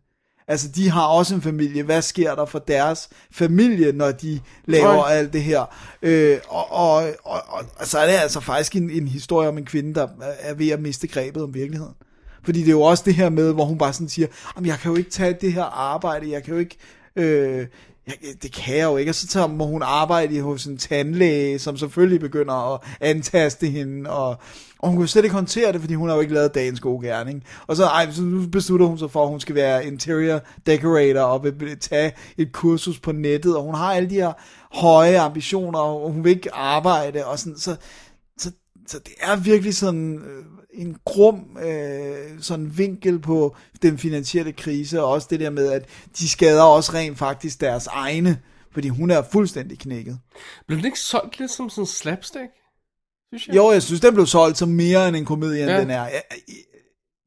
Speaker 6: Altså, de har også en familie. Hvad sker der for deres familie, når de laver
Speaker 5: Right.
Speaker 6: alt det her? Øh, og, og, og, og, og så er det altså faktisk en, en historie om en kvinde, der er- er ved at miste grebet om virkeligheden. Fordi det er jo også det her med, hvor hun bare sådan siger, Jamen, jeg kan jo ikke tage det her arbejde, jeg kan jo ikke... Øh, Ja, det kan jeg jo ikke. Og så tager, må hun arbejde i- hos en tandlæge, som selvfølgelig begynder at antaste hende. Og, og hun kan jo slet ikke håndtere det, fordi hun har jo ikke lavet dagens gode gerning. Og så, ej, så nu beslutter hun sig for, at hun skal være interior decorator og vil- vil tage et kursus på nettet. Og hun har alle de her høje ambitioner, og hun vil ikke arbejde. Og sådan, så, så, så det er virkelig sådan øh, en grum øh, sådan vinkel på den finansielle krise, og også det der med, at de skader også rent faktisk deres egne, fordi hun er fuldstændig knækket.
Speaker 5: Blev den ikke solgt lidt som sådan en slapstick? Synes jeg.
Speaker 6: Jo, jeg synes, den blev solgt som mere end en komedie, end
Speaker 5: Ja.
Speaker 6: ja. den er. Jeg- jeg-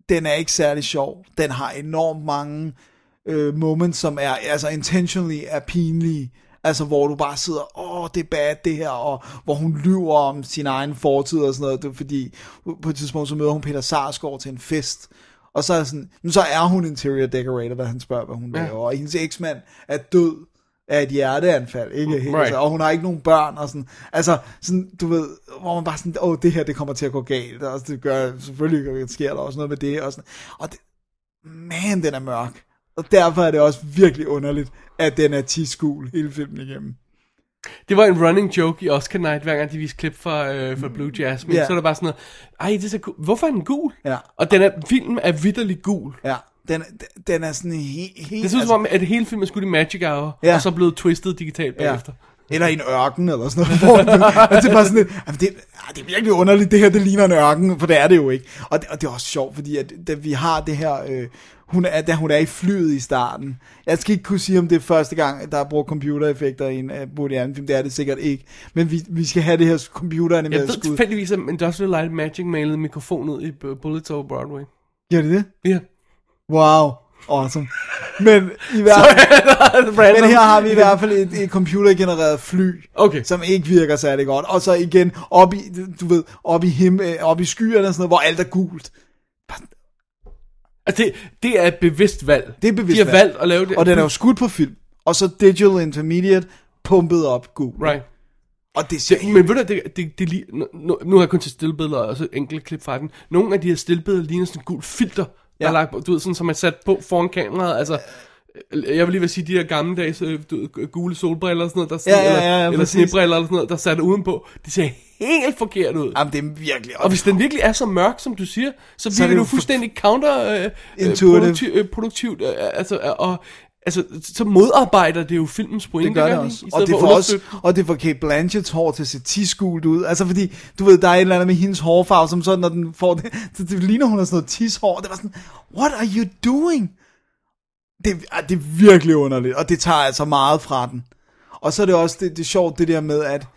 Speaker 6: Den er ikke særlig sjov. Den har enormt mange øh, moments, som er altså intentionally er pinlige. Altså, hvor du bare sidder, åh, det er bad det her, og hvor hun lyver om sin egen fortid og sådan noget, det er fordi på et tidspunkt, så møder hun Peter Sarsgaard til en fest, og så er, sådan, men så er hun interior decorator, da han spørger, hvad hun
Speaker 5: Ja.
Speaker 6: laver, og hendes eksmand er død af et hjerteanfald, ikke? Right.
Speaker 5: Right.
Speaker 6: Altså, og hun har ikke nogen børn, og sådan, altså, sådan, du ved, hvor man bare sådan, åh, det her, det kommer til at gå galt, og det gør, selvfølgelig sker der også noget med det, og sådan, og det, man, den er mørk, og derfor er det også virkelig underligt, at den er tidsgul hele filmen igennem.
Speaker 5: Det var en running joke i Oscar Night, hver gang de viste klip fra, øh, fra Blue Jasmine.
Speaker 6: Ja.
Speaker 5: Så er der bare sådan noget, ej, det er så gu- hvorfor er den gul?
Speaker 6: Ja.
Speaker 5: Og den er, filmen er vidderlig gul.
Speaker 6: Ja, den, den er sådan helt... He,
Speaker 5: Det synes altså, som om, at hele filmen er skudt i Magic Hour,
Speaker 6: Ja.
Speaker 5: og så er blevet twistet digitalt bagefter.
Speaker 6: altså, Eller i en ørken, eller sådan noget. Hvor, altså, det er bare sådan, lidt, jamen, det, ah, det er virkelig underligt, det her, det ligner en ørken, for det er det jo ikke. Og det, og det er også sjovt, fordi at, da vi har det her, øh, hun er, da hun er i flyet i starten. Jeg skal ikke kunne sige, om det er første gang, der er brugt computereffekter i en uh, Woody Allen film. Det er det sikkert ikke. Men vi, vi skal have det her
Speaker 5: Jeg
Speaker 6: computeranimerede
Speaker 5: ved
Speaker 6: skud.
Speaker 5: tilfældigvis, at Industrial Light and Magic malede mikrofon ud i Bu- Bullets over Broadway.
Speaker 6: Gør det det?
Speaker 5: Ja.
Speaker 6: Wow. Awesome. Men i hvert fald...
Speaker 5: Random.
Speaker 6: Men her har vi i hvert fald et, et computergenereret fly,
Speaker 5: Okay.
Speaker 6: som ikke virker særlig godt. Og så igen op i, du ved, op i, him, øh, op i skyerne og sådan noget, hvor alt er gult.
Speaker 5: Altså, det, det er et bevidst valg.
Speaker 6: Det er et bevidst
Speaker 5: De har
Speaker 6: valg.
Speaker 5: valgt at lave det.
Speaker 6: Og den er jo skudt på film. Og så Digital Intermediate pumpet op gul.
Speaker 5: Right.
Speaker 6: Og det ser
Speaker 5: Det,
Speaker 6: helt...
Speaker 5: men ved du, det, det, det, lige, nu, nu- nu har jeg kun til stillbilleder og så enkelte klip fra den. Nogle af de her stillbilleder ligner sådan en gul filter, ja. der
Speaker 6: Ja.
Speaker 5: er lagt på, du ved, sådan, som er sat på foran kameraet. Altså, øh, jeg vil lige vil sige, de her gammeldags øh, du ved, gule solbriller og sådan noget, der sådan,
Speaker 6: Ja, ja, ja, ja,
Speaker 5: eller, eller
Speaker 6: præcis.
Speaker 5: snebriller eller sådan noget, der er sat udenpå. Det ser helt forkert ud.
Speaker 6: Jamen, det er virkelig...
Speaker 5: Og hvis den virkelig er så mørk, som du siger, så
Speaker 6: er
Speaker 5: virker
Speaker 6: det
Speaker 5: det
Speaker 6: jo
Speaker 5: jo fuldstændig counter øh, øh,
Speaker 6: Intuitive.
Speaker 5: produktiv, øh, produktivt, øh, altså, øh, og, altså, så modarbejder det jo filmens pointe.
Speaker 6: det gør det
Speaker 5: ikke?
Speaker 6: også.
Speaker 5: I
Speaker 6: Og
Speaker 5: stedet
Speaker 6: det,
Speaker 5: for
Speaker 6: får
Speaker 5: at
Speaker 6: også,
Speaker 5: understøtte-
Speaker 6: og det får Kate Blanchetts hår til at se tisgult ud. Altså fordi, du ved, der er et eller andet med hendes hårfarve, som sådan, når den får det, så det ligner hun har sådan noget tishår. Det var sådan, what are you doing? Det, ah, det er virkelig underligt, og det tager altså meget fra den. Og så er det også det, det er sjovt det der med, at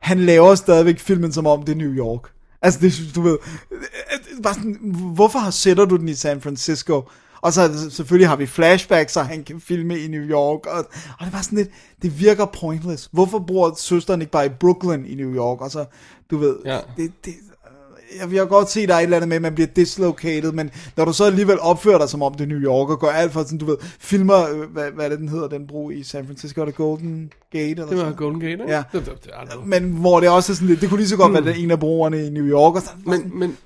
Speaker 6: han laver stadigvæk filmen som om det er New York. Altså, det, du ved, øh, bare sådan, hvorfor har- sætter du den i San Francisco? Og så selvfølgelig har vi flashbacks, så han kan filme i New York. Og, og det var sådan lidt, det virker pointless. Hvorfor bor søsteren ikke bare i Brooklyn i New York? Og så, du ved,
Speaker 5: Ja.
Speaker 6: det, det, øh, jeg vil godt se, der er et eller andet med, at man bliver dislocated, men når du så alligevel opfører dig som om det er New York, og går alt for, sådan, du ved, filmer, øh, hvad, hvad er det, den hedder, den bro i San Francisco, er det Golden Gate? Eller
Speaker 5: Det var
Speaker 6: sådan?
Speaker 5: Golden Gate, ikke?
Speaker 6: Ja.
Speaker 5: Det, det, det, er det.
Speaker 6: Men hvor det også er sådan lidt, det kunne lige så godt mm. være den en af brugerne i New York, og sådan, men,
Speaker 5: Men, men,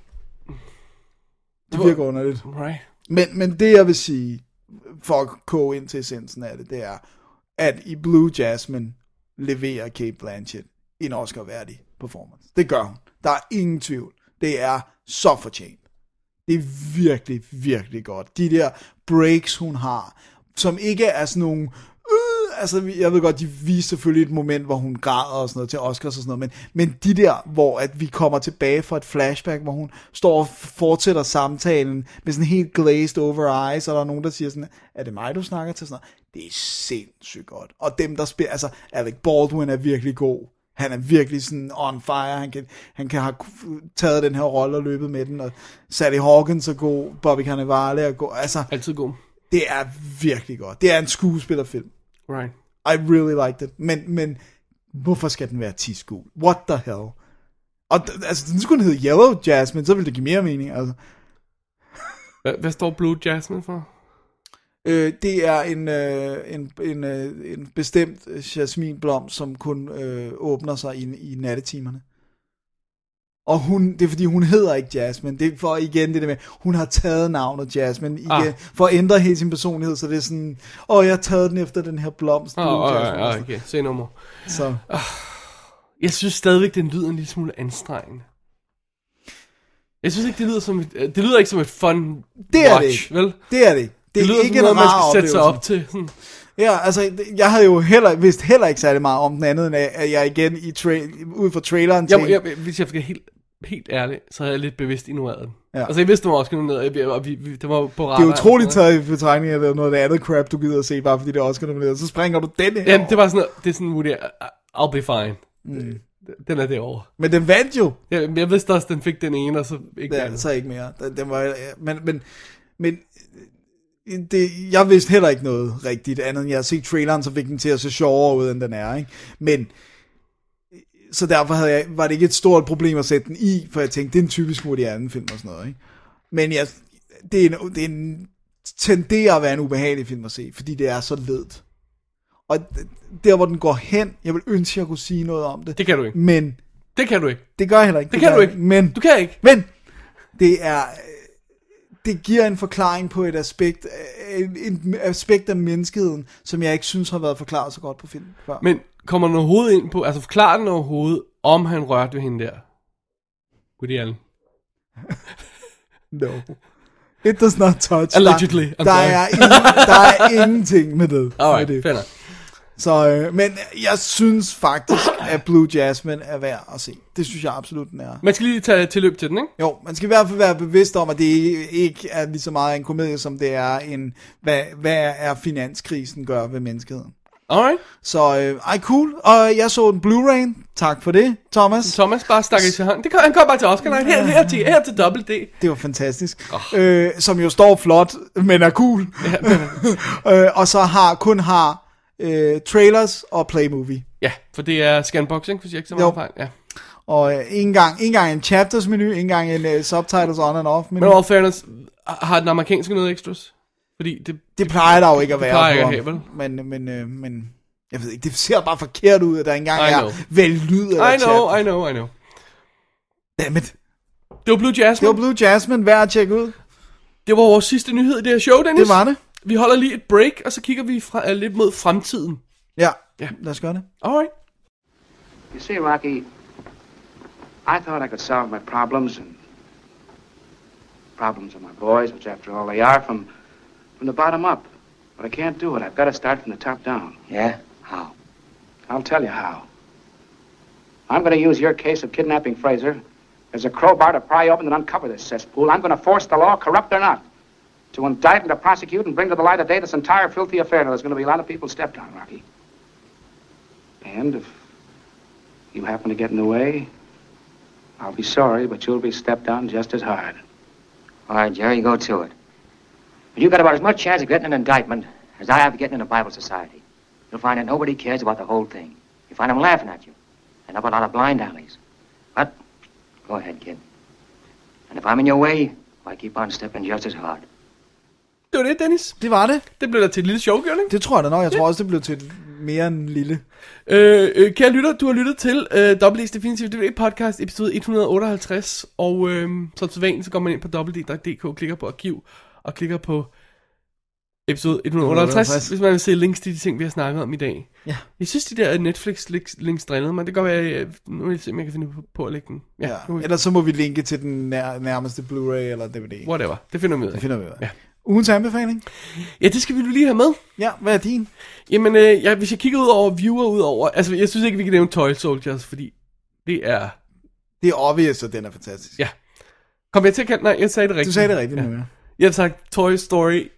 Speaker 6: det virker underligt.
Speaker 5: right.
Speaker 6: Men, men det jeg vil sige, for at koge ind til essensen af det, det er, at i Blue Jasmine leverer Kate Blanchett en Oscar-værdig performance. Det gør hun. Der er ingen tvivl. Det er så fortjent. Det er virkelig, virkelig godt. De der breaks, hun har, som ikke er sådan nogle... Øh, altså, vi- jeg ved godt, de viser selvfølgelig et moment, hvor hun græder og sådan noget til Oscars og sådan noget, men, men de der, hvor at vi kommer tilbage fra et flashback, hvor hun står og fortsætter samtalen med sådan helt glazed over eyes, og der er nogen, der siger sådan, er det mig, du snakker til? Sådan noget. Det er sindssygt godt. Og dem, der spiller... Altså, Alec Baldwin er virkelig god. Han er virkelig sådan on fire. Han kan, han kan have ku- taget den her rolle og løbet med den. Og Sally Hawkins er god. Bobby Cannavale er god. Altså,
Speaker 5: Altid god.
Speaker 6: det er virkelig godt. Det er en skuespillerfilm.
Speaker 5: Right.
Speaker 6: I really liked it. Men, men hvorfor skal den være 10 gul? What the hell? Og d- altså, den skulle hedde Yellow Jasmine, så ville det give mere mening. Altså.
Speaker 5: Hvad, hvad står Blue Jasmine for?
Speaker 6: Øh, det er en, øh, en, en, øh, en bestemt jasminblom, som kun øh, åbner sig i, i nattetimerne. Og hun, det er fordi, hun hedder ikke Jasmine. Det er for igen det der med, hun har taget navnet Jasmine igen,
Speaker 5: Ah.
Speaker 6: ah. for at ændre hele sin personlighed. Så det er sådan, åh, jeg har taget den efter den her blomst.
Speaker 5: Åh,
Speaker 6: nu,
Speaker 5: oh,
Speaker 6: Jasmine."
Speaker 5: okay, okay, se nummer.
Speaker 6: Så
Speaker 5: Jeg synes stadigvæk, den lyder en lille smule anstrengende. Jeg synes ikke, det lyder som et, øh, det lyder ikke som et fun
Speaker 6: Det er det
Speaker 5: watch,
Speaker 6: ikke.
Speaker 5: vel? Det,
Speaker 6: det er det. ikke. Det,
Speaker 5: det lyder
Speaker 6: er
Speaker 5: som
Speaker 6: ikke
Speaker 5: noget,
Speaker 6: en
Speaker 5: man
Speaker 6: rar
Speaker 5: skal sætte sig
Speaker 6: oplevelse.
Speaker 5: op til. Sådan.
Speaker 6: Ja, altså, det- jeg havde jo heller, vidst heller ikke særlig meget om den andet, end at jeg igen i tra- ud fra traileren
Speaker 5: Jeg,
Speaker 6: tænkte,
Speaker 5: jeg, jeg, hvis jeg skal helt, helt ærlig, så havde jeg lidt bevidst ignoreret den. Ja.
Speaker 6: Ja.
Speaker 5: Altså, jeg vidste, den var også ned, og jeg- og vi, vi, den var på
Speaker 6: det
Speaker 5: radaren
Speaker 6: er
Speaker 5: og
Speaker 6: utroligt
Speaker 5: sådan noget.
Speaker 6: taget i betragtning, at det er noget af det andet crap, du gider at se, bare fordi det er Oscar nomineret. Så springer du den her.
Speaker 5: Jamen, det var sådan noget, det er sådan, Woody, I'll be fine. Mm. Den er derovre.
Speaker 6: Men den vandt jo.
Speaker 5: Jeg, jeg vidste også, den fik den ene, og så ikke
Speaker 6: Det
Speaker 5: den
Speaker 6: er
Speaker 5: anden.
Speaker 6: altså ikke mere. Den, den var, ja, men, men, men øh, det, jeg vidste heller ikke noget rigtigt andet, end jeg har set traileren, så fik den til at se sjovere ud, end den er. Ikke? Men, øh, så derfor havde jeg, var det ikke et stort problem at sætte den i, for jeg tænkte, det er en typisk Woody Allen film og sådan noget. Ikke? Men jeg, det, er en, det er en, tenderer at være en ubehagelig film at se, fordi det er så ledt. Og d- der, hvor den går hen, jeg vil ønske, jeg kunne sige noget om det.
Speaker 5: Det kan du ikke.
Speaker 6: Men
Speaker 5: Det kan du ikke.
Speaker 6: det gør jeg heller ikke.
Speaker 5: Det kan
Speaker 6: gør
Speaker 5: du
Speaker 6: jeg
Speaker 5: ikke.
Speaker 6: Men
Speaker 5: Du kan ikke.
Speaker 6: men det er øh, det giver en forklaring på et aspekt, øh, en, en aspekt af menneskeheden, som jeg ikke synes har været forklaret så godt på film før.
Speaker 5: Men kommer den overhovedet ind på, altså forklarer den overhovedet, om han rørte ved hende der? Woody Allen.
Speaker 6: no. It does not touch.
Speaker 5: Allegedly,
Speaker 6: Der,
Speaker 5: I'm
Speaker 6: der,
Speaker 5: sorry.
Speaker 6: er, ingen, der er ingenting med det.
Speaker 5: Alright,
Speaker 6: med det.
Speaker 5: fair nok.
Speaker 6: Så, øh, men jeg synes faktisk, at Blue Jasmine er værd at se. Det synes jeg absolut, den er.
Speaker 5: Man skal lige tage tilløb til den, ikke?
Speaker 6: Jo, man skal i hvert fald være bevidst om, at det ikke er lige så meget en komedie, som det er en, hvad, hvad er finanskrisen gør ved menneskeheden.
Speaker 5: Alright.
Speaker 6: Så øh, ej, cool. Og jeg så en Blu-ray. Tak for det, Thomas.
Speaker 5: Thomas bare stak i til hånden. Det kom, han kom bare til Oscar Night. Her, her, til, her til Double D.
Speaker 6: Det var fantastisk. Oh. Øh, som jo står flot, men er cool. øh, og så har kun har øh, trailers og playmovie.
Speaker 5: Ja, for det er scanboxing, hvis jeg ikke så
Speaker 6: Jo.
Speaker 5: meget fejl. Ja.
Speaker 6: Og øh, ikke engang, ikke engang en chapters menu, ikke engang en øh, subtitles on and off
Speaker 5: Men
Speaker 6: menu.
Speaker 5: all fairness, har den amerikanske noget extras? Fordi det...
Speaker 6: Det plejer der jo ikke at
Speaker 5: Det
Speaker 6: være.
Speaker 5: plejer
Speaker 6: på
Speaker 5: ikke at
Speaker 6: ham.
Speaker 5: have, vel?
Speaker 6: Men, men, øh, men jeg ved ikke, det ser bare forkert ud, at der ikke engang
Speaker 5: I
Speaker 6: er
Speaker 5: know.
Speaker 6: vel lyd eller
Speaker 5: I know,
Speaker 6: chat.
Speaker 5: I know, I know.
Speaker 6: Dammit.
Speaker 5: Det var Blue
Speaker 6: Det
Speaker 5: Jasmine.
Speaker 6: var Blue Jasmine, værd at tjekke ud.
Speaker 5: Det var vores sidste nyhed i det her show, Dennis.
Speaker 6: Det var det.
Speaker 5: Vi holder lige et break, og så kigger vi fra, uh, lidt mod fremtiden.
Speaker 6: Ja,
Speaker 5: Ja.
Speaker 6: lad os gøre det.
Speaker 5: Alright.
Speaker 9: You see, Rocky, I thought I could solve my problems and problems of my boys, which after all they are, from from the bottom up. But I can't do it. I've got to start from the top down.
Speaker 1: Yeah?
Speaker 9: How? I'll tell you how. I'm going to use your case of kidnapping Fraser as a crowbar to pry open and uncover this cesspool. I'm going to force the law, corrupt or not, to indict and to prosecute and bring to the light of day this entire filthy affair. Now, there's going to be a lot of people stepped on, Rocky. And if you happen to get in the way, I'll be sorry, but you'll be stepped on just as hard.
Speaker 7: All right, Jerry, you go to it. But you've got about as much chance of getting an indictment as I have of getting in a Bible society. You'll find that nobody cares about the whole thing. You find them laughing at you, and up a lot of blind alleys. But go ahead, kid. And if I'm in your way, I keep on stepping just as hard.
Speaker 5: Det var det, Dennis.
Speaker 6: Det var det.
Speaker 5: Det blev da til et lille show, gjorde det ikke?
Speaker 6: Det tror jeg da nok. Jeg tror også, det blev til mere end lille.
Speaker 5: Øh, øh, kære lytter, du har lyttet til øh, WD's Definitive DVD Podcast, episode 158, og øh, som sædvanligt, så går man ind på wd.dk, klikker på arkiv, og klikker på episode 158,
Speaker 6: 158.
Speaker 5: hvis man vil se links til de ting, vi har snakket om i dag.
Speaker 6: Ja.
Speaker 5: Jeg synes, de der Netflix-links links drillede mig. Det kan godt være, at nu vil jeg se, om jeg kan finde på- på at lægge den. Ja,
Speaker 6: Ja.
Speaker 5: nu,
Speaker 6: Ellers så må vi linke til den nær- nærmeste Blu-ray eller DVD.
Speaker 5: whatever. Det finder vi ud af.
Speaker 6: Det finder vi ud af.
Speaker 5: Ja.
Speaker 6: Ugens anbefaling?
Speaker 5: Ja, det skal vi lige have med.
Speaker 6: Ja, hvad er din?
Speaker 5: Jamen, øh, jeg, hvis jeg kigger ud over viewer, ud over... Altså, jeg synes ikke, vi kan nævne Toy Soldiers, fordi det er...
Speaker 6: Det er obvious, at den er fantastisk.
Speaker 5: Ja. Kom jeg til at kalde Nej, jeg sagde det rigtigt.
Speaker 6: Du sagde det rigtigt ja. nu, ja.
Speaker 5: Jeg har sagt Toy Story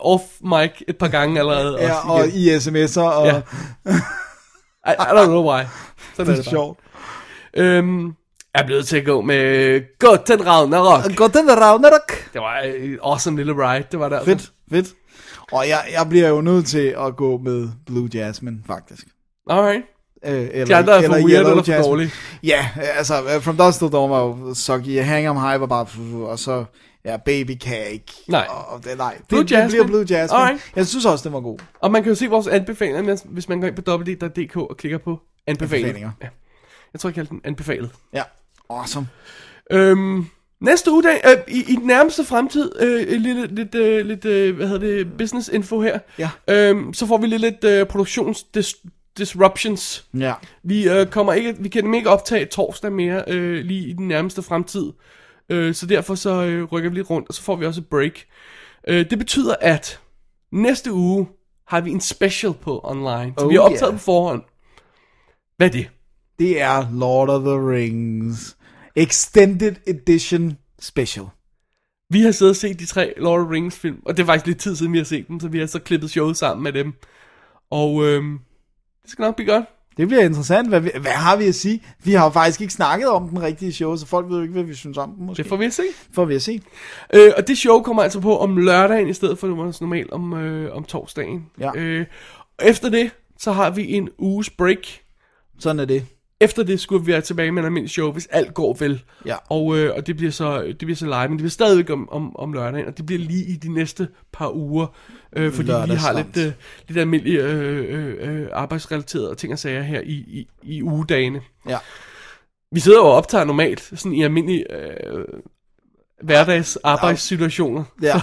Speaker 5: off mic et par gange allerede.
Speaker 6: ja
Speaker 5: også
Speaker 6: og
Speaker 5: igen.
Speaker 6: i sms'er, og
Speaker 5: Ja. I, I don't know why. Sådan
Speaker 6: det
Speaker 5: er
Speaker 6: er
Speaker 5: det
Speaker 6: sjovt.
Speaker 5: bare. Øhm, jeg er blevet til at gå med Gotten Ragnarok.
Speaker 6: Gå den der Ragnarok.
Speaker 5: Det var en awesome lille ride, det var der. altså.
Speaker 6: Fedt, fedt. Og jeg, jeg bliver jo nødt til at gå med Blue Jasmine, faktisk.
Speaker 5: Alright.
Speaker 6: Øh, eller,
Speaker 5: De andre er for weird
Speaker 6: Yellow
Speaker 5: eller for
Speaker 6: Jasmine.
Speaker 5: dårlige.
Speaker 6: Ja, altså, From Dust Till Dawn var jo sucky, Hang Em High var bare, og så, ja, Baby Cake.
Speaker 5: Nej.
Speaker 6: Og, det, nej,
Speaker 5: Blue
Speaker 6: det, Blue det bliver
Speaker 5: Jasmine.
Speaker 6: Blue Jasmine.
Speaker 5: Alright.
Speaker 6: Jeg synes også, den var god.
Speaker 5: Og man kan jo se vores anbefalinger, hvis man går ind på www.dk og klikker på anbefalinger.
Speaker 6: Anbefalinger.
Speaker 5: Ja. Jeg tror, jeg kaldte den anbefalet.
Speaker 6: Ja. Awesome.
Speaker 5: Øhm, næste ugedag, øh, i, i den nærmeste fremtid, øh, øh, lidt, lidt, øh, lidt øh, hvad hedder det, business info her,
Speaker 6: Ja.
Speaker 5: øhm, så får vi lidt, lidt øh, produktions dis- disruptions.
Speaker 6: Ja.
Speaker 5: Vi, øh, kommer ikke, vi kan nemlig ikke optage torsdag mere øh, lige i den nærmeste fremtid, øh, så derfor så øh, rykker vi lidt rundt, og så får vi også et break. Øh, det betyder, at næste uge har vi en special på online, som
Speaker 6: Oh
Speaker 5: vi har optaget
Speaker 6: yeah.
Speaker 5: på forhånd. Hvad er det?
Speaker 6: Det er Lord of the Rings Extended Edition Special.
Speaker 5: Vi har siddet og set de tre Lord of the Rings film, og det er faktisk lidt tid siden, vi har set dem, så vi har så klippet showet sammen med dem. Og øhm, det skal nok blive godt.
Speaker 6: Det bliver interessant. Hvad, vi, hvad har vi at sige? Vi har jo faktisk ikke snakket om den rigtige show, så folk ved jo ikke, hvad vi synes om den måske.
Speaker 5: Det får vi at se.
Speaker 6: får vi at se.
Speaker 5: Øh, og det show kommer altså på om lørdagen, i stedet for nu- normalt om, øh, om torsdagen.
Speaker 6: Ja.
Speaker 5: Øh, og efter det, så har vi en uges break.
Speaker 6: Sådan er det.
Speaker 5: Efter det skulle vi være tilbage med en almindelig show, hvis alt går vel.
Speaker 6: Ja.
Speaker 5: Og, øh, og det, bliver så, det bliver så live, men det bliver stadigvæk om, om, om lørdagen, og det bliver lige i de næste par uger, øh, fordi vi har
Speaker 6: Lørdagslangt.
Speaker 5: lidt, øh, lidt almindelige øh, øh, øh, arbejdsrelaterede ting og sager her i, i, i ugedagene.
Speaker 6: Ja.
Speaker 5: Vi sidder jo og optager normalt, sådan i almindelige øh, hverdags arbejdssituationer.
Speaker 6: ja.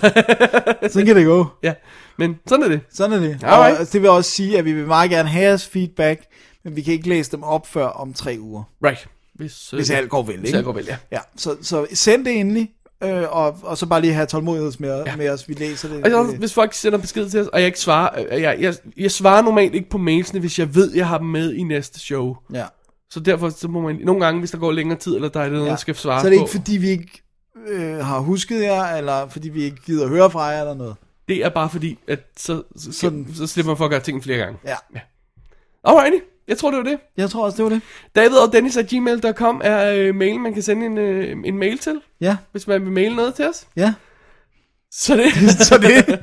Speaker 6: Sådan kan det gå.
Speaker 5: Ja, men sådan er det.
Speaker 6: Sådan er det.
Speaker 5: Alright.
Speaker 6: Og det vil også sige, at vi vil meget gerne have jeres feedback, men vi kan ikke læse dem op før om tre uger.
Speaker 5: Right. Hvis, øh,
Speaker 6: Hvis alt går vel, ikke?
Speaker 5: Hvis alt går vel, ja.
Speaker 6: Ja, så, så send det endelig, øh, og, og så bare lige have tålmodighed med, ja. med os. Vi læser det.
Speaker 5: Og så, Altså, hvis folk sender besked til os, og jeg ikke svarer, øh, jeg, jeg, jeg svarer normalt ikke på mailsene, hvis jeg ved, jeg har dem med i næste show.
Speaker 6: ja.
Speaker 5: Så derfor så må man nogle gange, hvis der går længere tid, eller der er noget, ja.
Speaker 6: ja.
Speaker 5: der skal svare
Speaker 6: så er det ikke,
Speaker 5: på,
Speaker 6: fordi vi ikke øh, har husket jer, eller fordi vi ikke gider høre fra jer, eller noget.
Speaker 5: det er bare fordi, at så, så, så,
Speaker 6: Sådan.
Speaker 5: så slipper man for at gøre ting flere gange.
Speaker 6: Ja.
Speaker 5: Alrighty, jeg tror det var det.
Speaker 6: Jeg tror også, det var det.
Speaker 5: David og Dennis at gmail.com er øh, mailen, man kan sende en, øh, en mail til,
Speaker 6: Ja,
Speaker 5: hvis man vil maile noget til os.
Speaker 6: ja.
Speaker 5: Så det.
Speaker 6: Så det...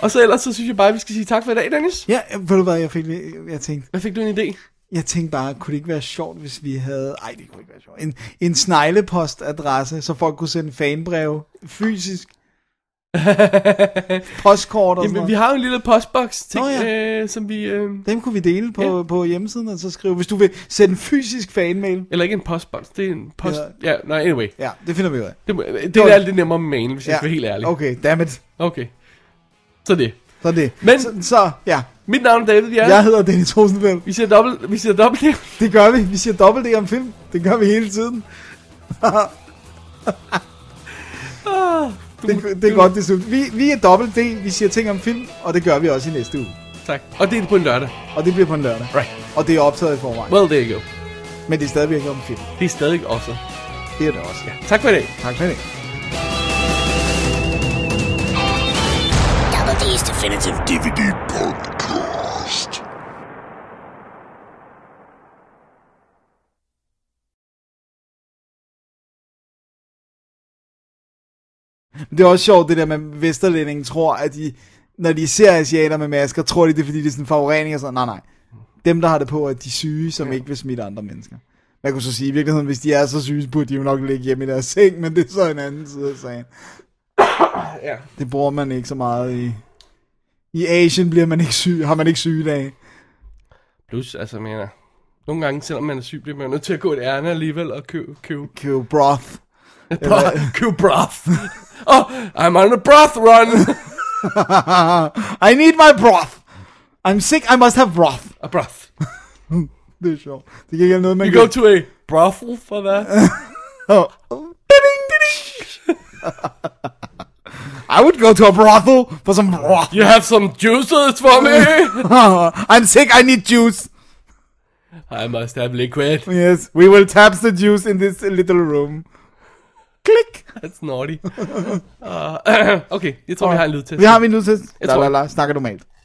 Speaker 5: og så ellers, så synes jeg bare, at vi skal sige tak for i dag, Dennis.
Speaker 6: ja, ved du hvad, jeg, fik, lige- jeg tænkte,
Speaker 5: Hvad fik du en idé?
Speaker 6: jeg tænkte bare, kunne det ikke være sjovt, hvis vi havde... Ej, det kunne ikke være sjovt. En, en sneglepostadresse, så folk kunne sende fanbreve fysisk. Postkort og sådan
Speaker 5: Jamen, vi
Speaker 6: noget.
Speaker 5: har jo en lille postbox ting,
Speaker 6: Nå,
Speaker 5: ja. øh, som vi... Øh,
Speaker 6: Dem kunne vi dele på, ja. på hjemmesiden, og så skrive, hvis du vil sende en fysisk fanmail.
Speaker 5: eller ikke en postbox, det er en post... Ja, ja nej, anyway.
Speaker 6: Ja, det finder vi ud af.
Speaker 5: Det, må- det er lidt nemmere med mailen, hvis ja.
Speaker 6: Ja.
Speaker 5: jeg skal være helt ærlig.
Speaker 6: Okay, dammit.
Speaker 5: okay. Så det.
Speaker 6: Så det.
Speaker 5: Men-
Speaker 6: så, så ja,
Speaker 5: Mit navn er David Bjerre.
Speaker 6: jeg hedder Dennis Rosenfeldt.
Speaker 5: Vi siger dobbelt, vi siger dobbelt det.
Speaker 6: Det gør vi. Vi siger dobbelt det om film. Det gør vi hele tiden. det, det er godt, det er slut. Vi, vi er dobbelt D, vi siger ting om film, og det gør vi også i næste uge.
Speaker 5: Tak. Og det er på en lørdag.
Speaker 6: Og det bliver på en lørdag.
Speaker 5: Right.
Speaker 6: Og det er optaget i forvejen.
Speaker 5: Well, there you go.
Speaker 6: Men det er stadigvæk om film.
Speaker 5: Det er stadig også.
Speaker 6: Det er det også. Ja.
Speaker 5: Tak for i dag.
Speaker 6: Tak for det.
Speaker 2: Double D's Definitive
Speaker 4: DVD Podcast.
Speaker 6: Men det er også sjovt, det der med at vesterlændingen tror, at de, når de ser asiater med masker, tror de, det er fordi, det er sådan en forurening og sådan Nej, nej. Dem, der har det på, er de syge, som ja. ikke vil smitte andre mennesker. Man kunne så sige i virkeligheden, hvis de er så syge, så burde de jo nok ligge hjemme i deres seng, men det er så en anden side af sagen.
Speaker 5: Ja.
Speaker 6: Det bruger man ikke så meget i... I Asien bliver man ikke syg, har man ikke sygedage.
Speaker 5: Plus, altså, jeg mener... Nogle gange, selvom man er syg, bliver man jo nødt til at gå et ærne alligevel og købe... købe
Speaker 6: Købe broth.
Speaker 5: broth. Købe broth. oh, I'm on a broth run.
Speaker 6: I need my broth. I'm sick, I must have broth.
Speaker 5: a broth.
Speaker 6: Det er sjovt. Det kan ikke være noget, man
Speaker 5: You
Speaker 6: kan...
Speaker 5: go to a brothel for that?
Speaker 6: Oh. Ding, ding. I would go to a brothel for some broth.
Speaker 5: You have some juices for me?
Speaker 6: I'm sick, I need juice.
Speaker 5: I must have liquid.
Speaker 6: Yes, we will tap the juice in this little room. Klik.
Speaker 5: That's naughty. Uh, okay, jeg tror, vi har en lydtest.
Speaker 6: Vi har min lydtest.
Speaker 5: Jeg
Speaker 6: La,
Speaker 5: tror-
Speaker 6: la, la. Snakker normalt.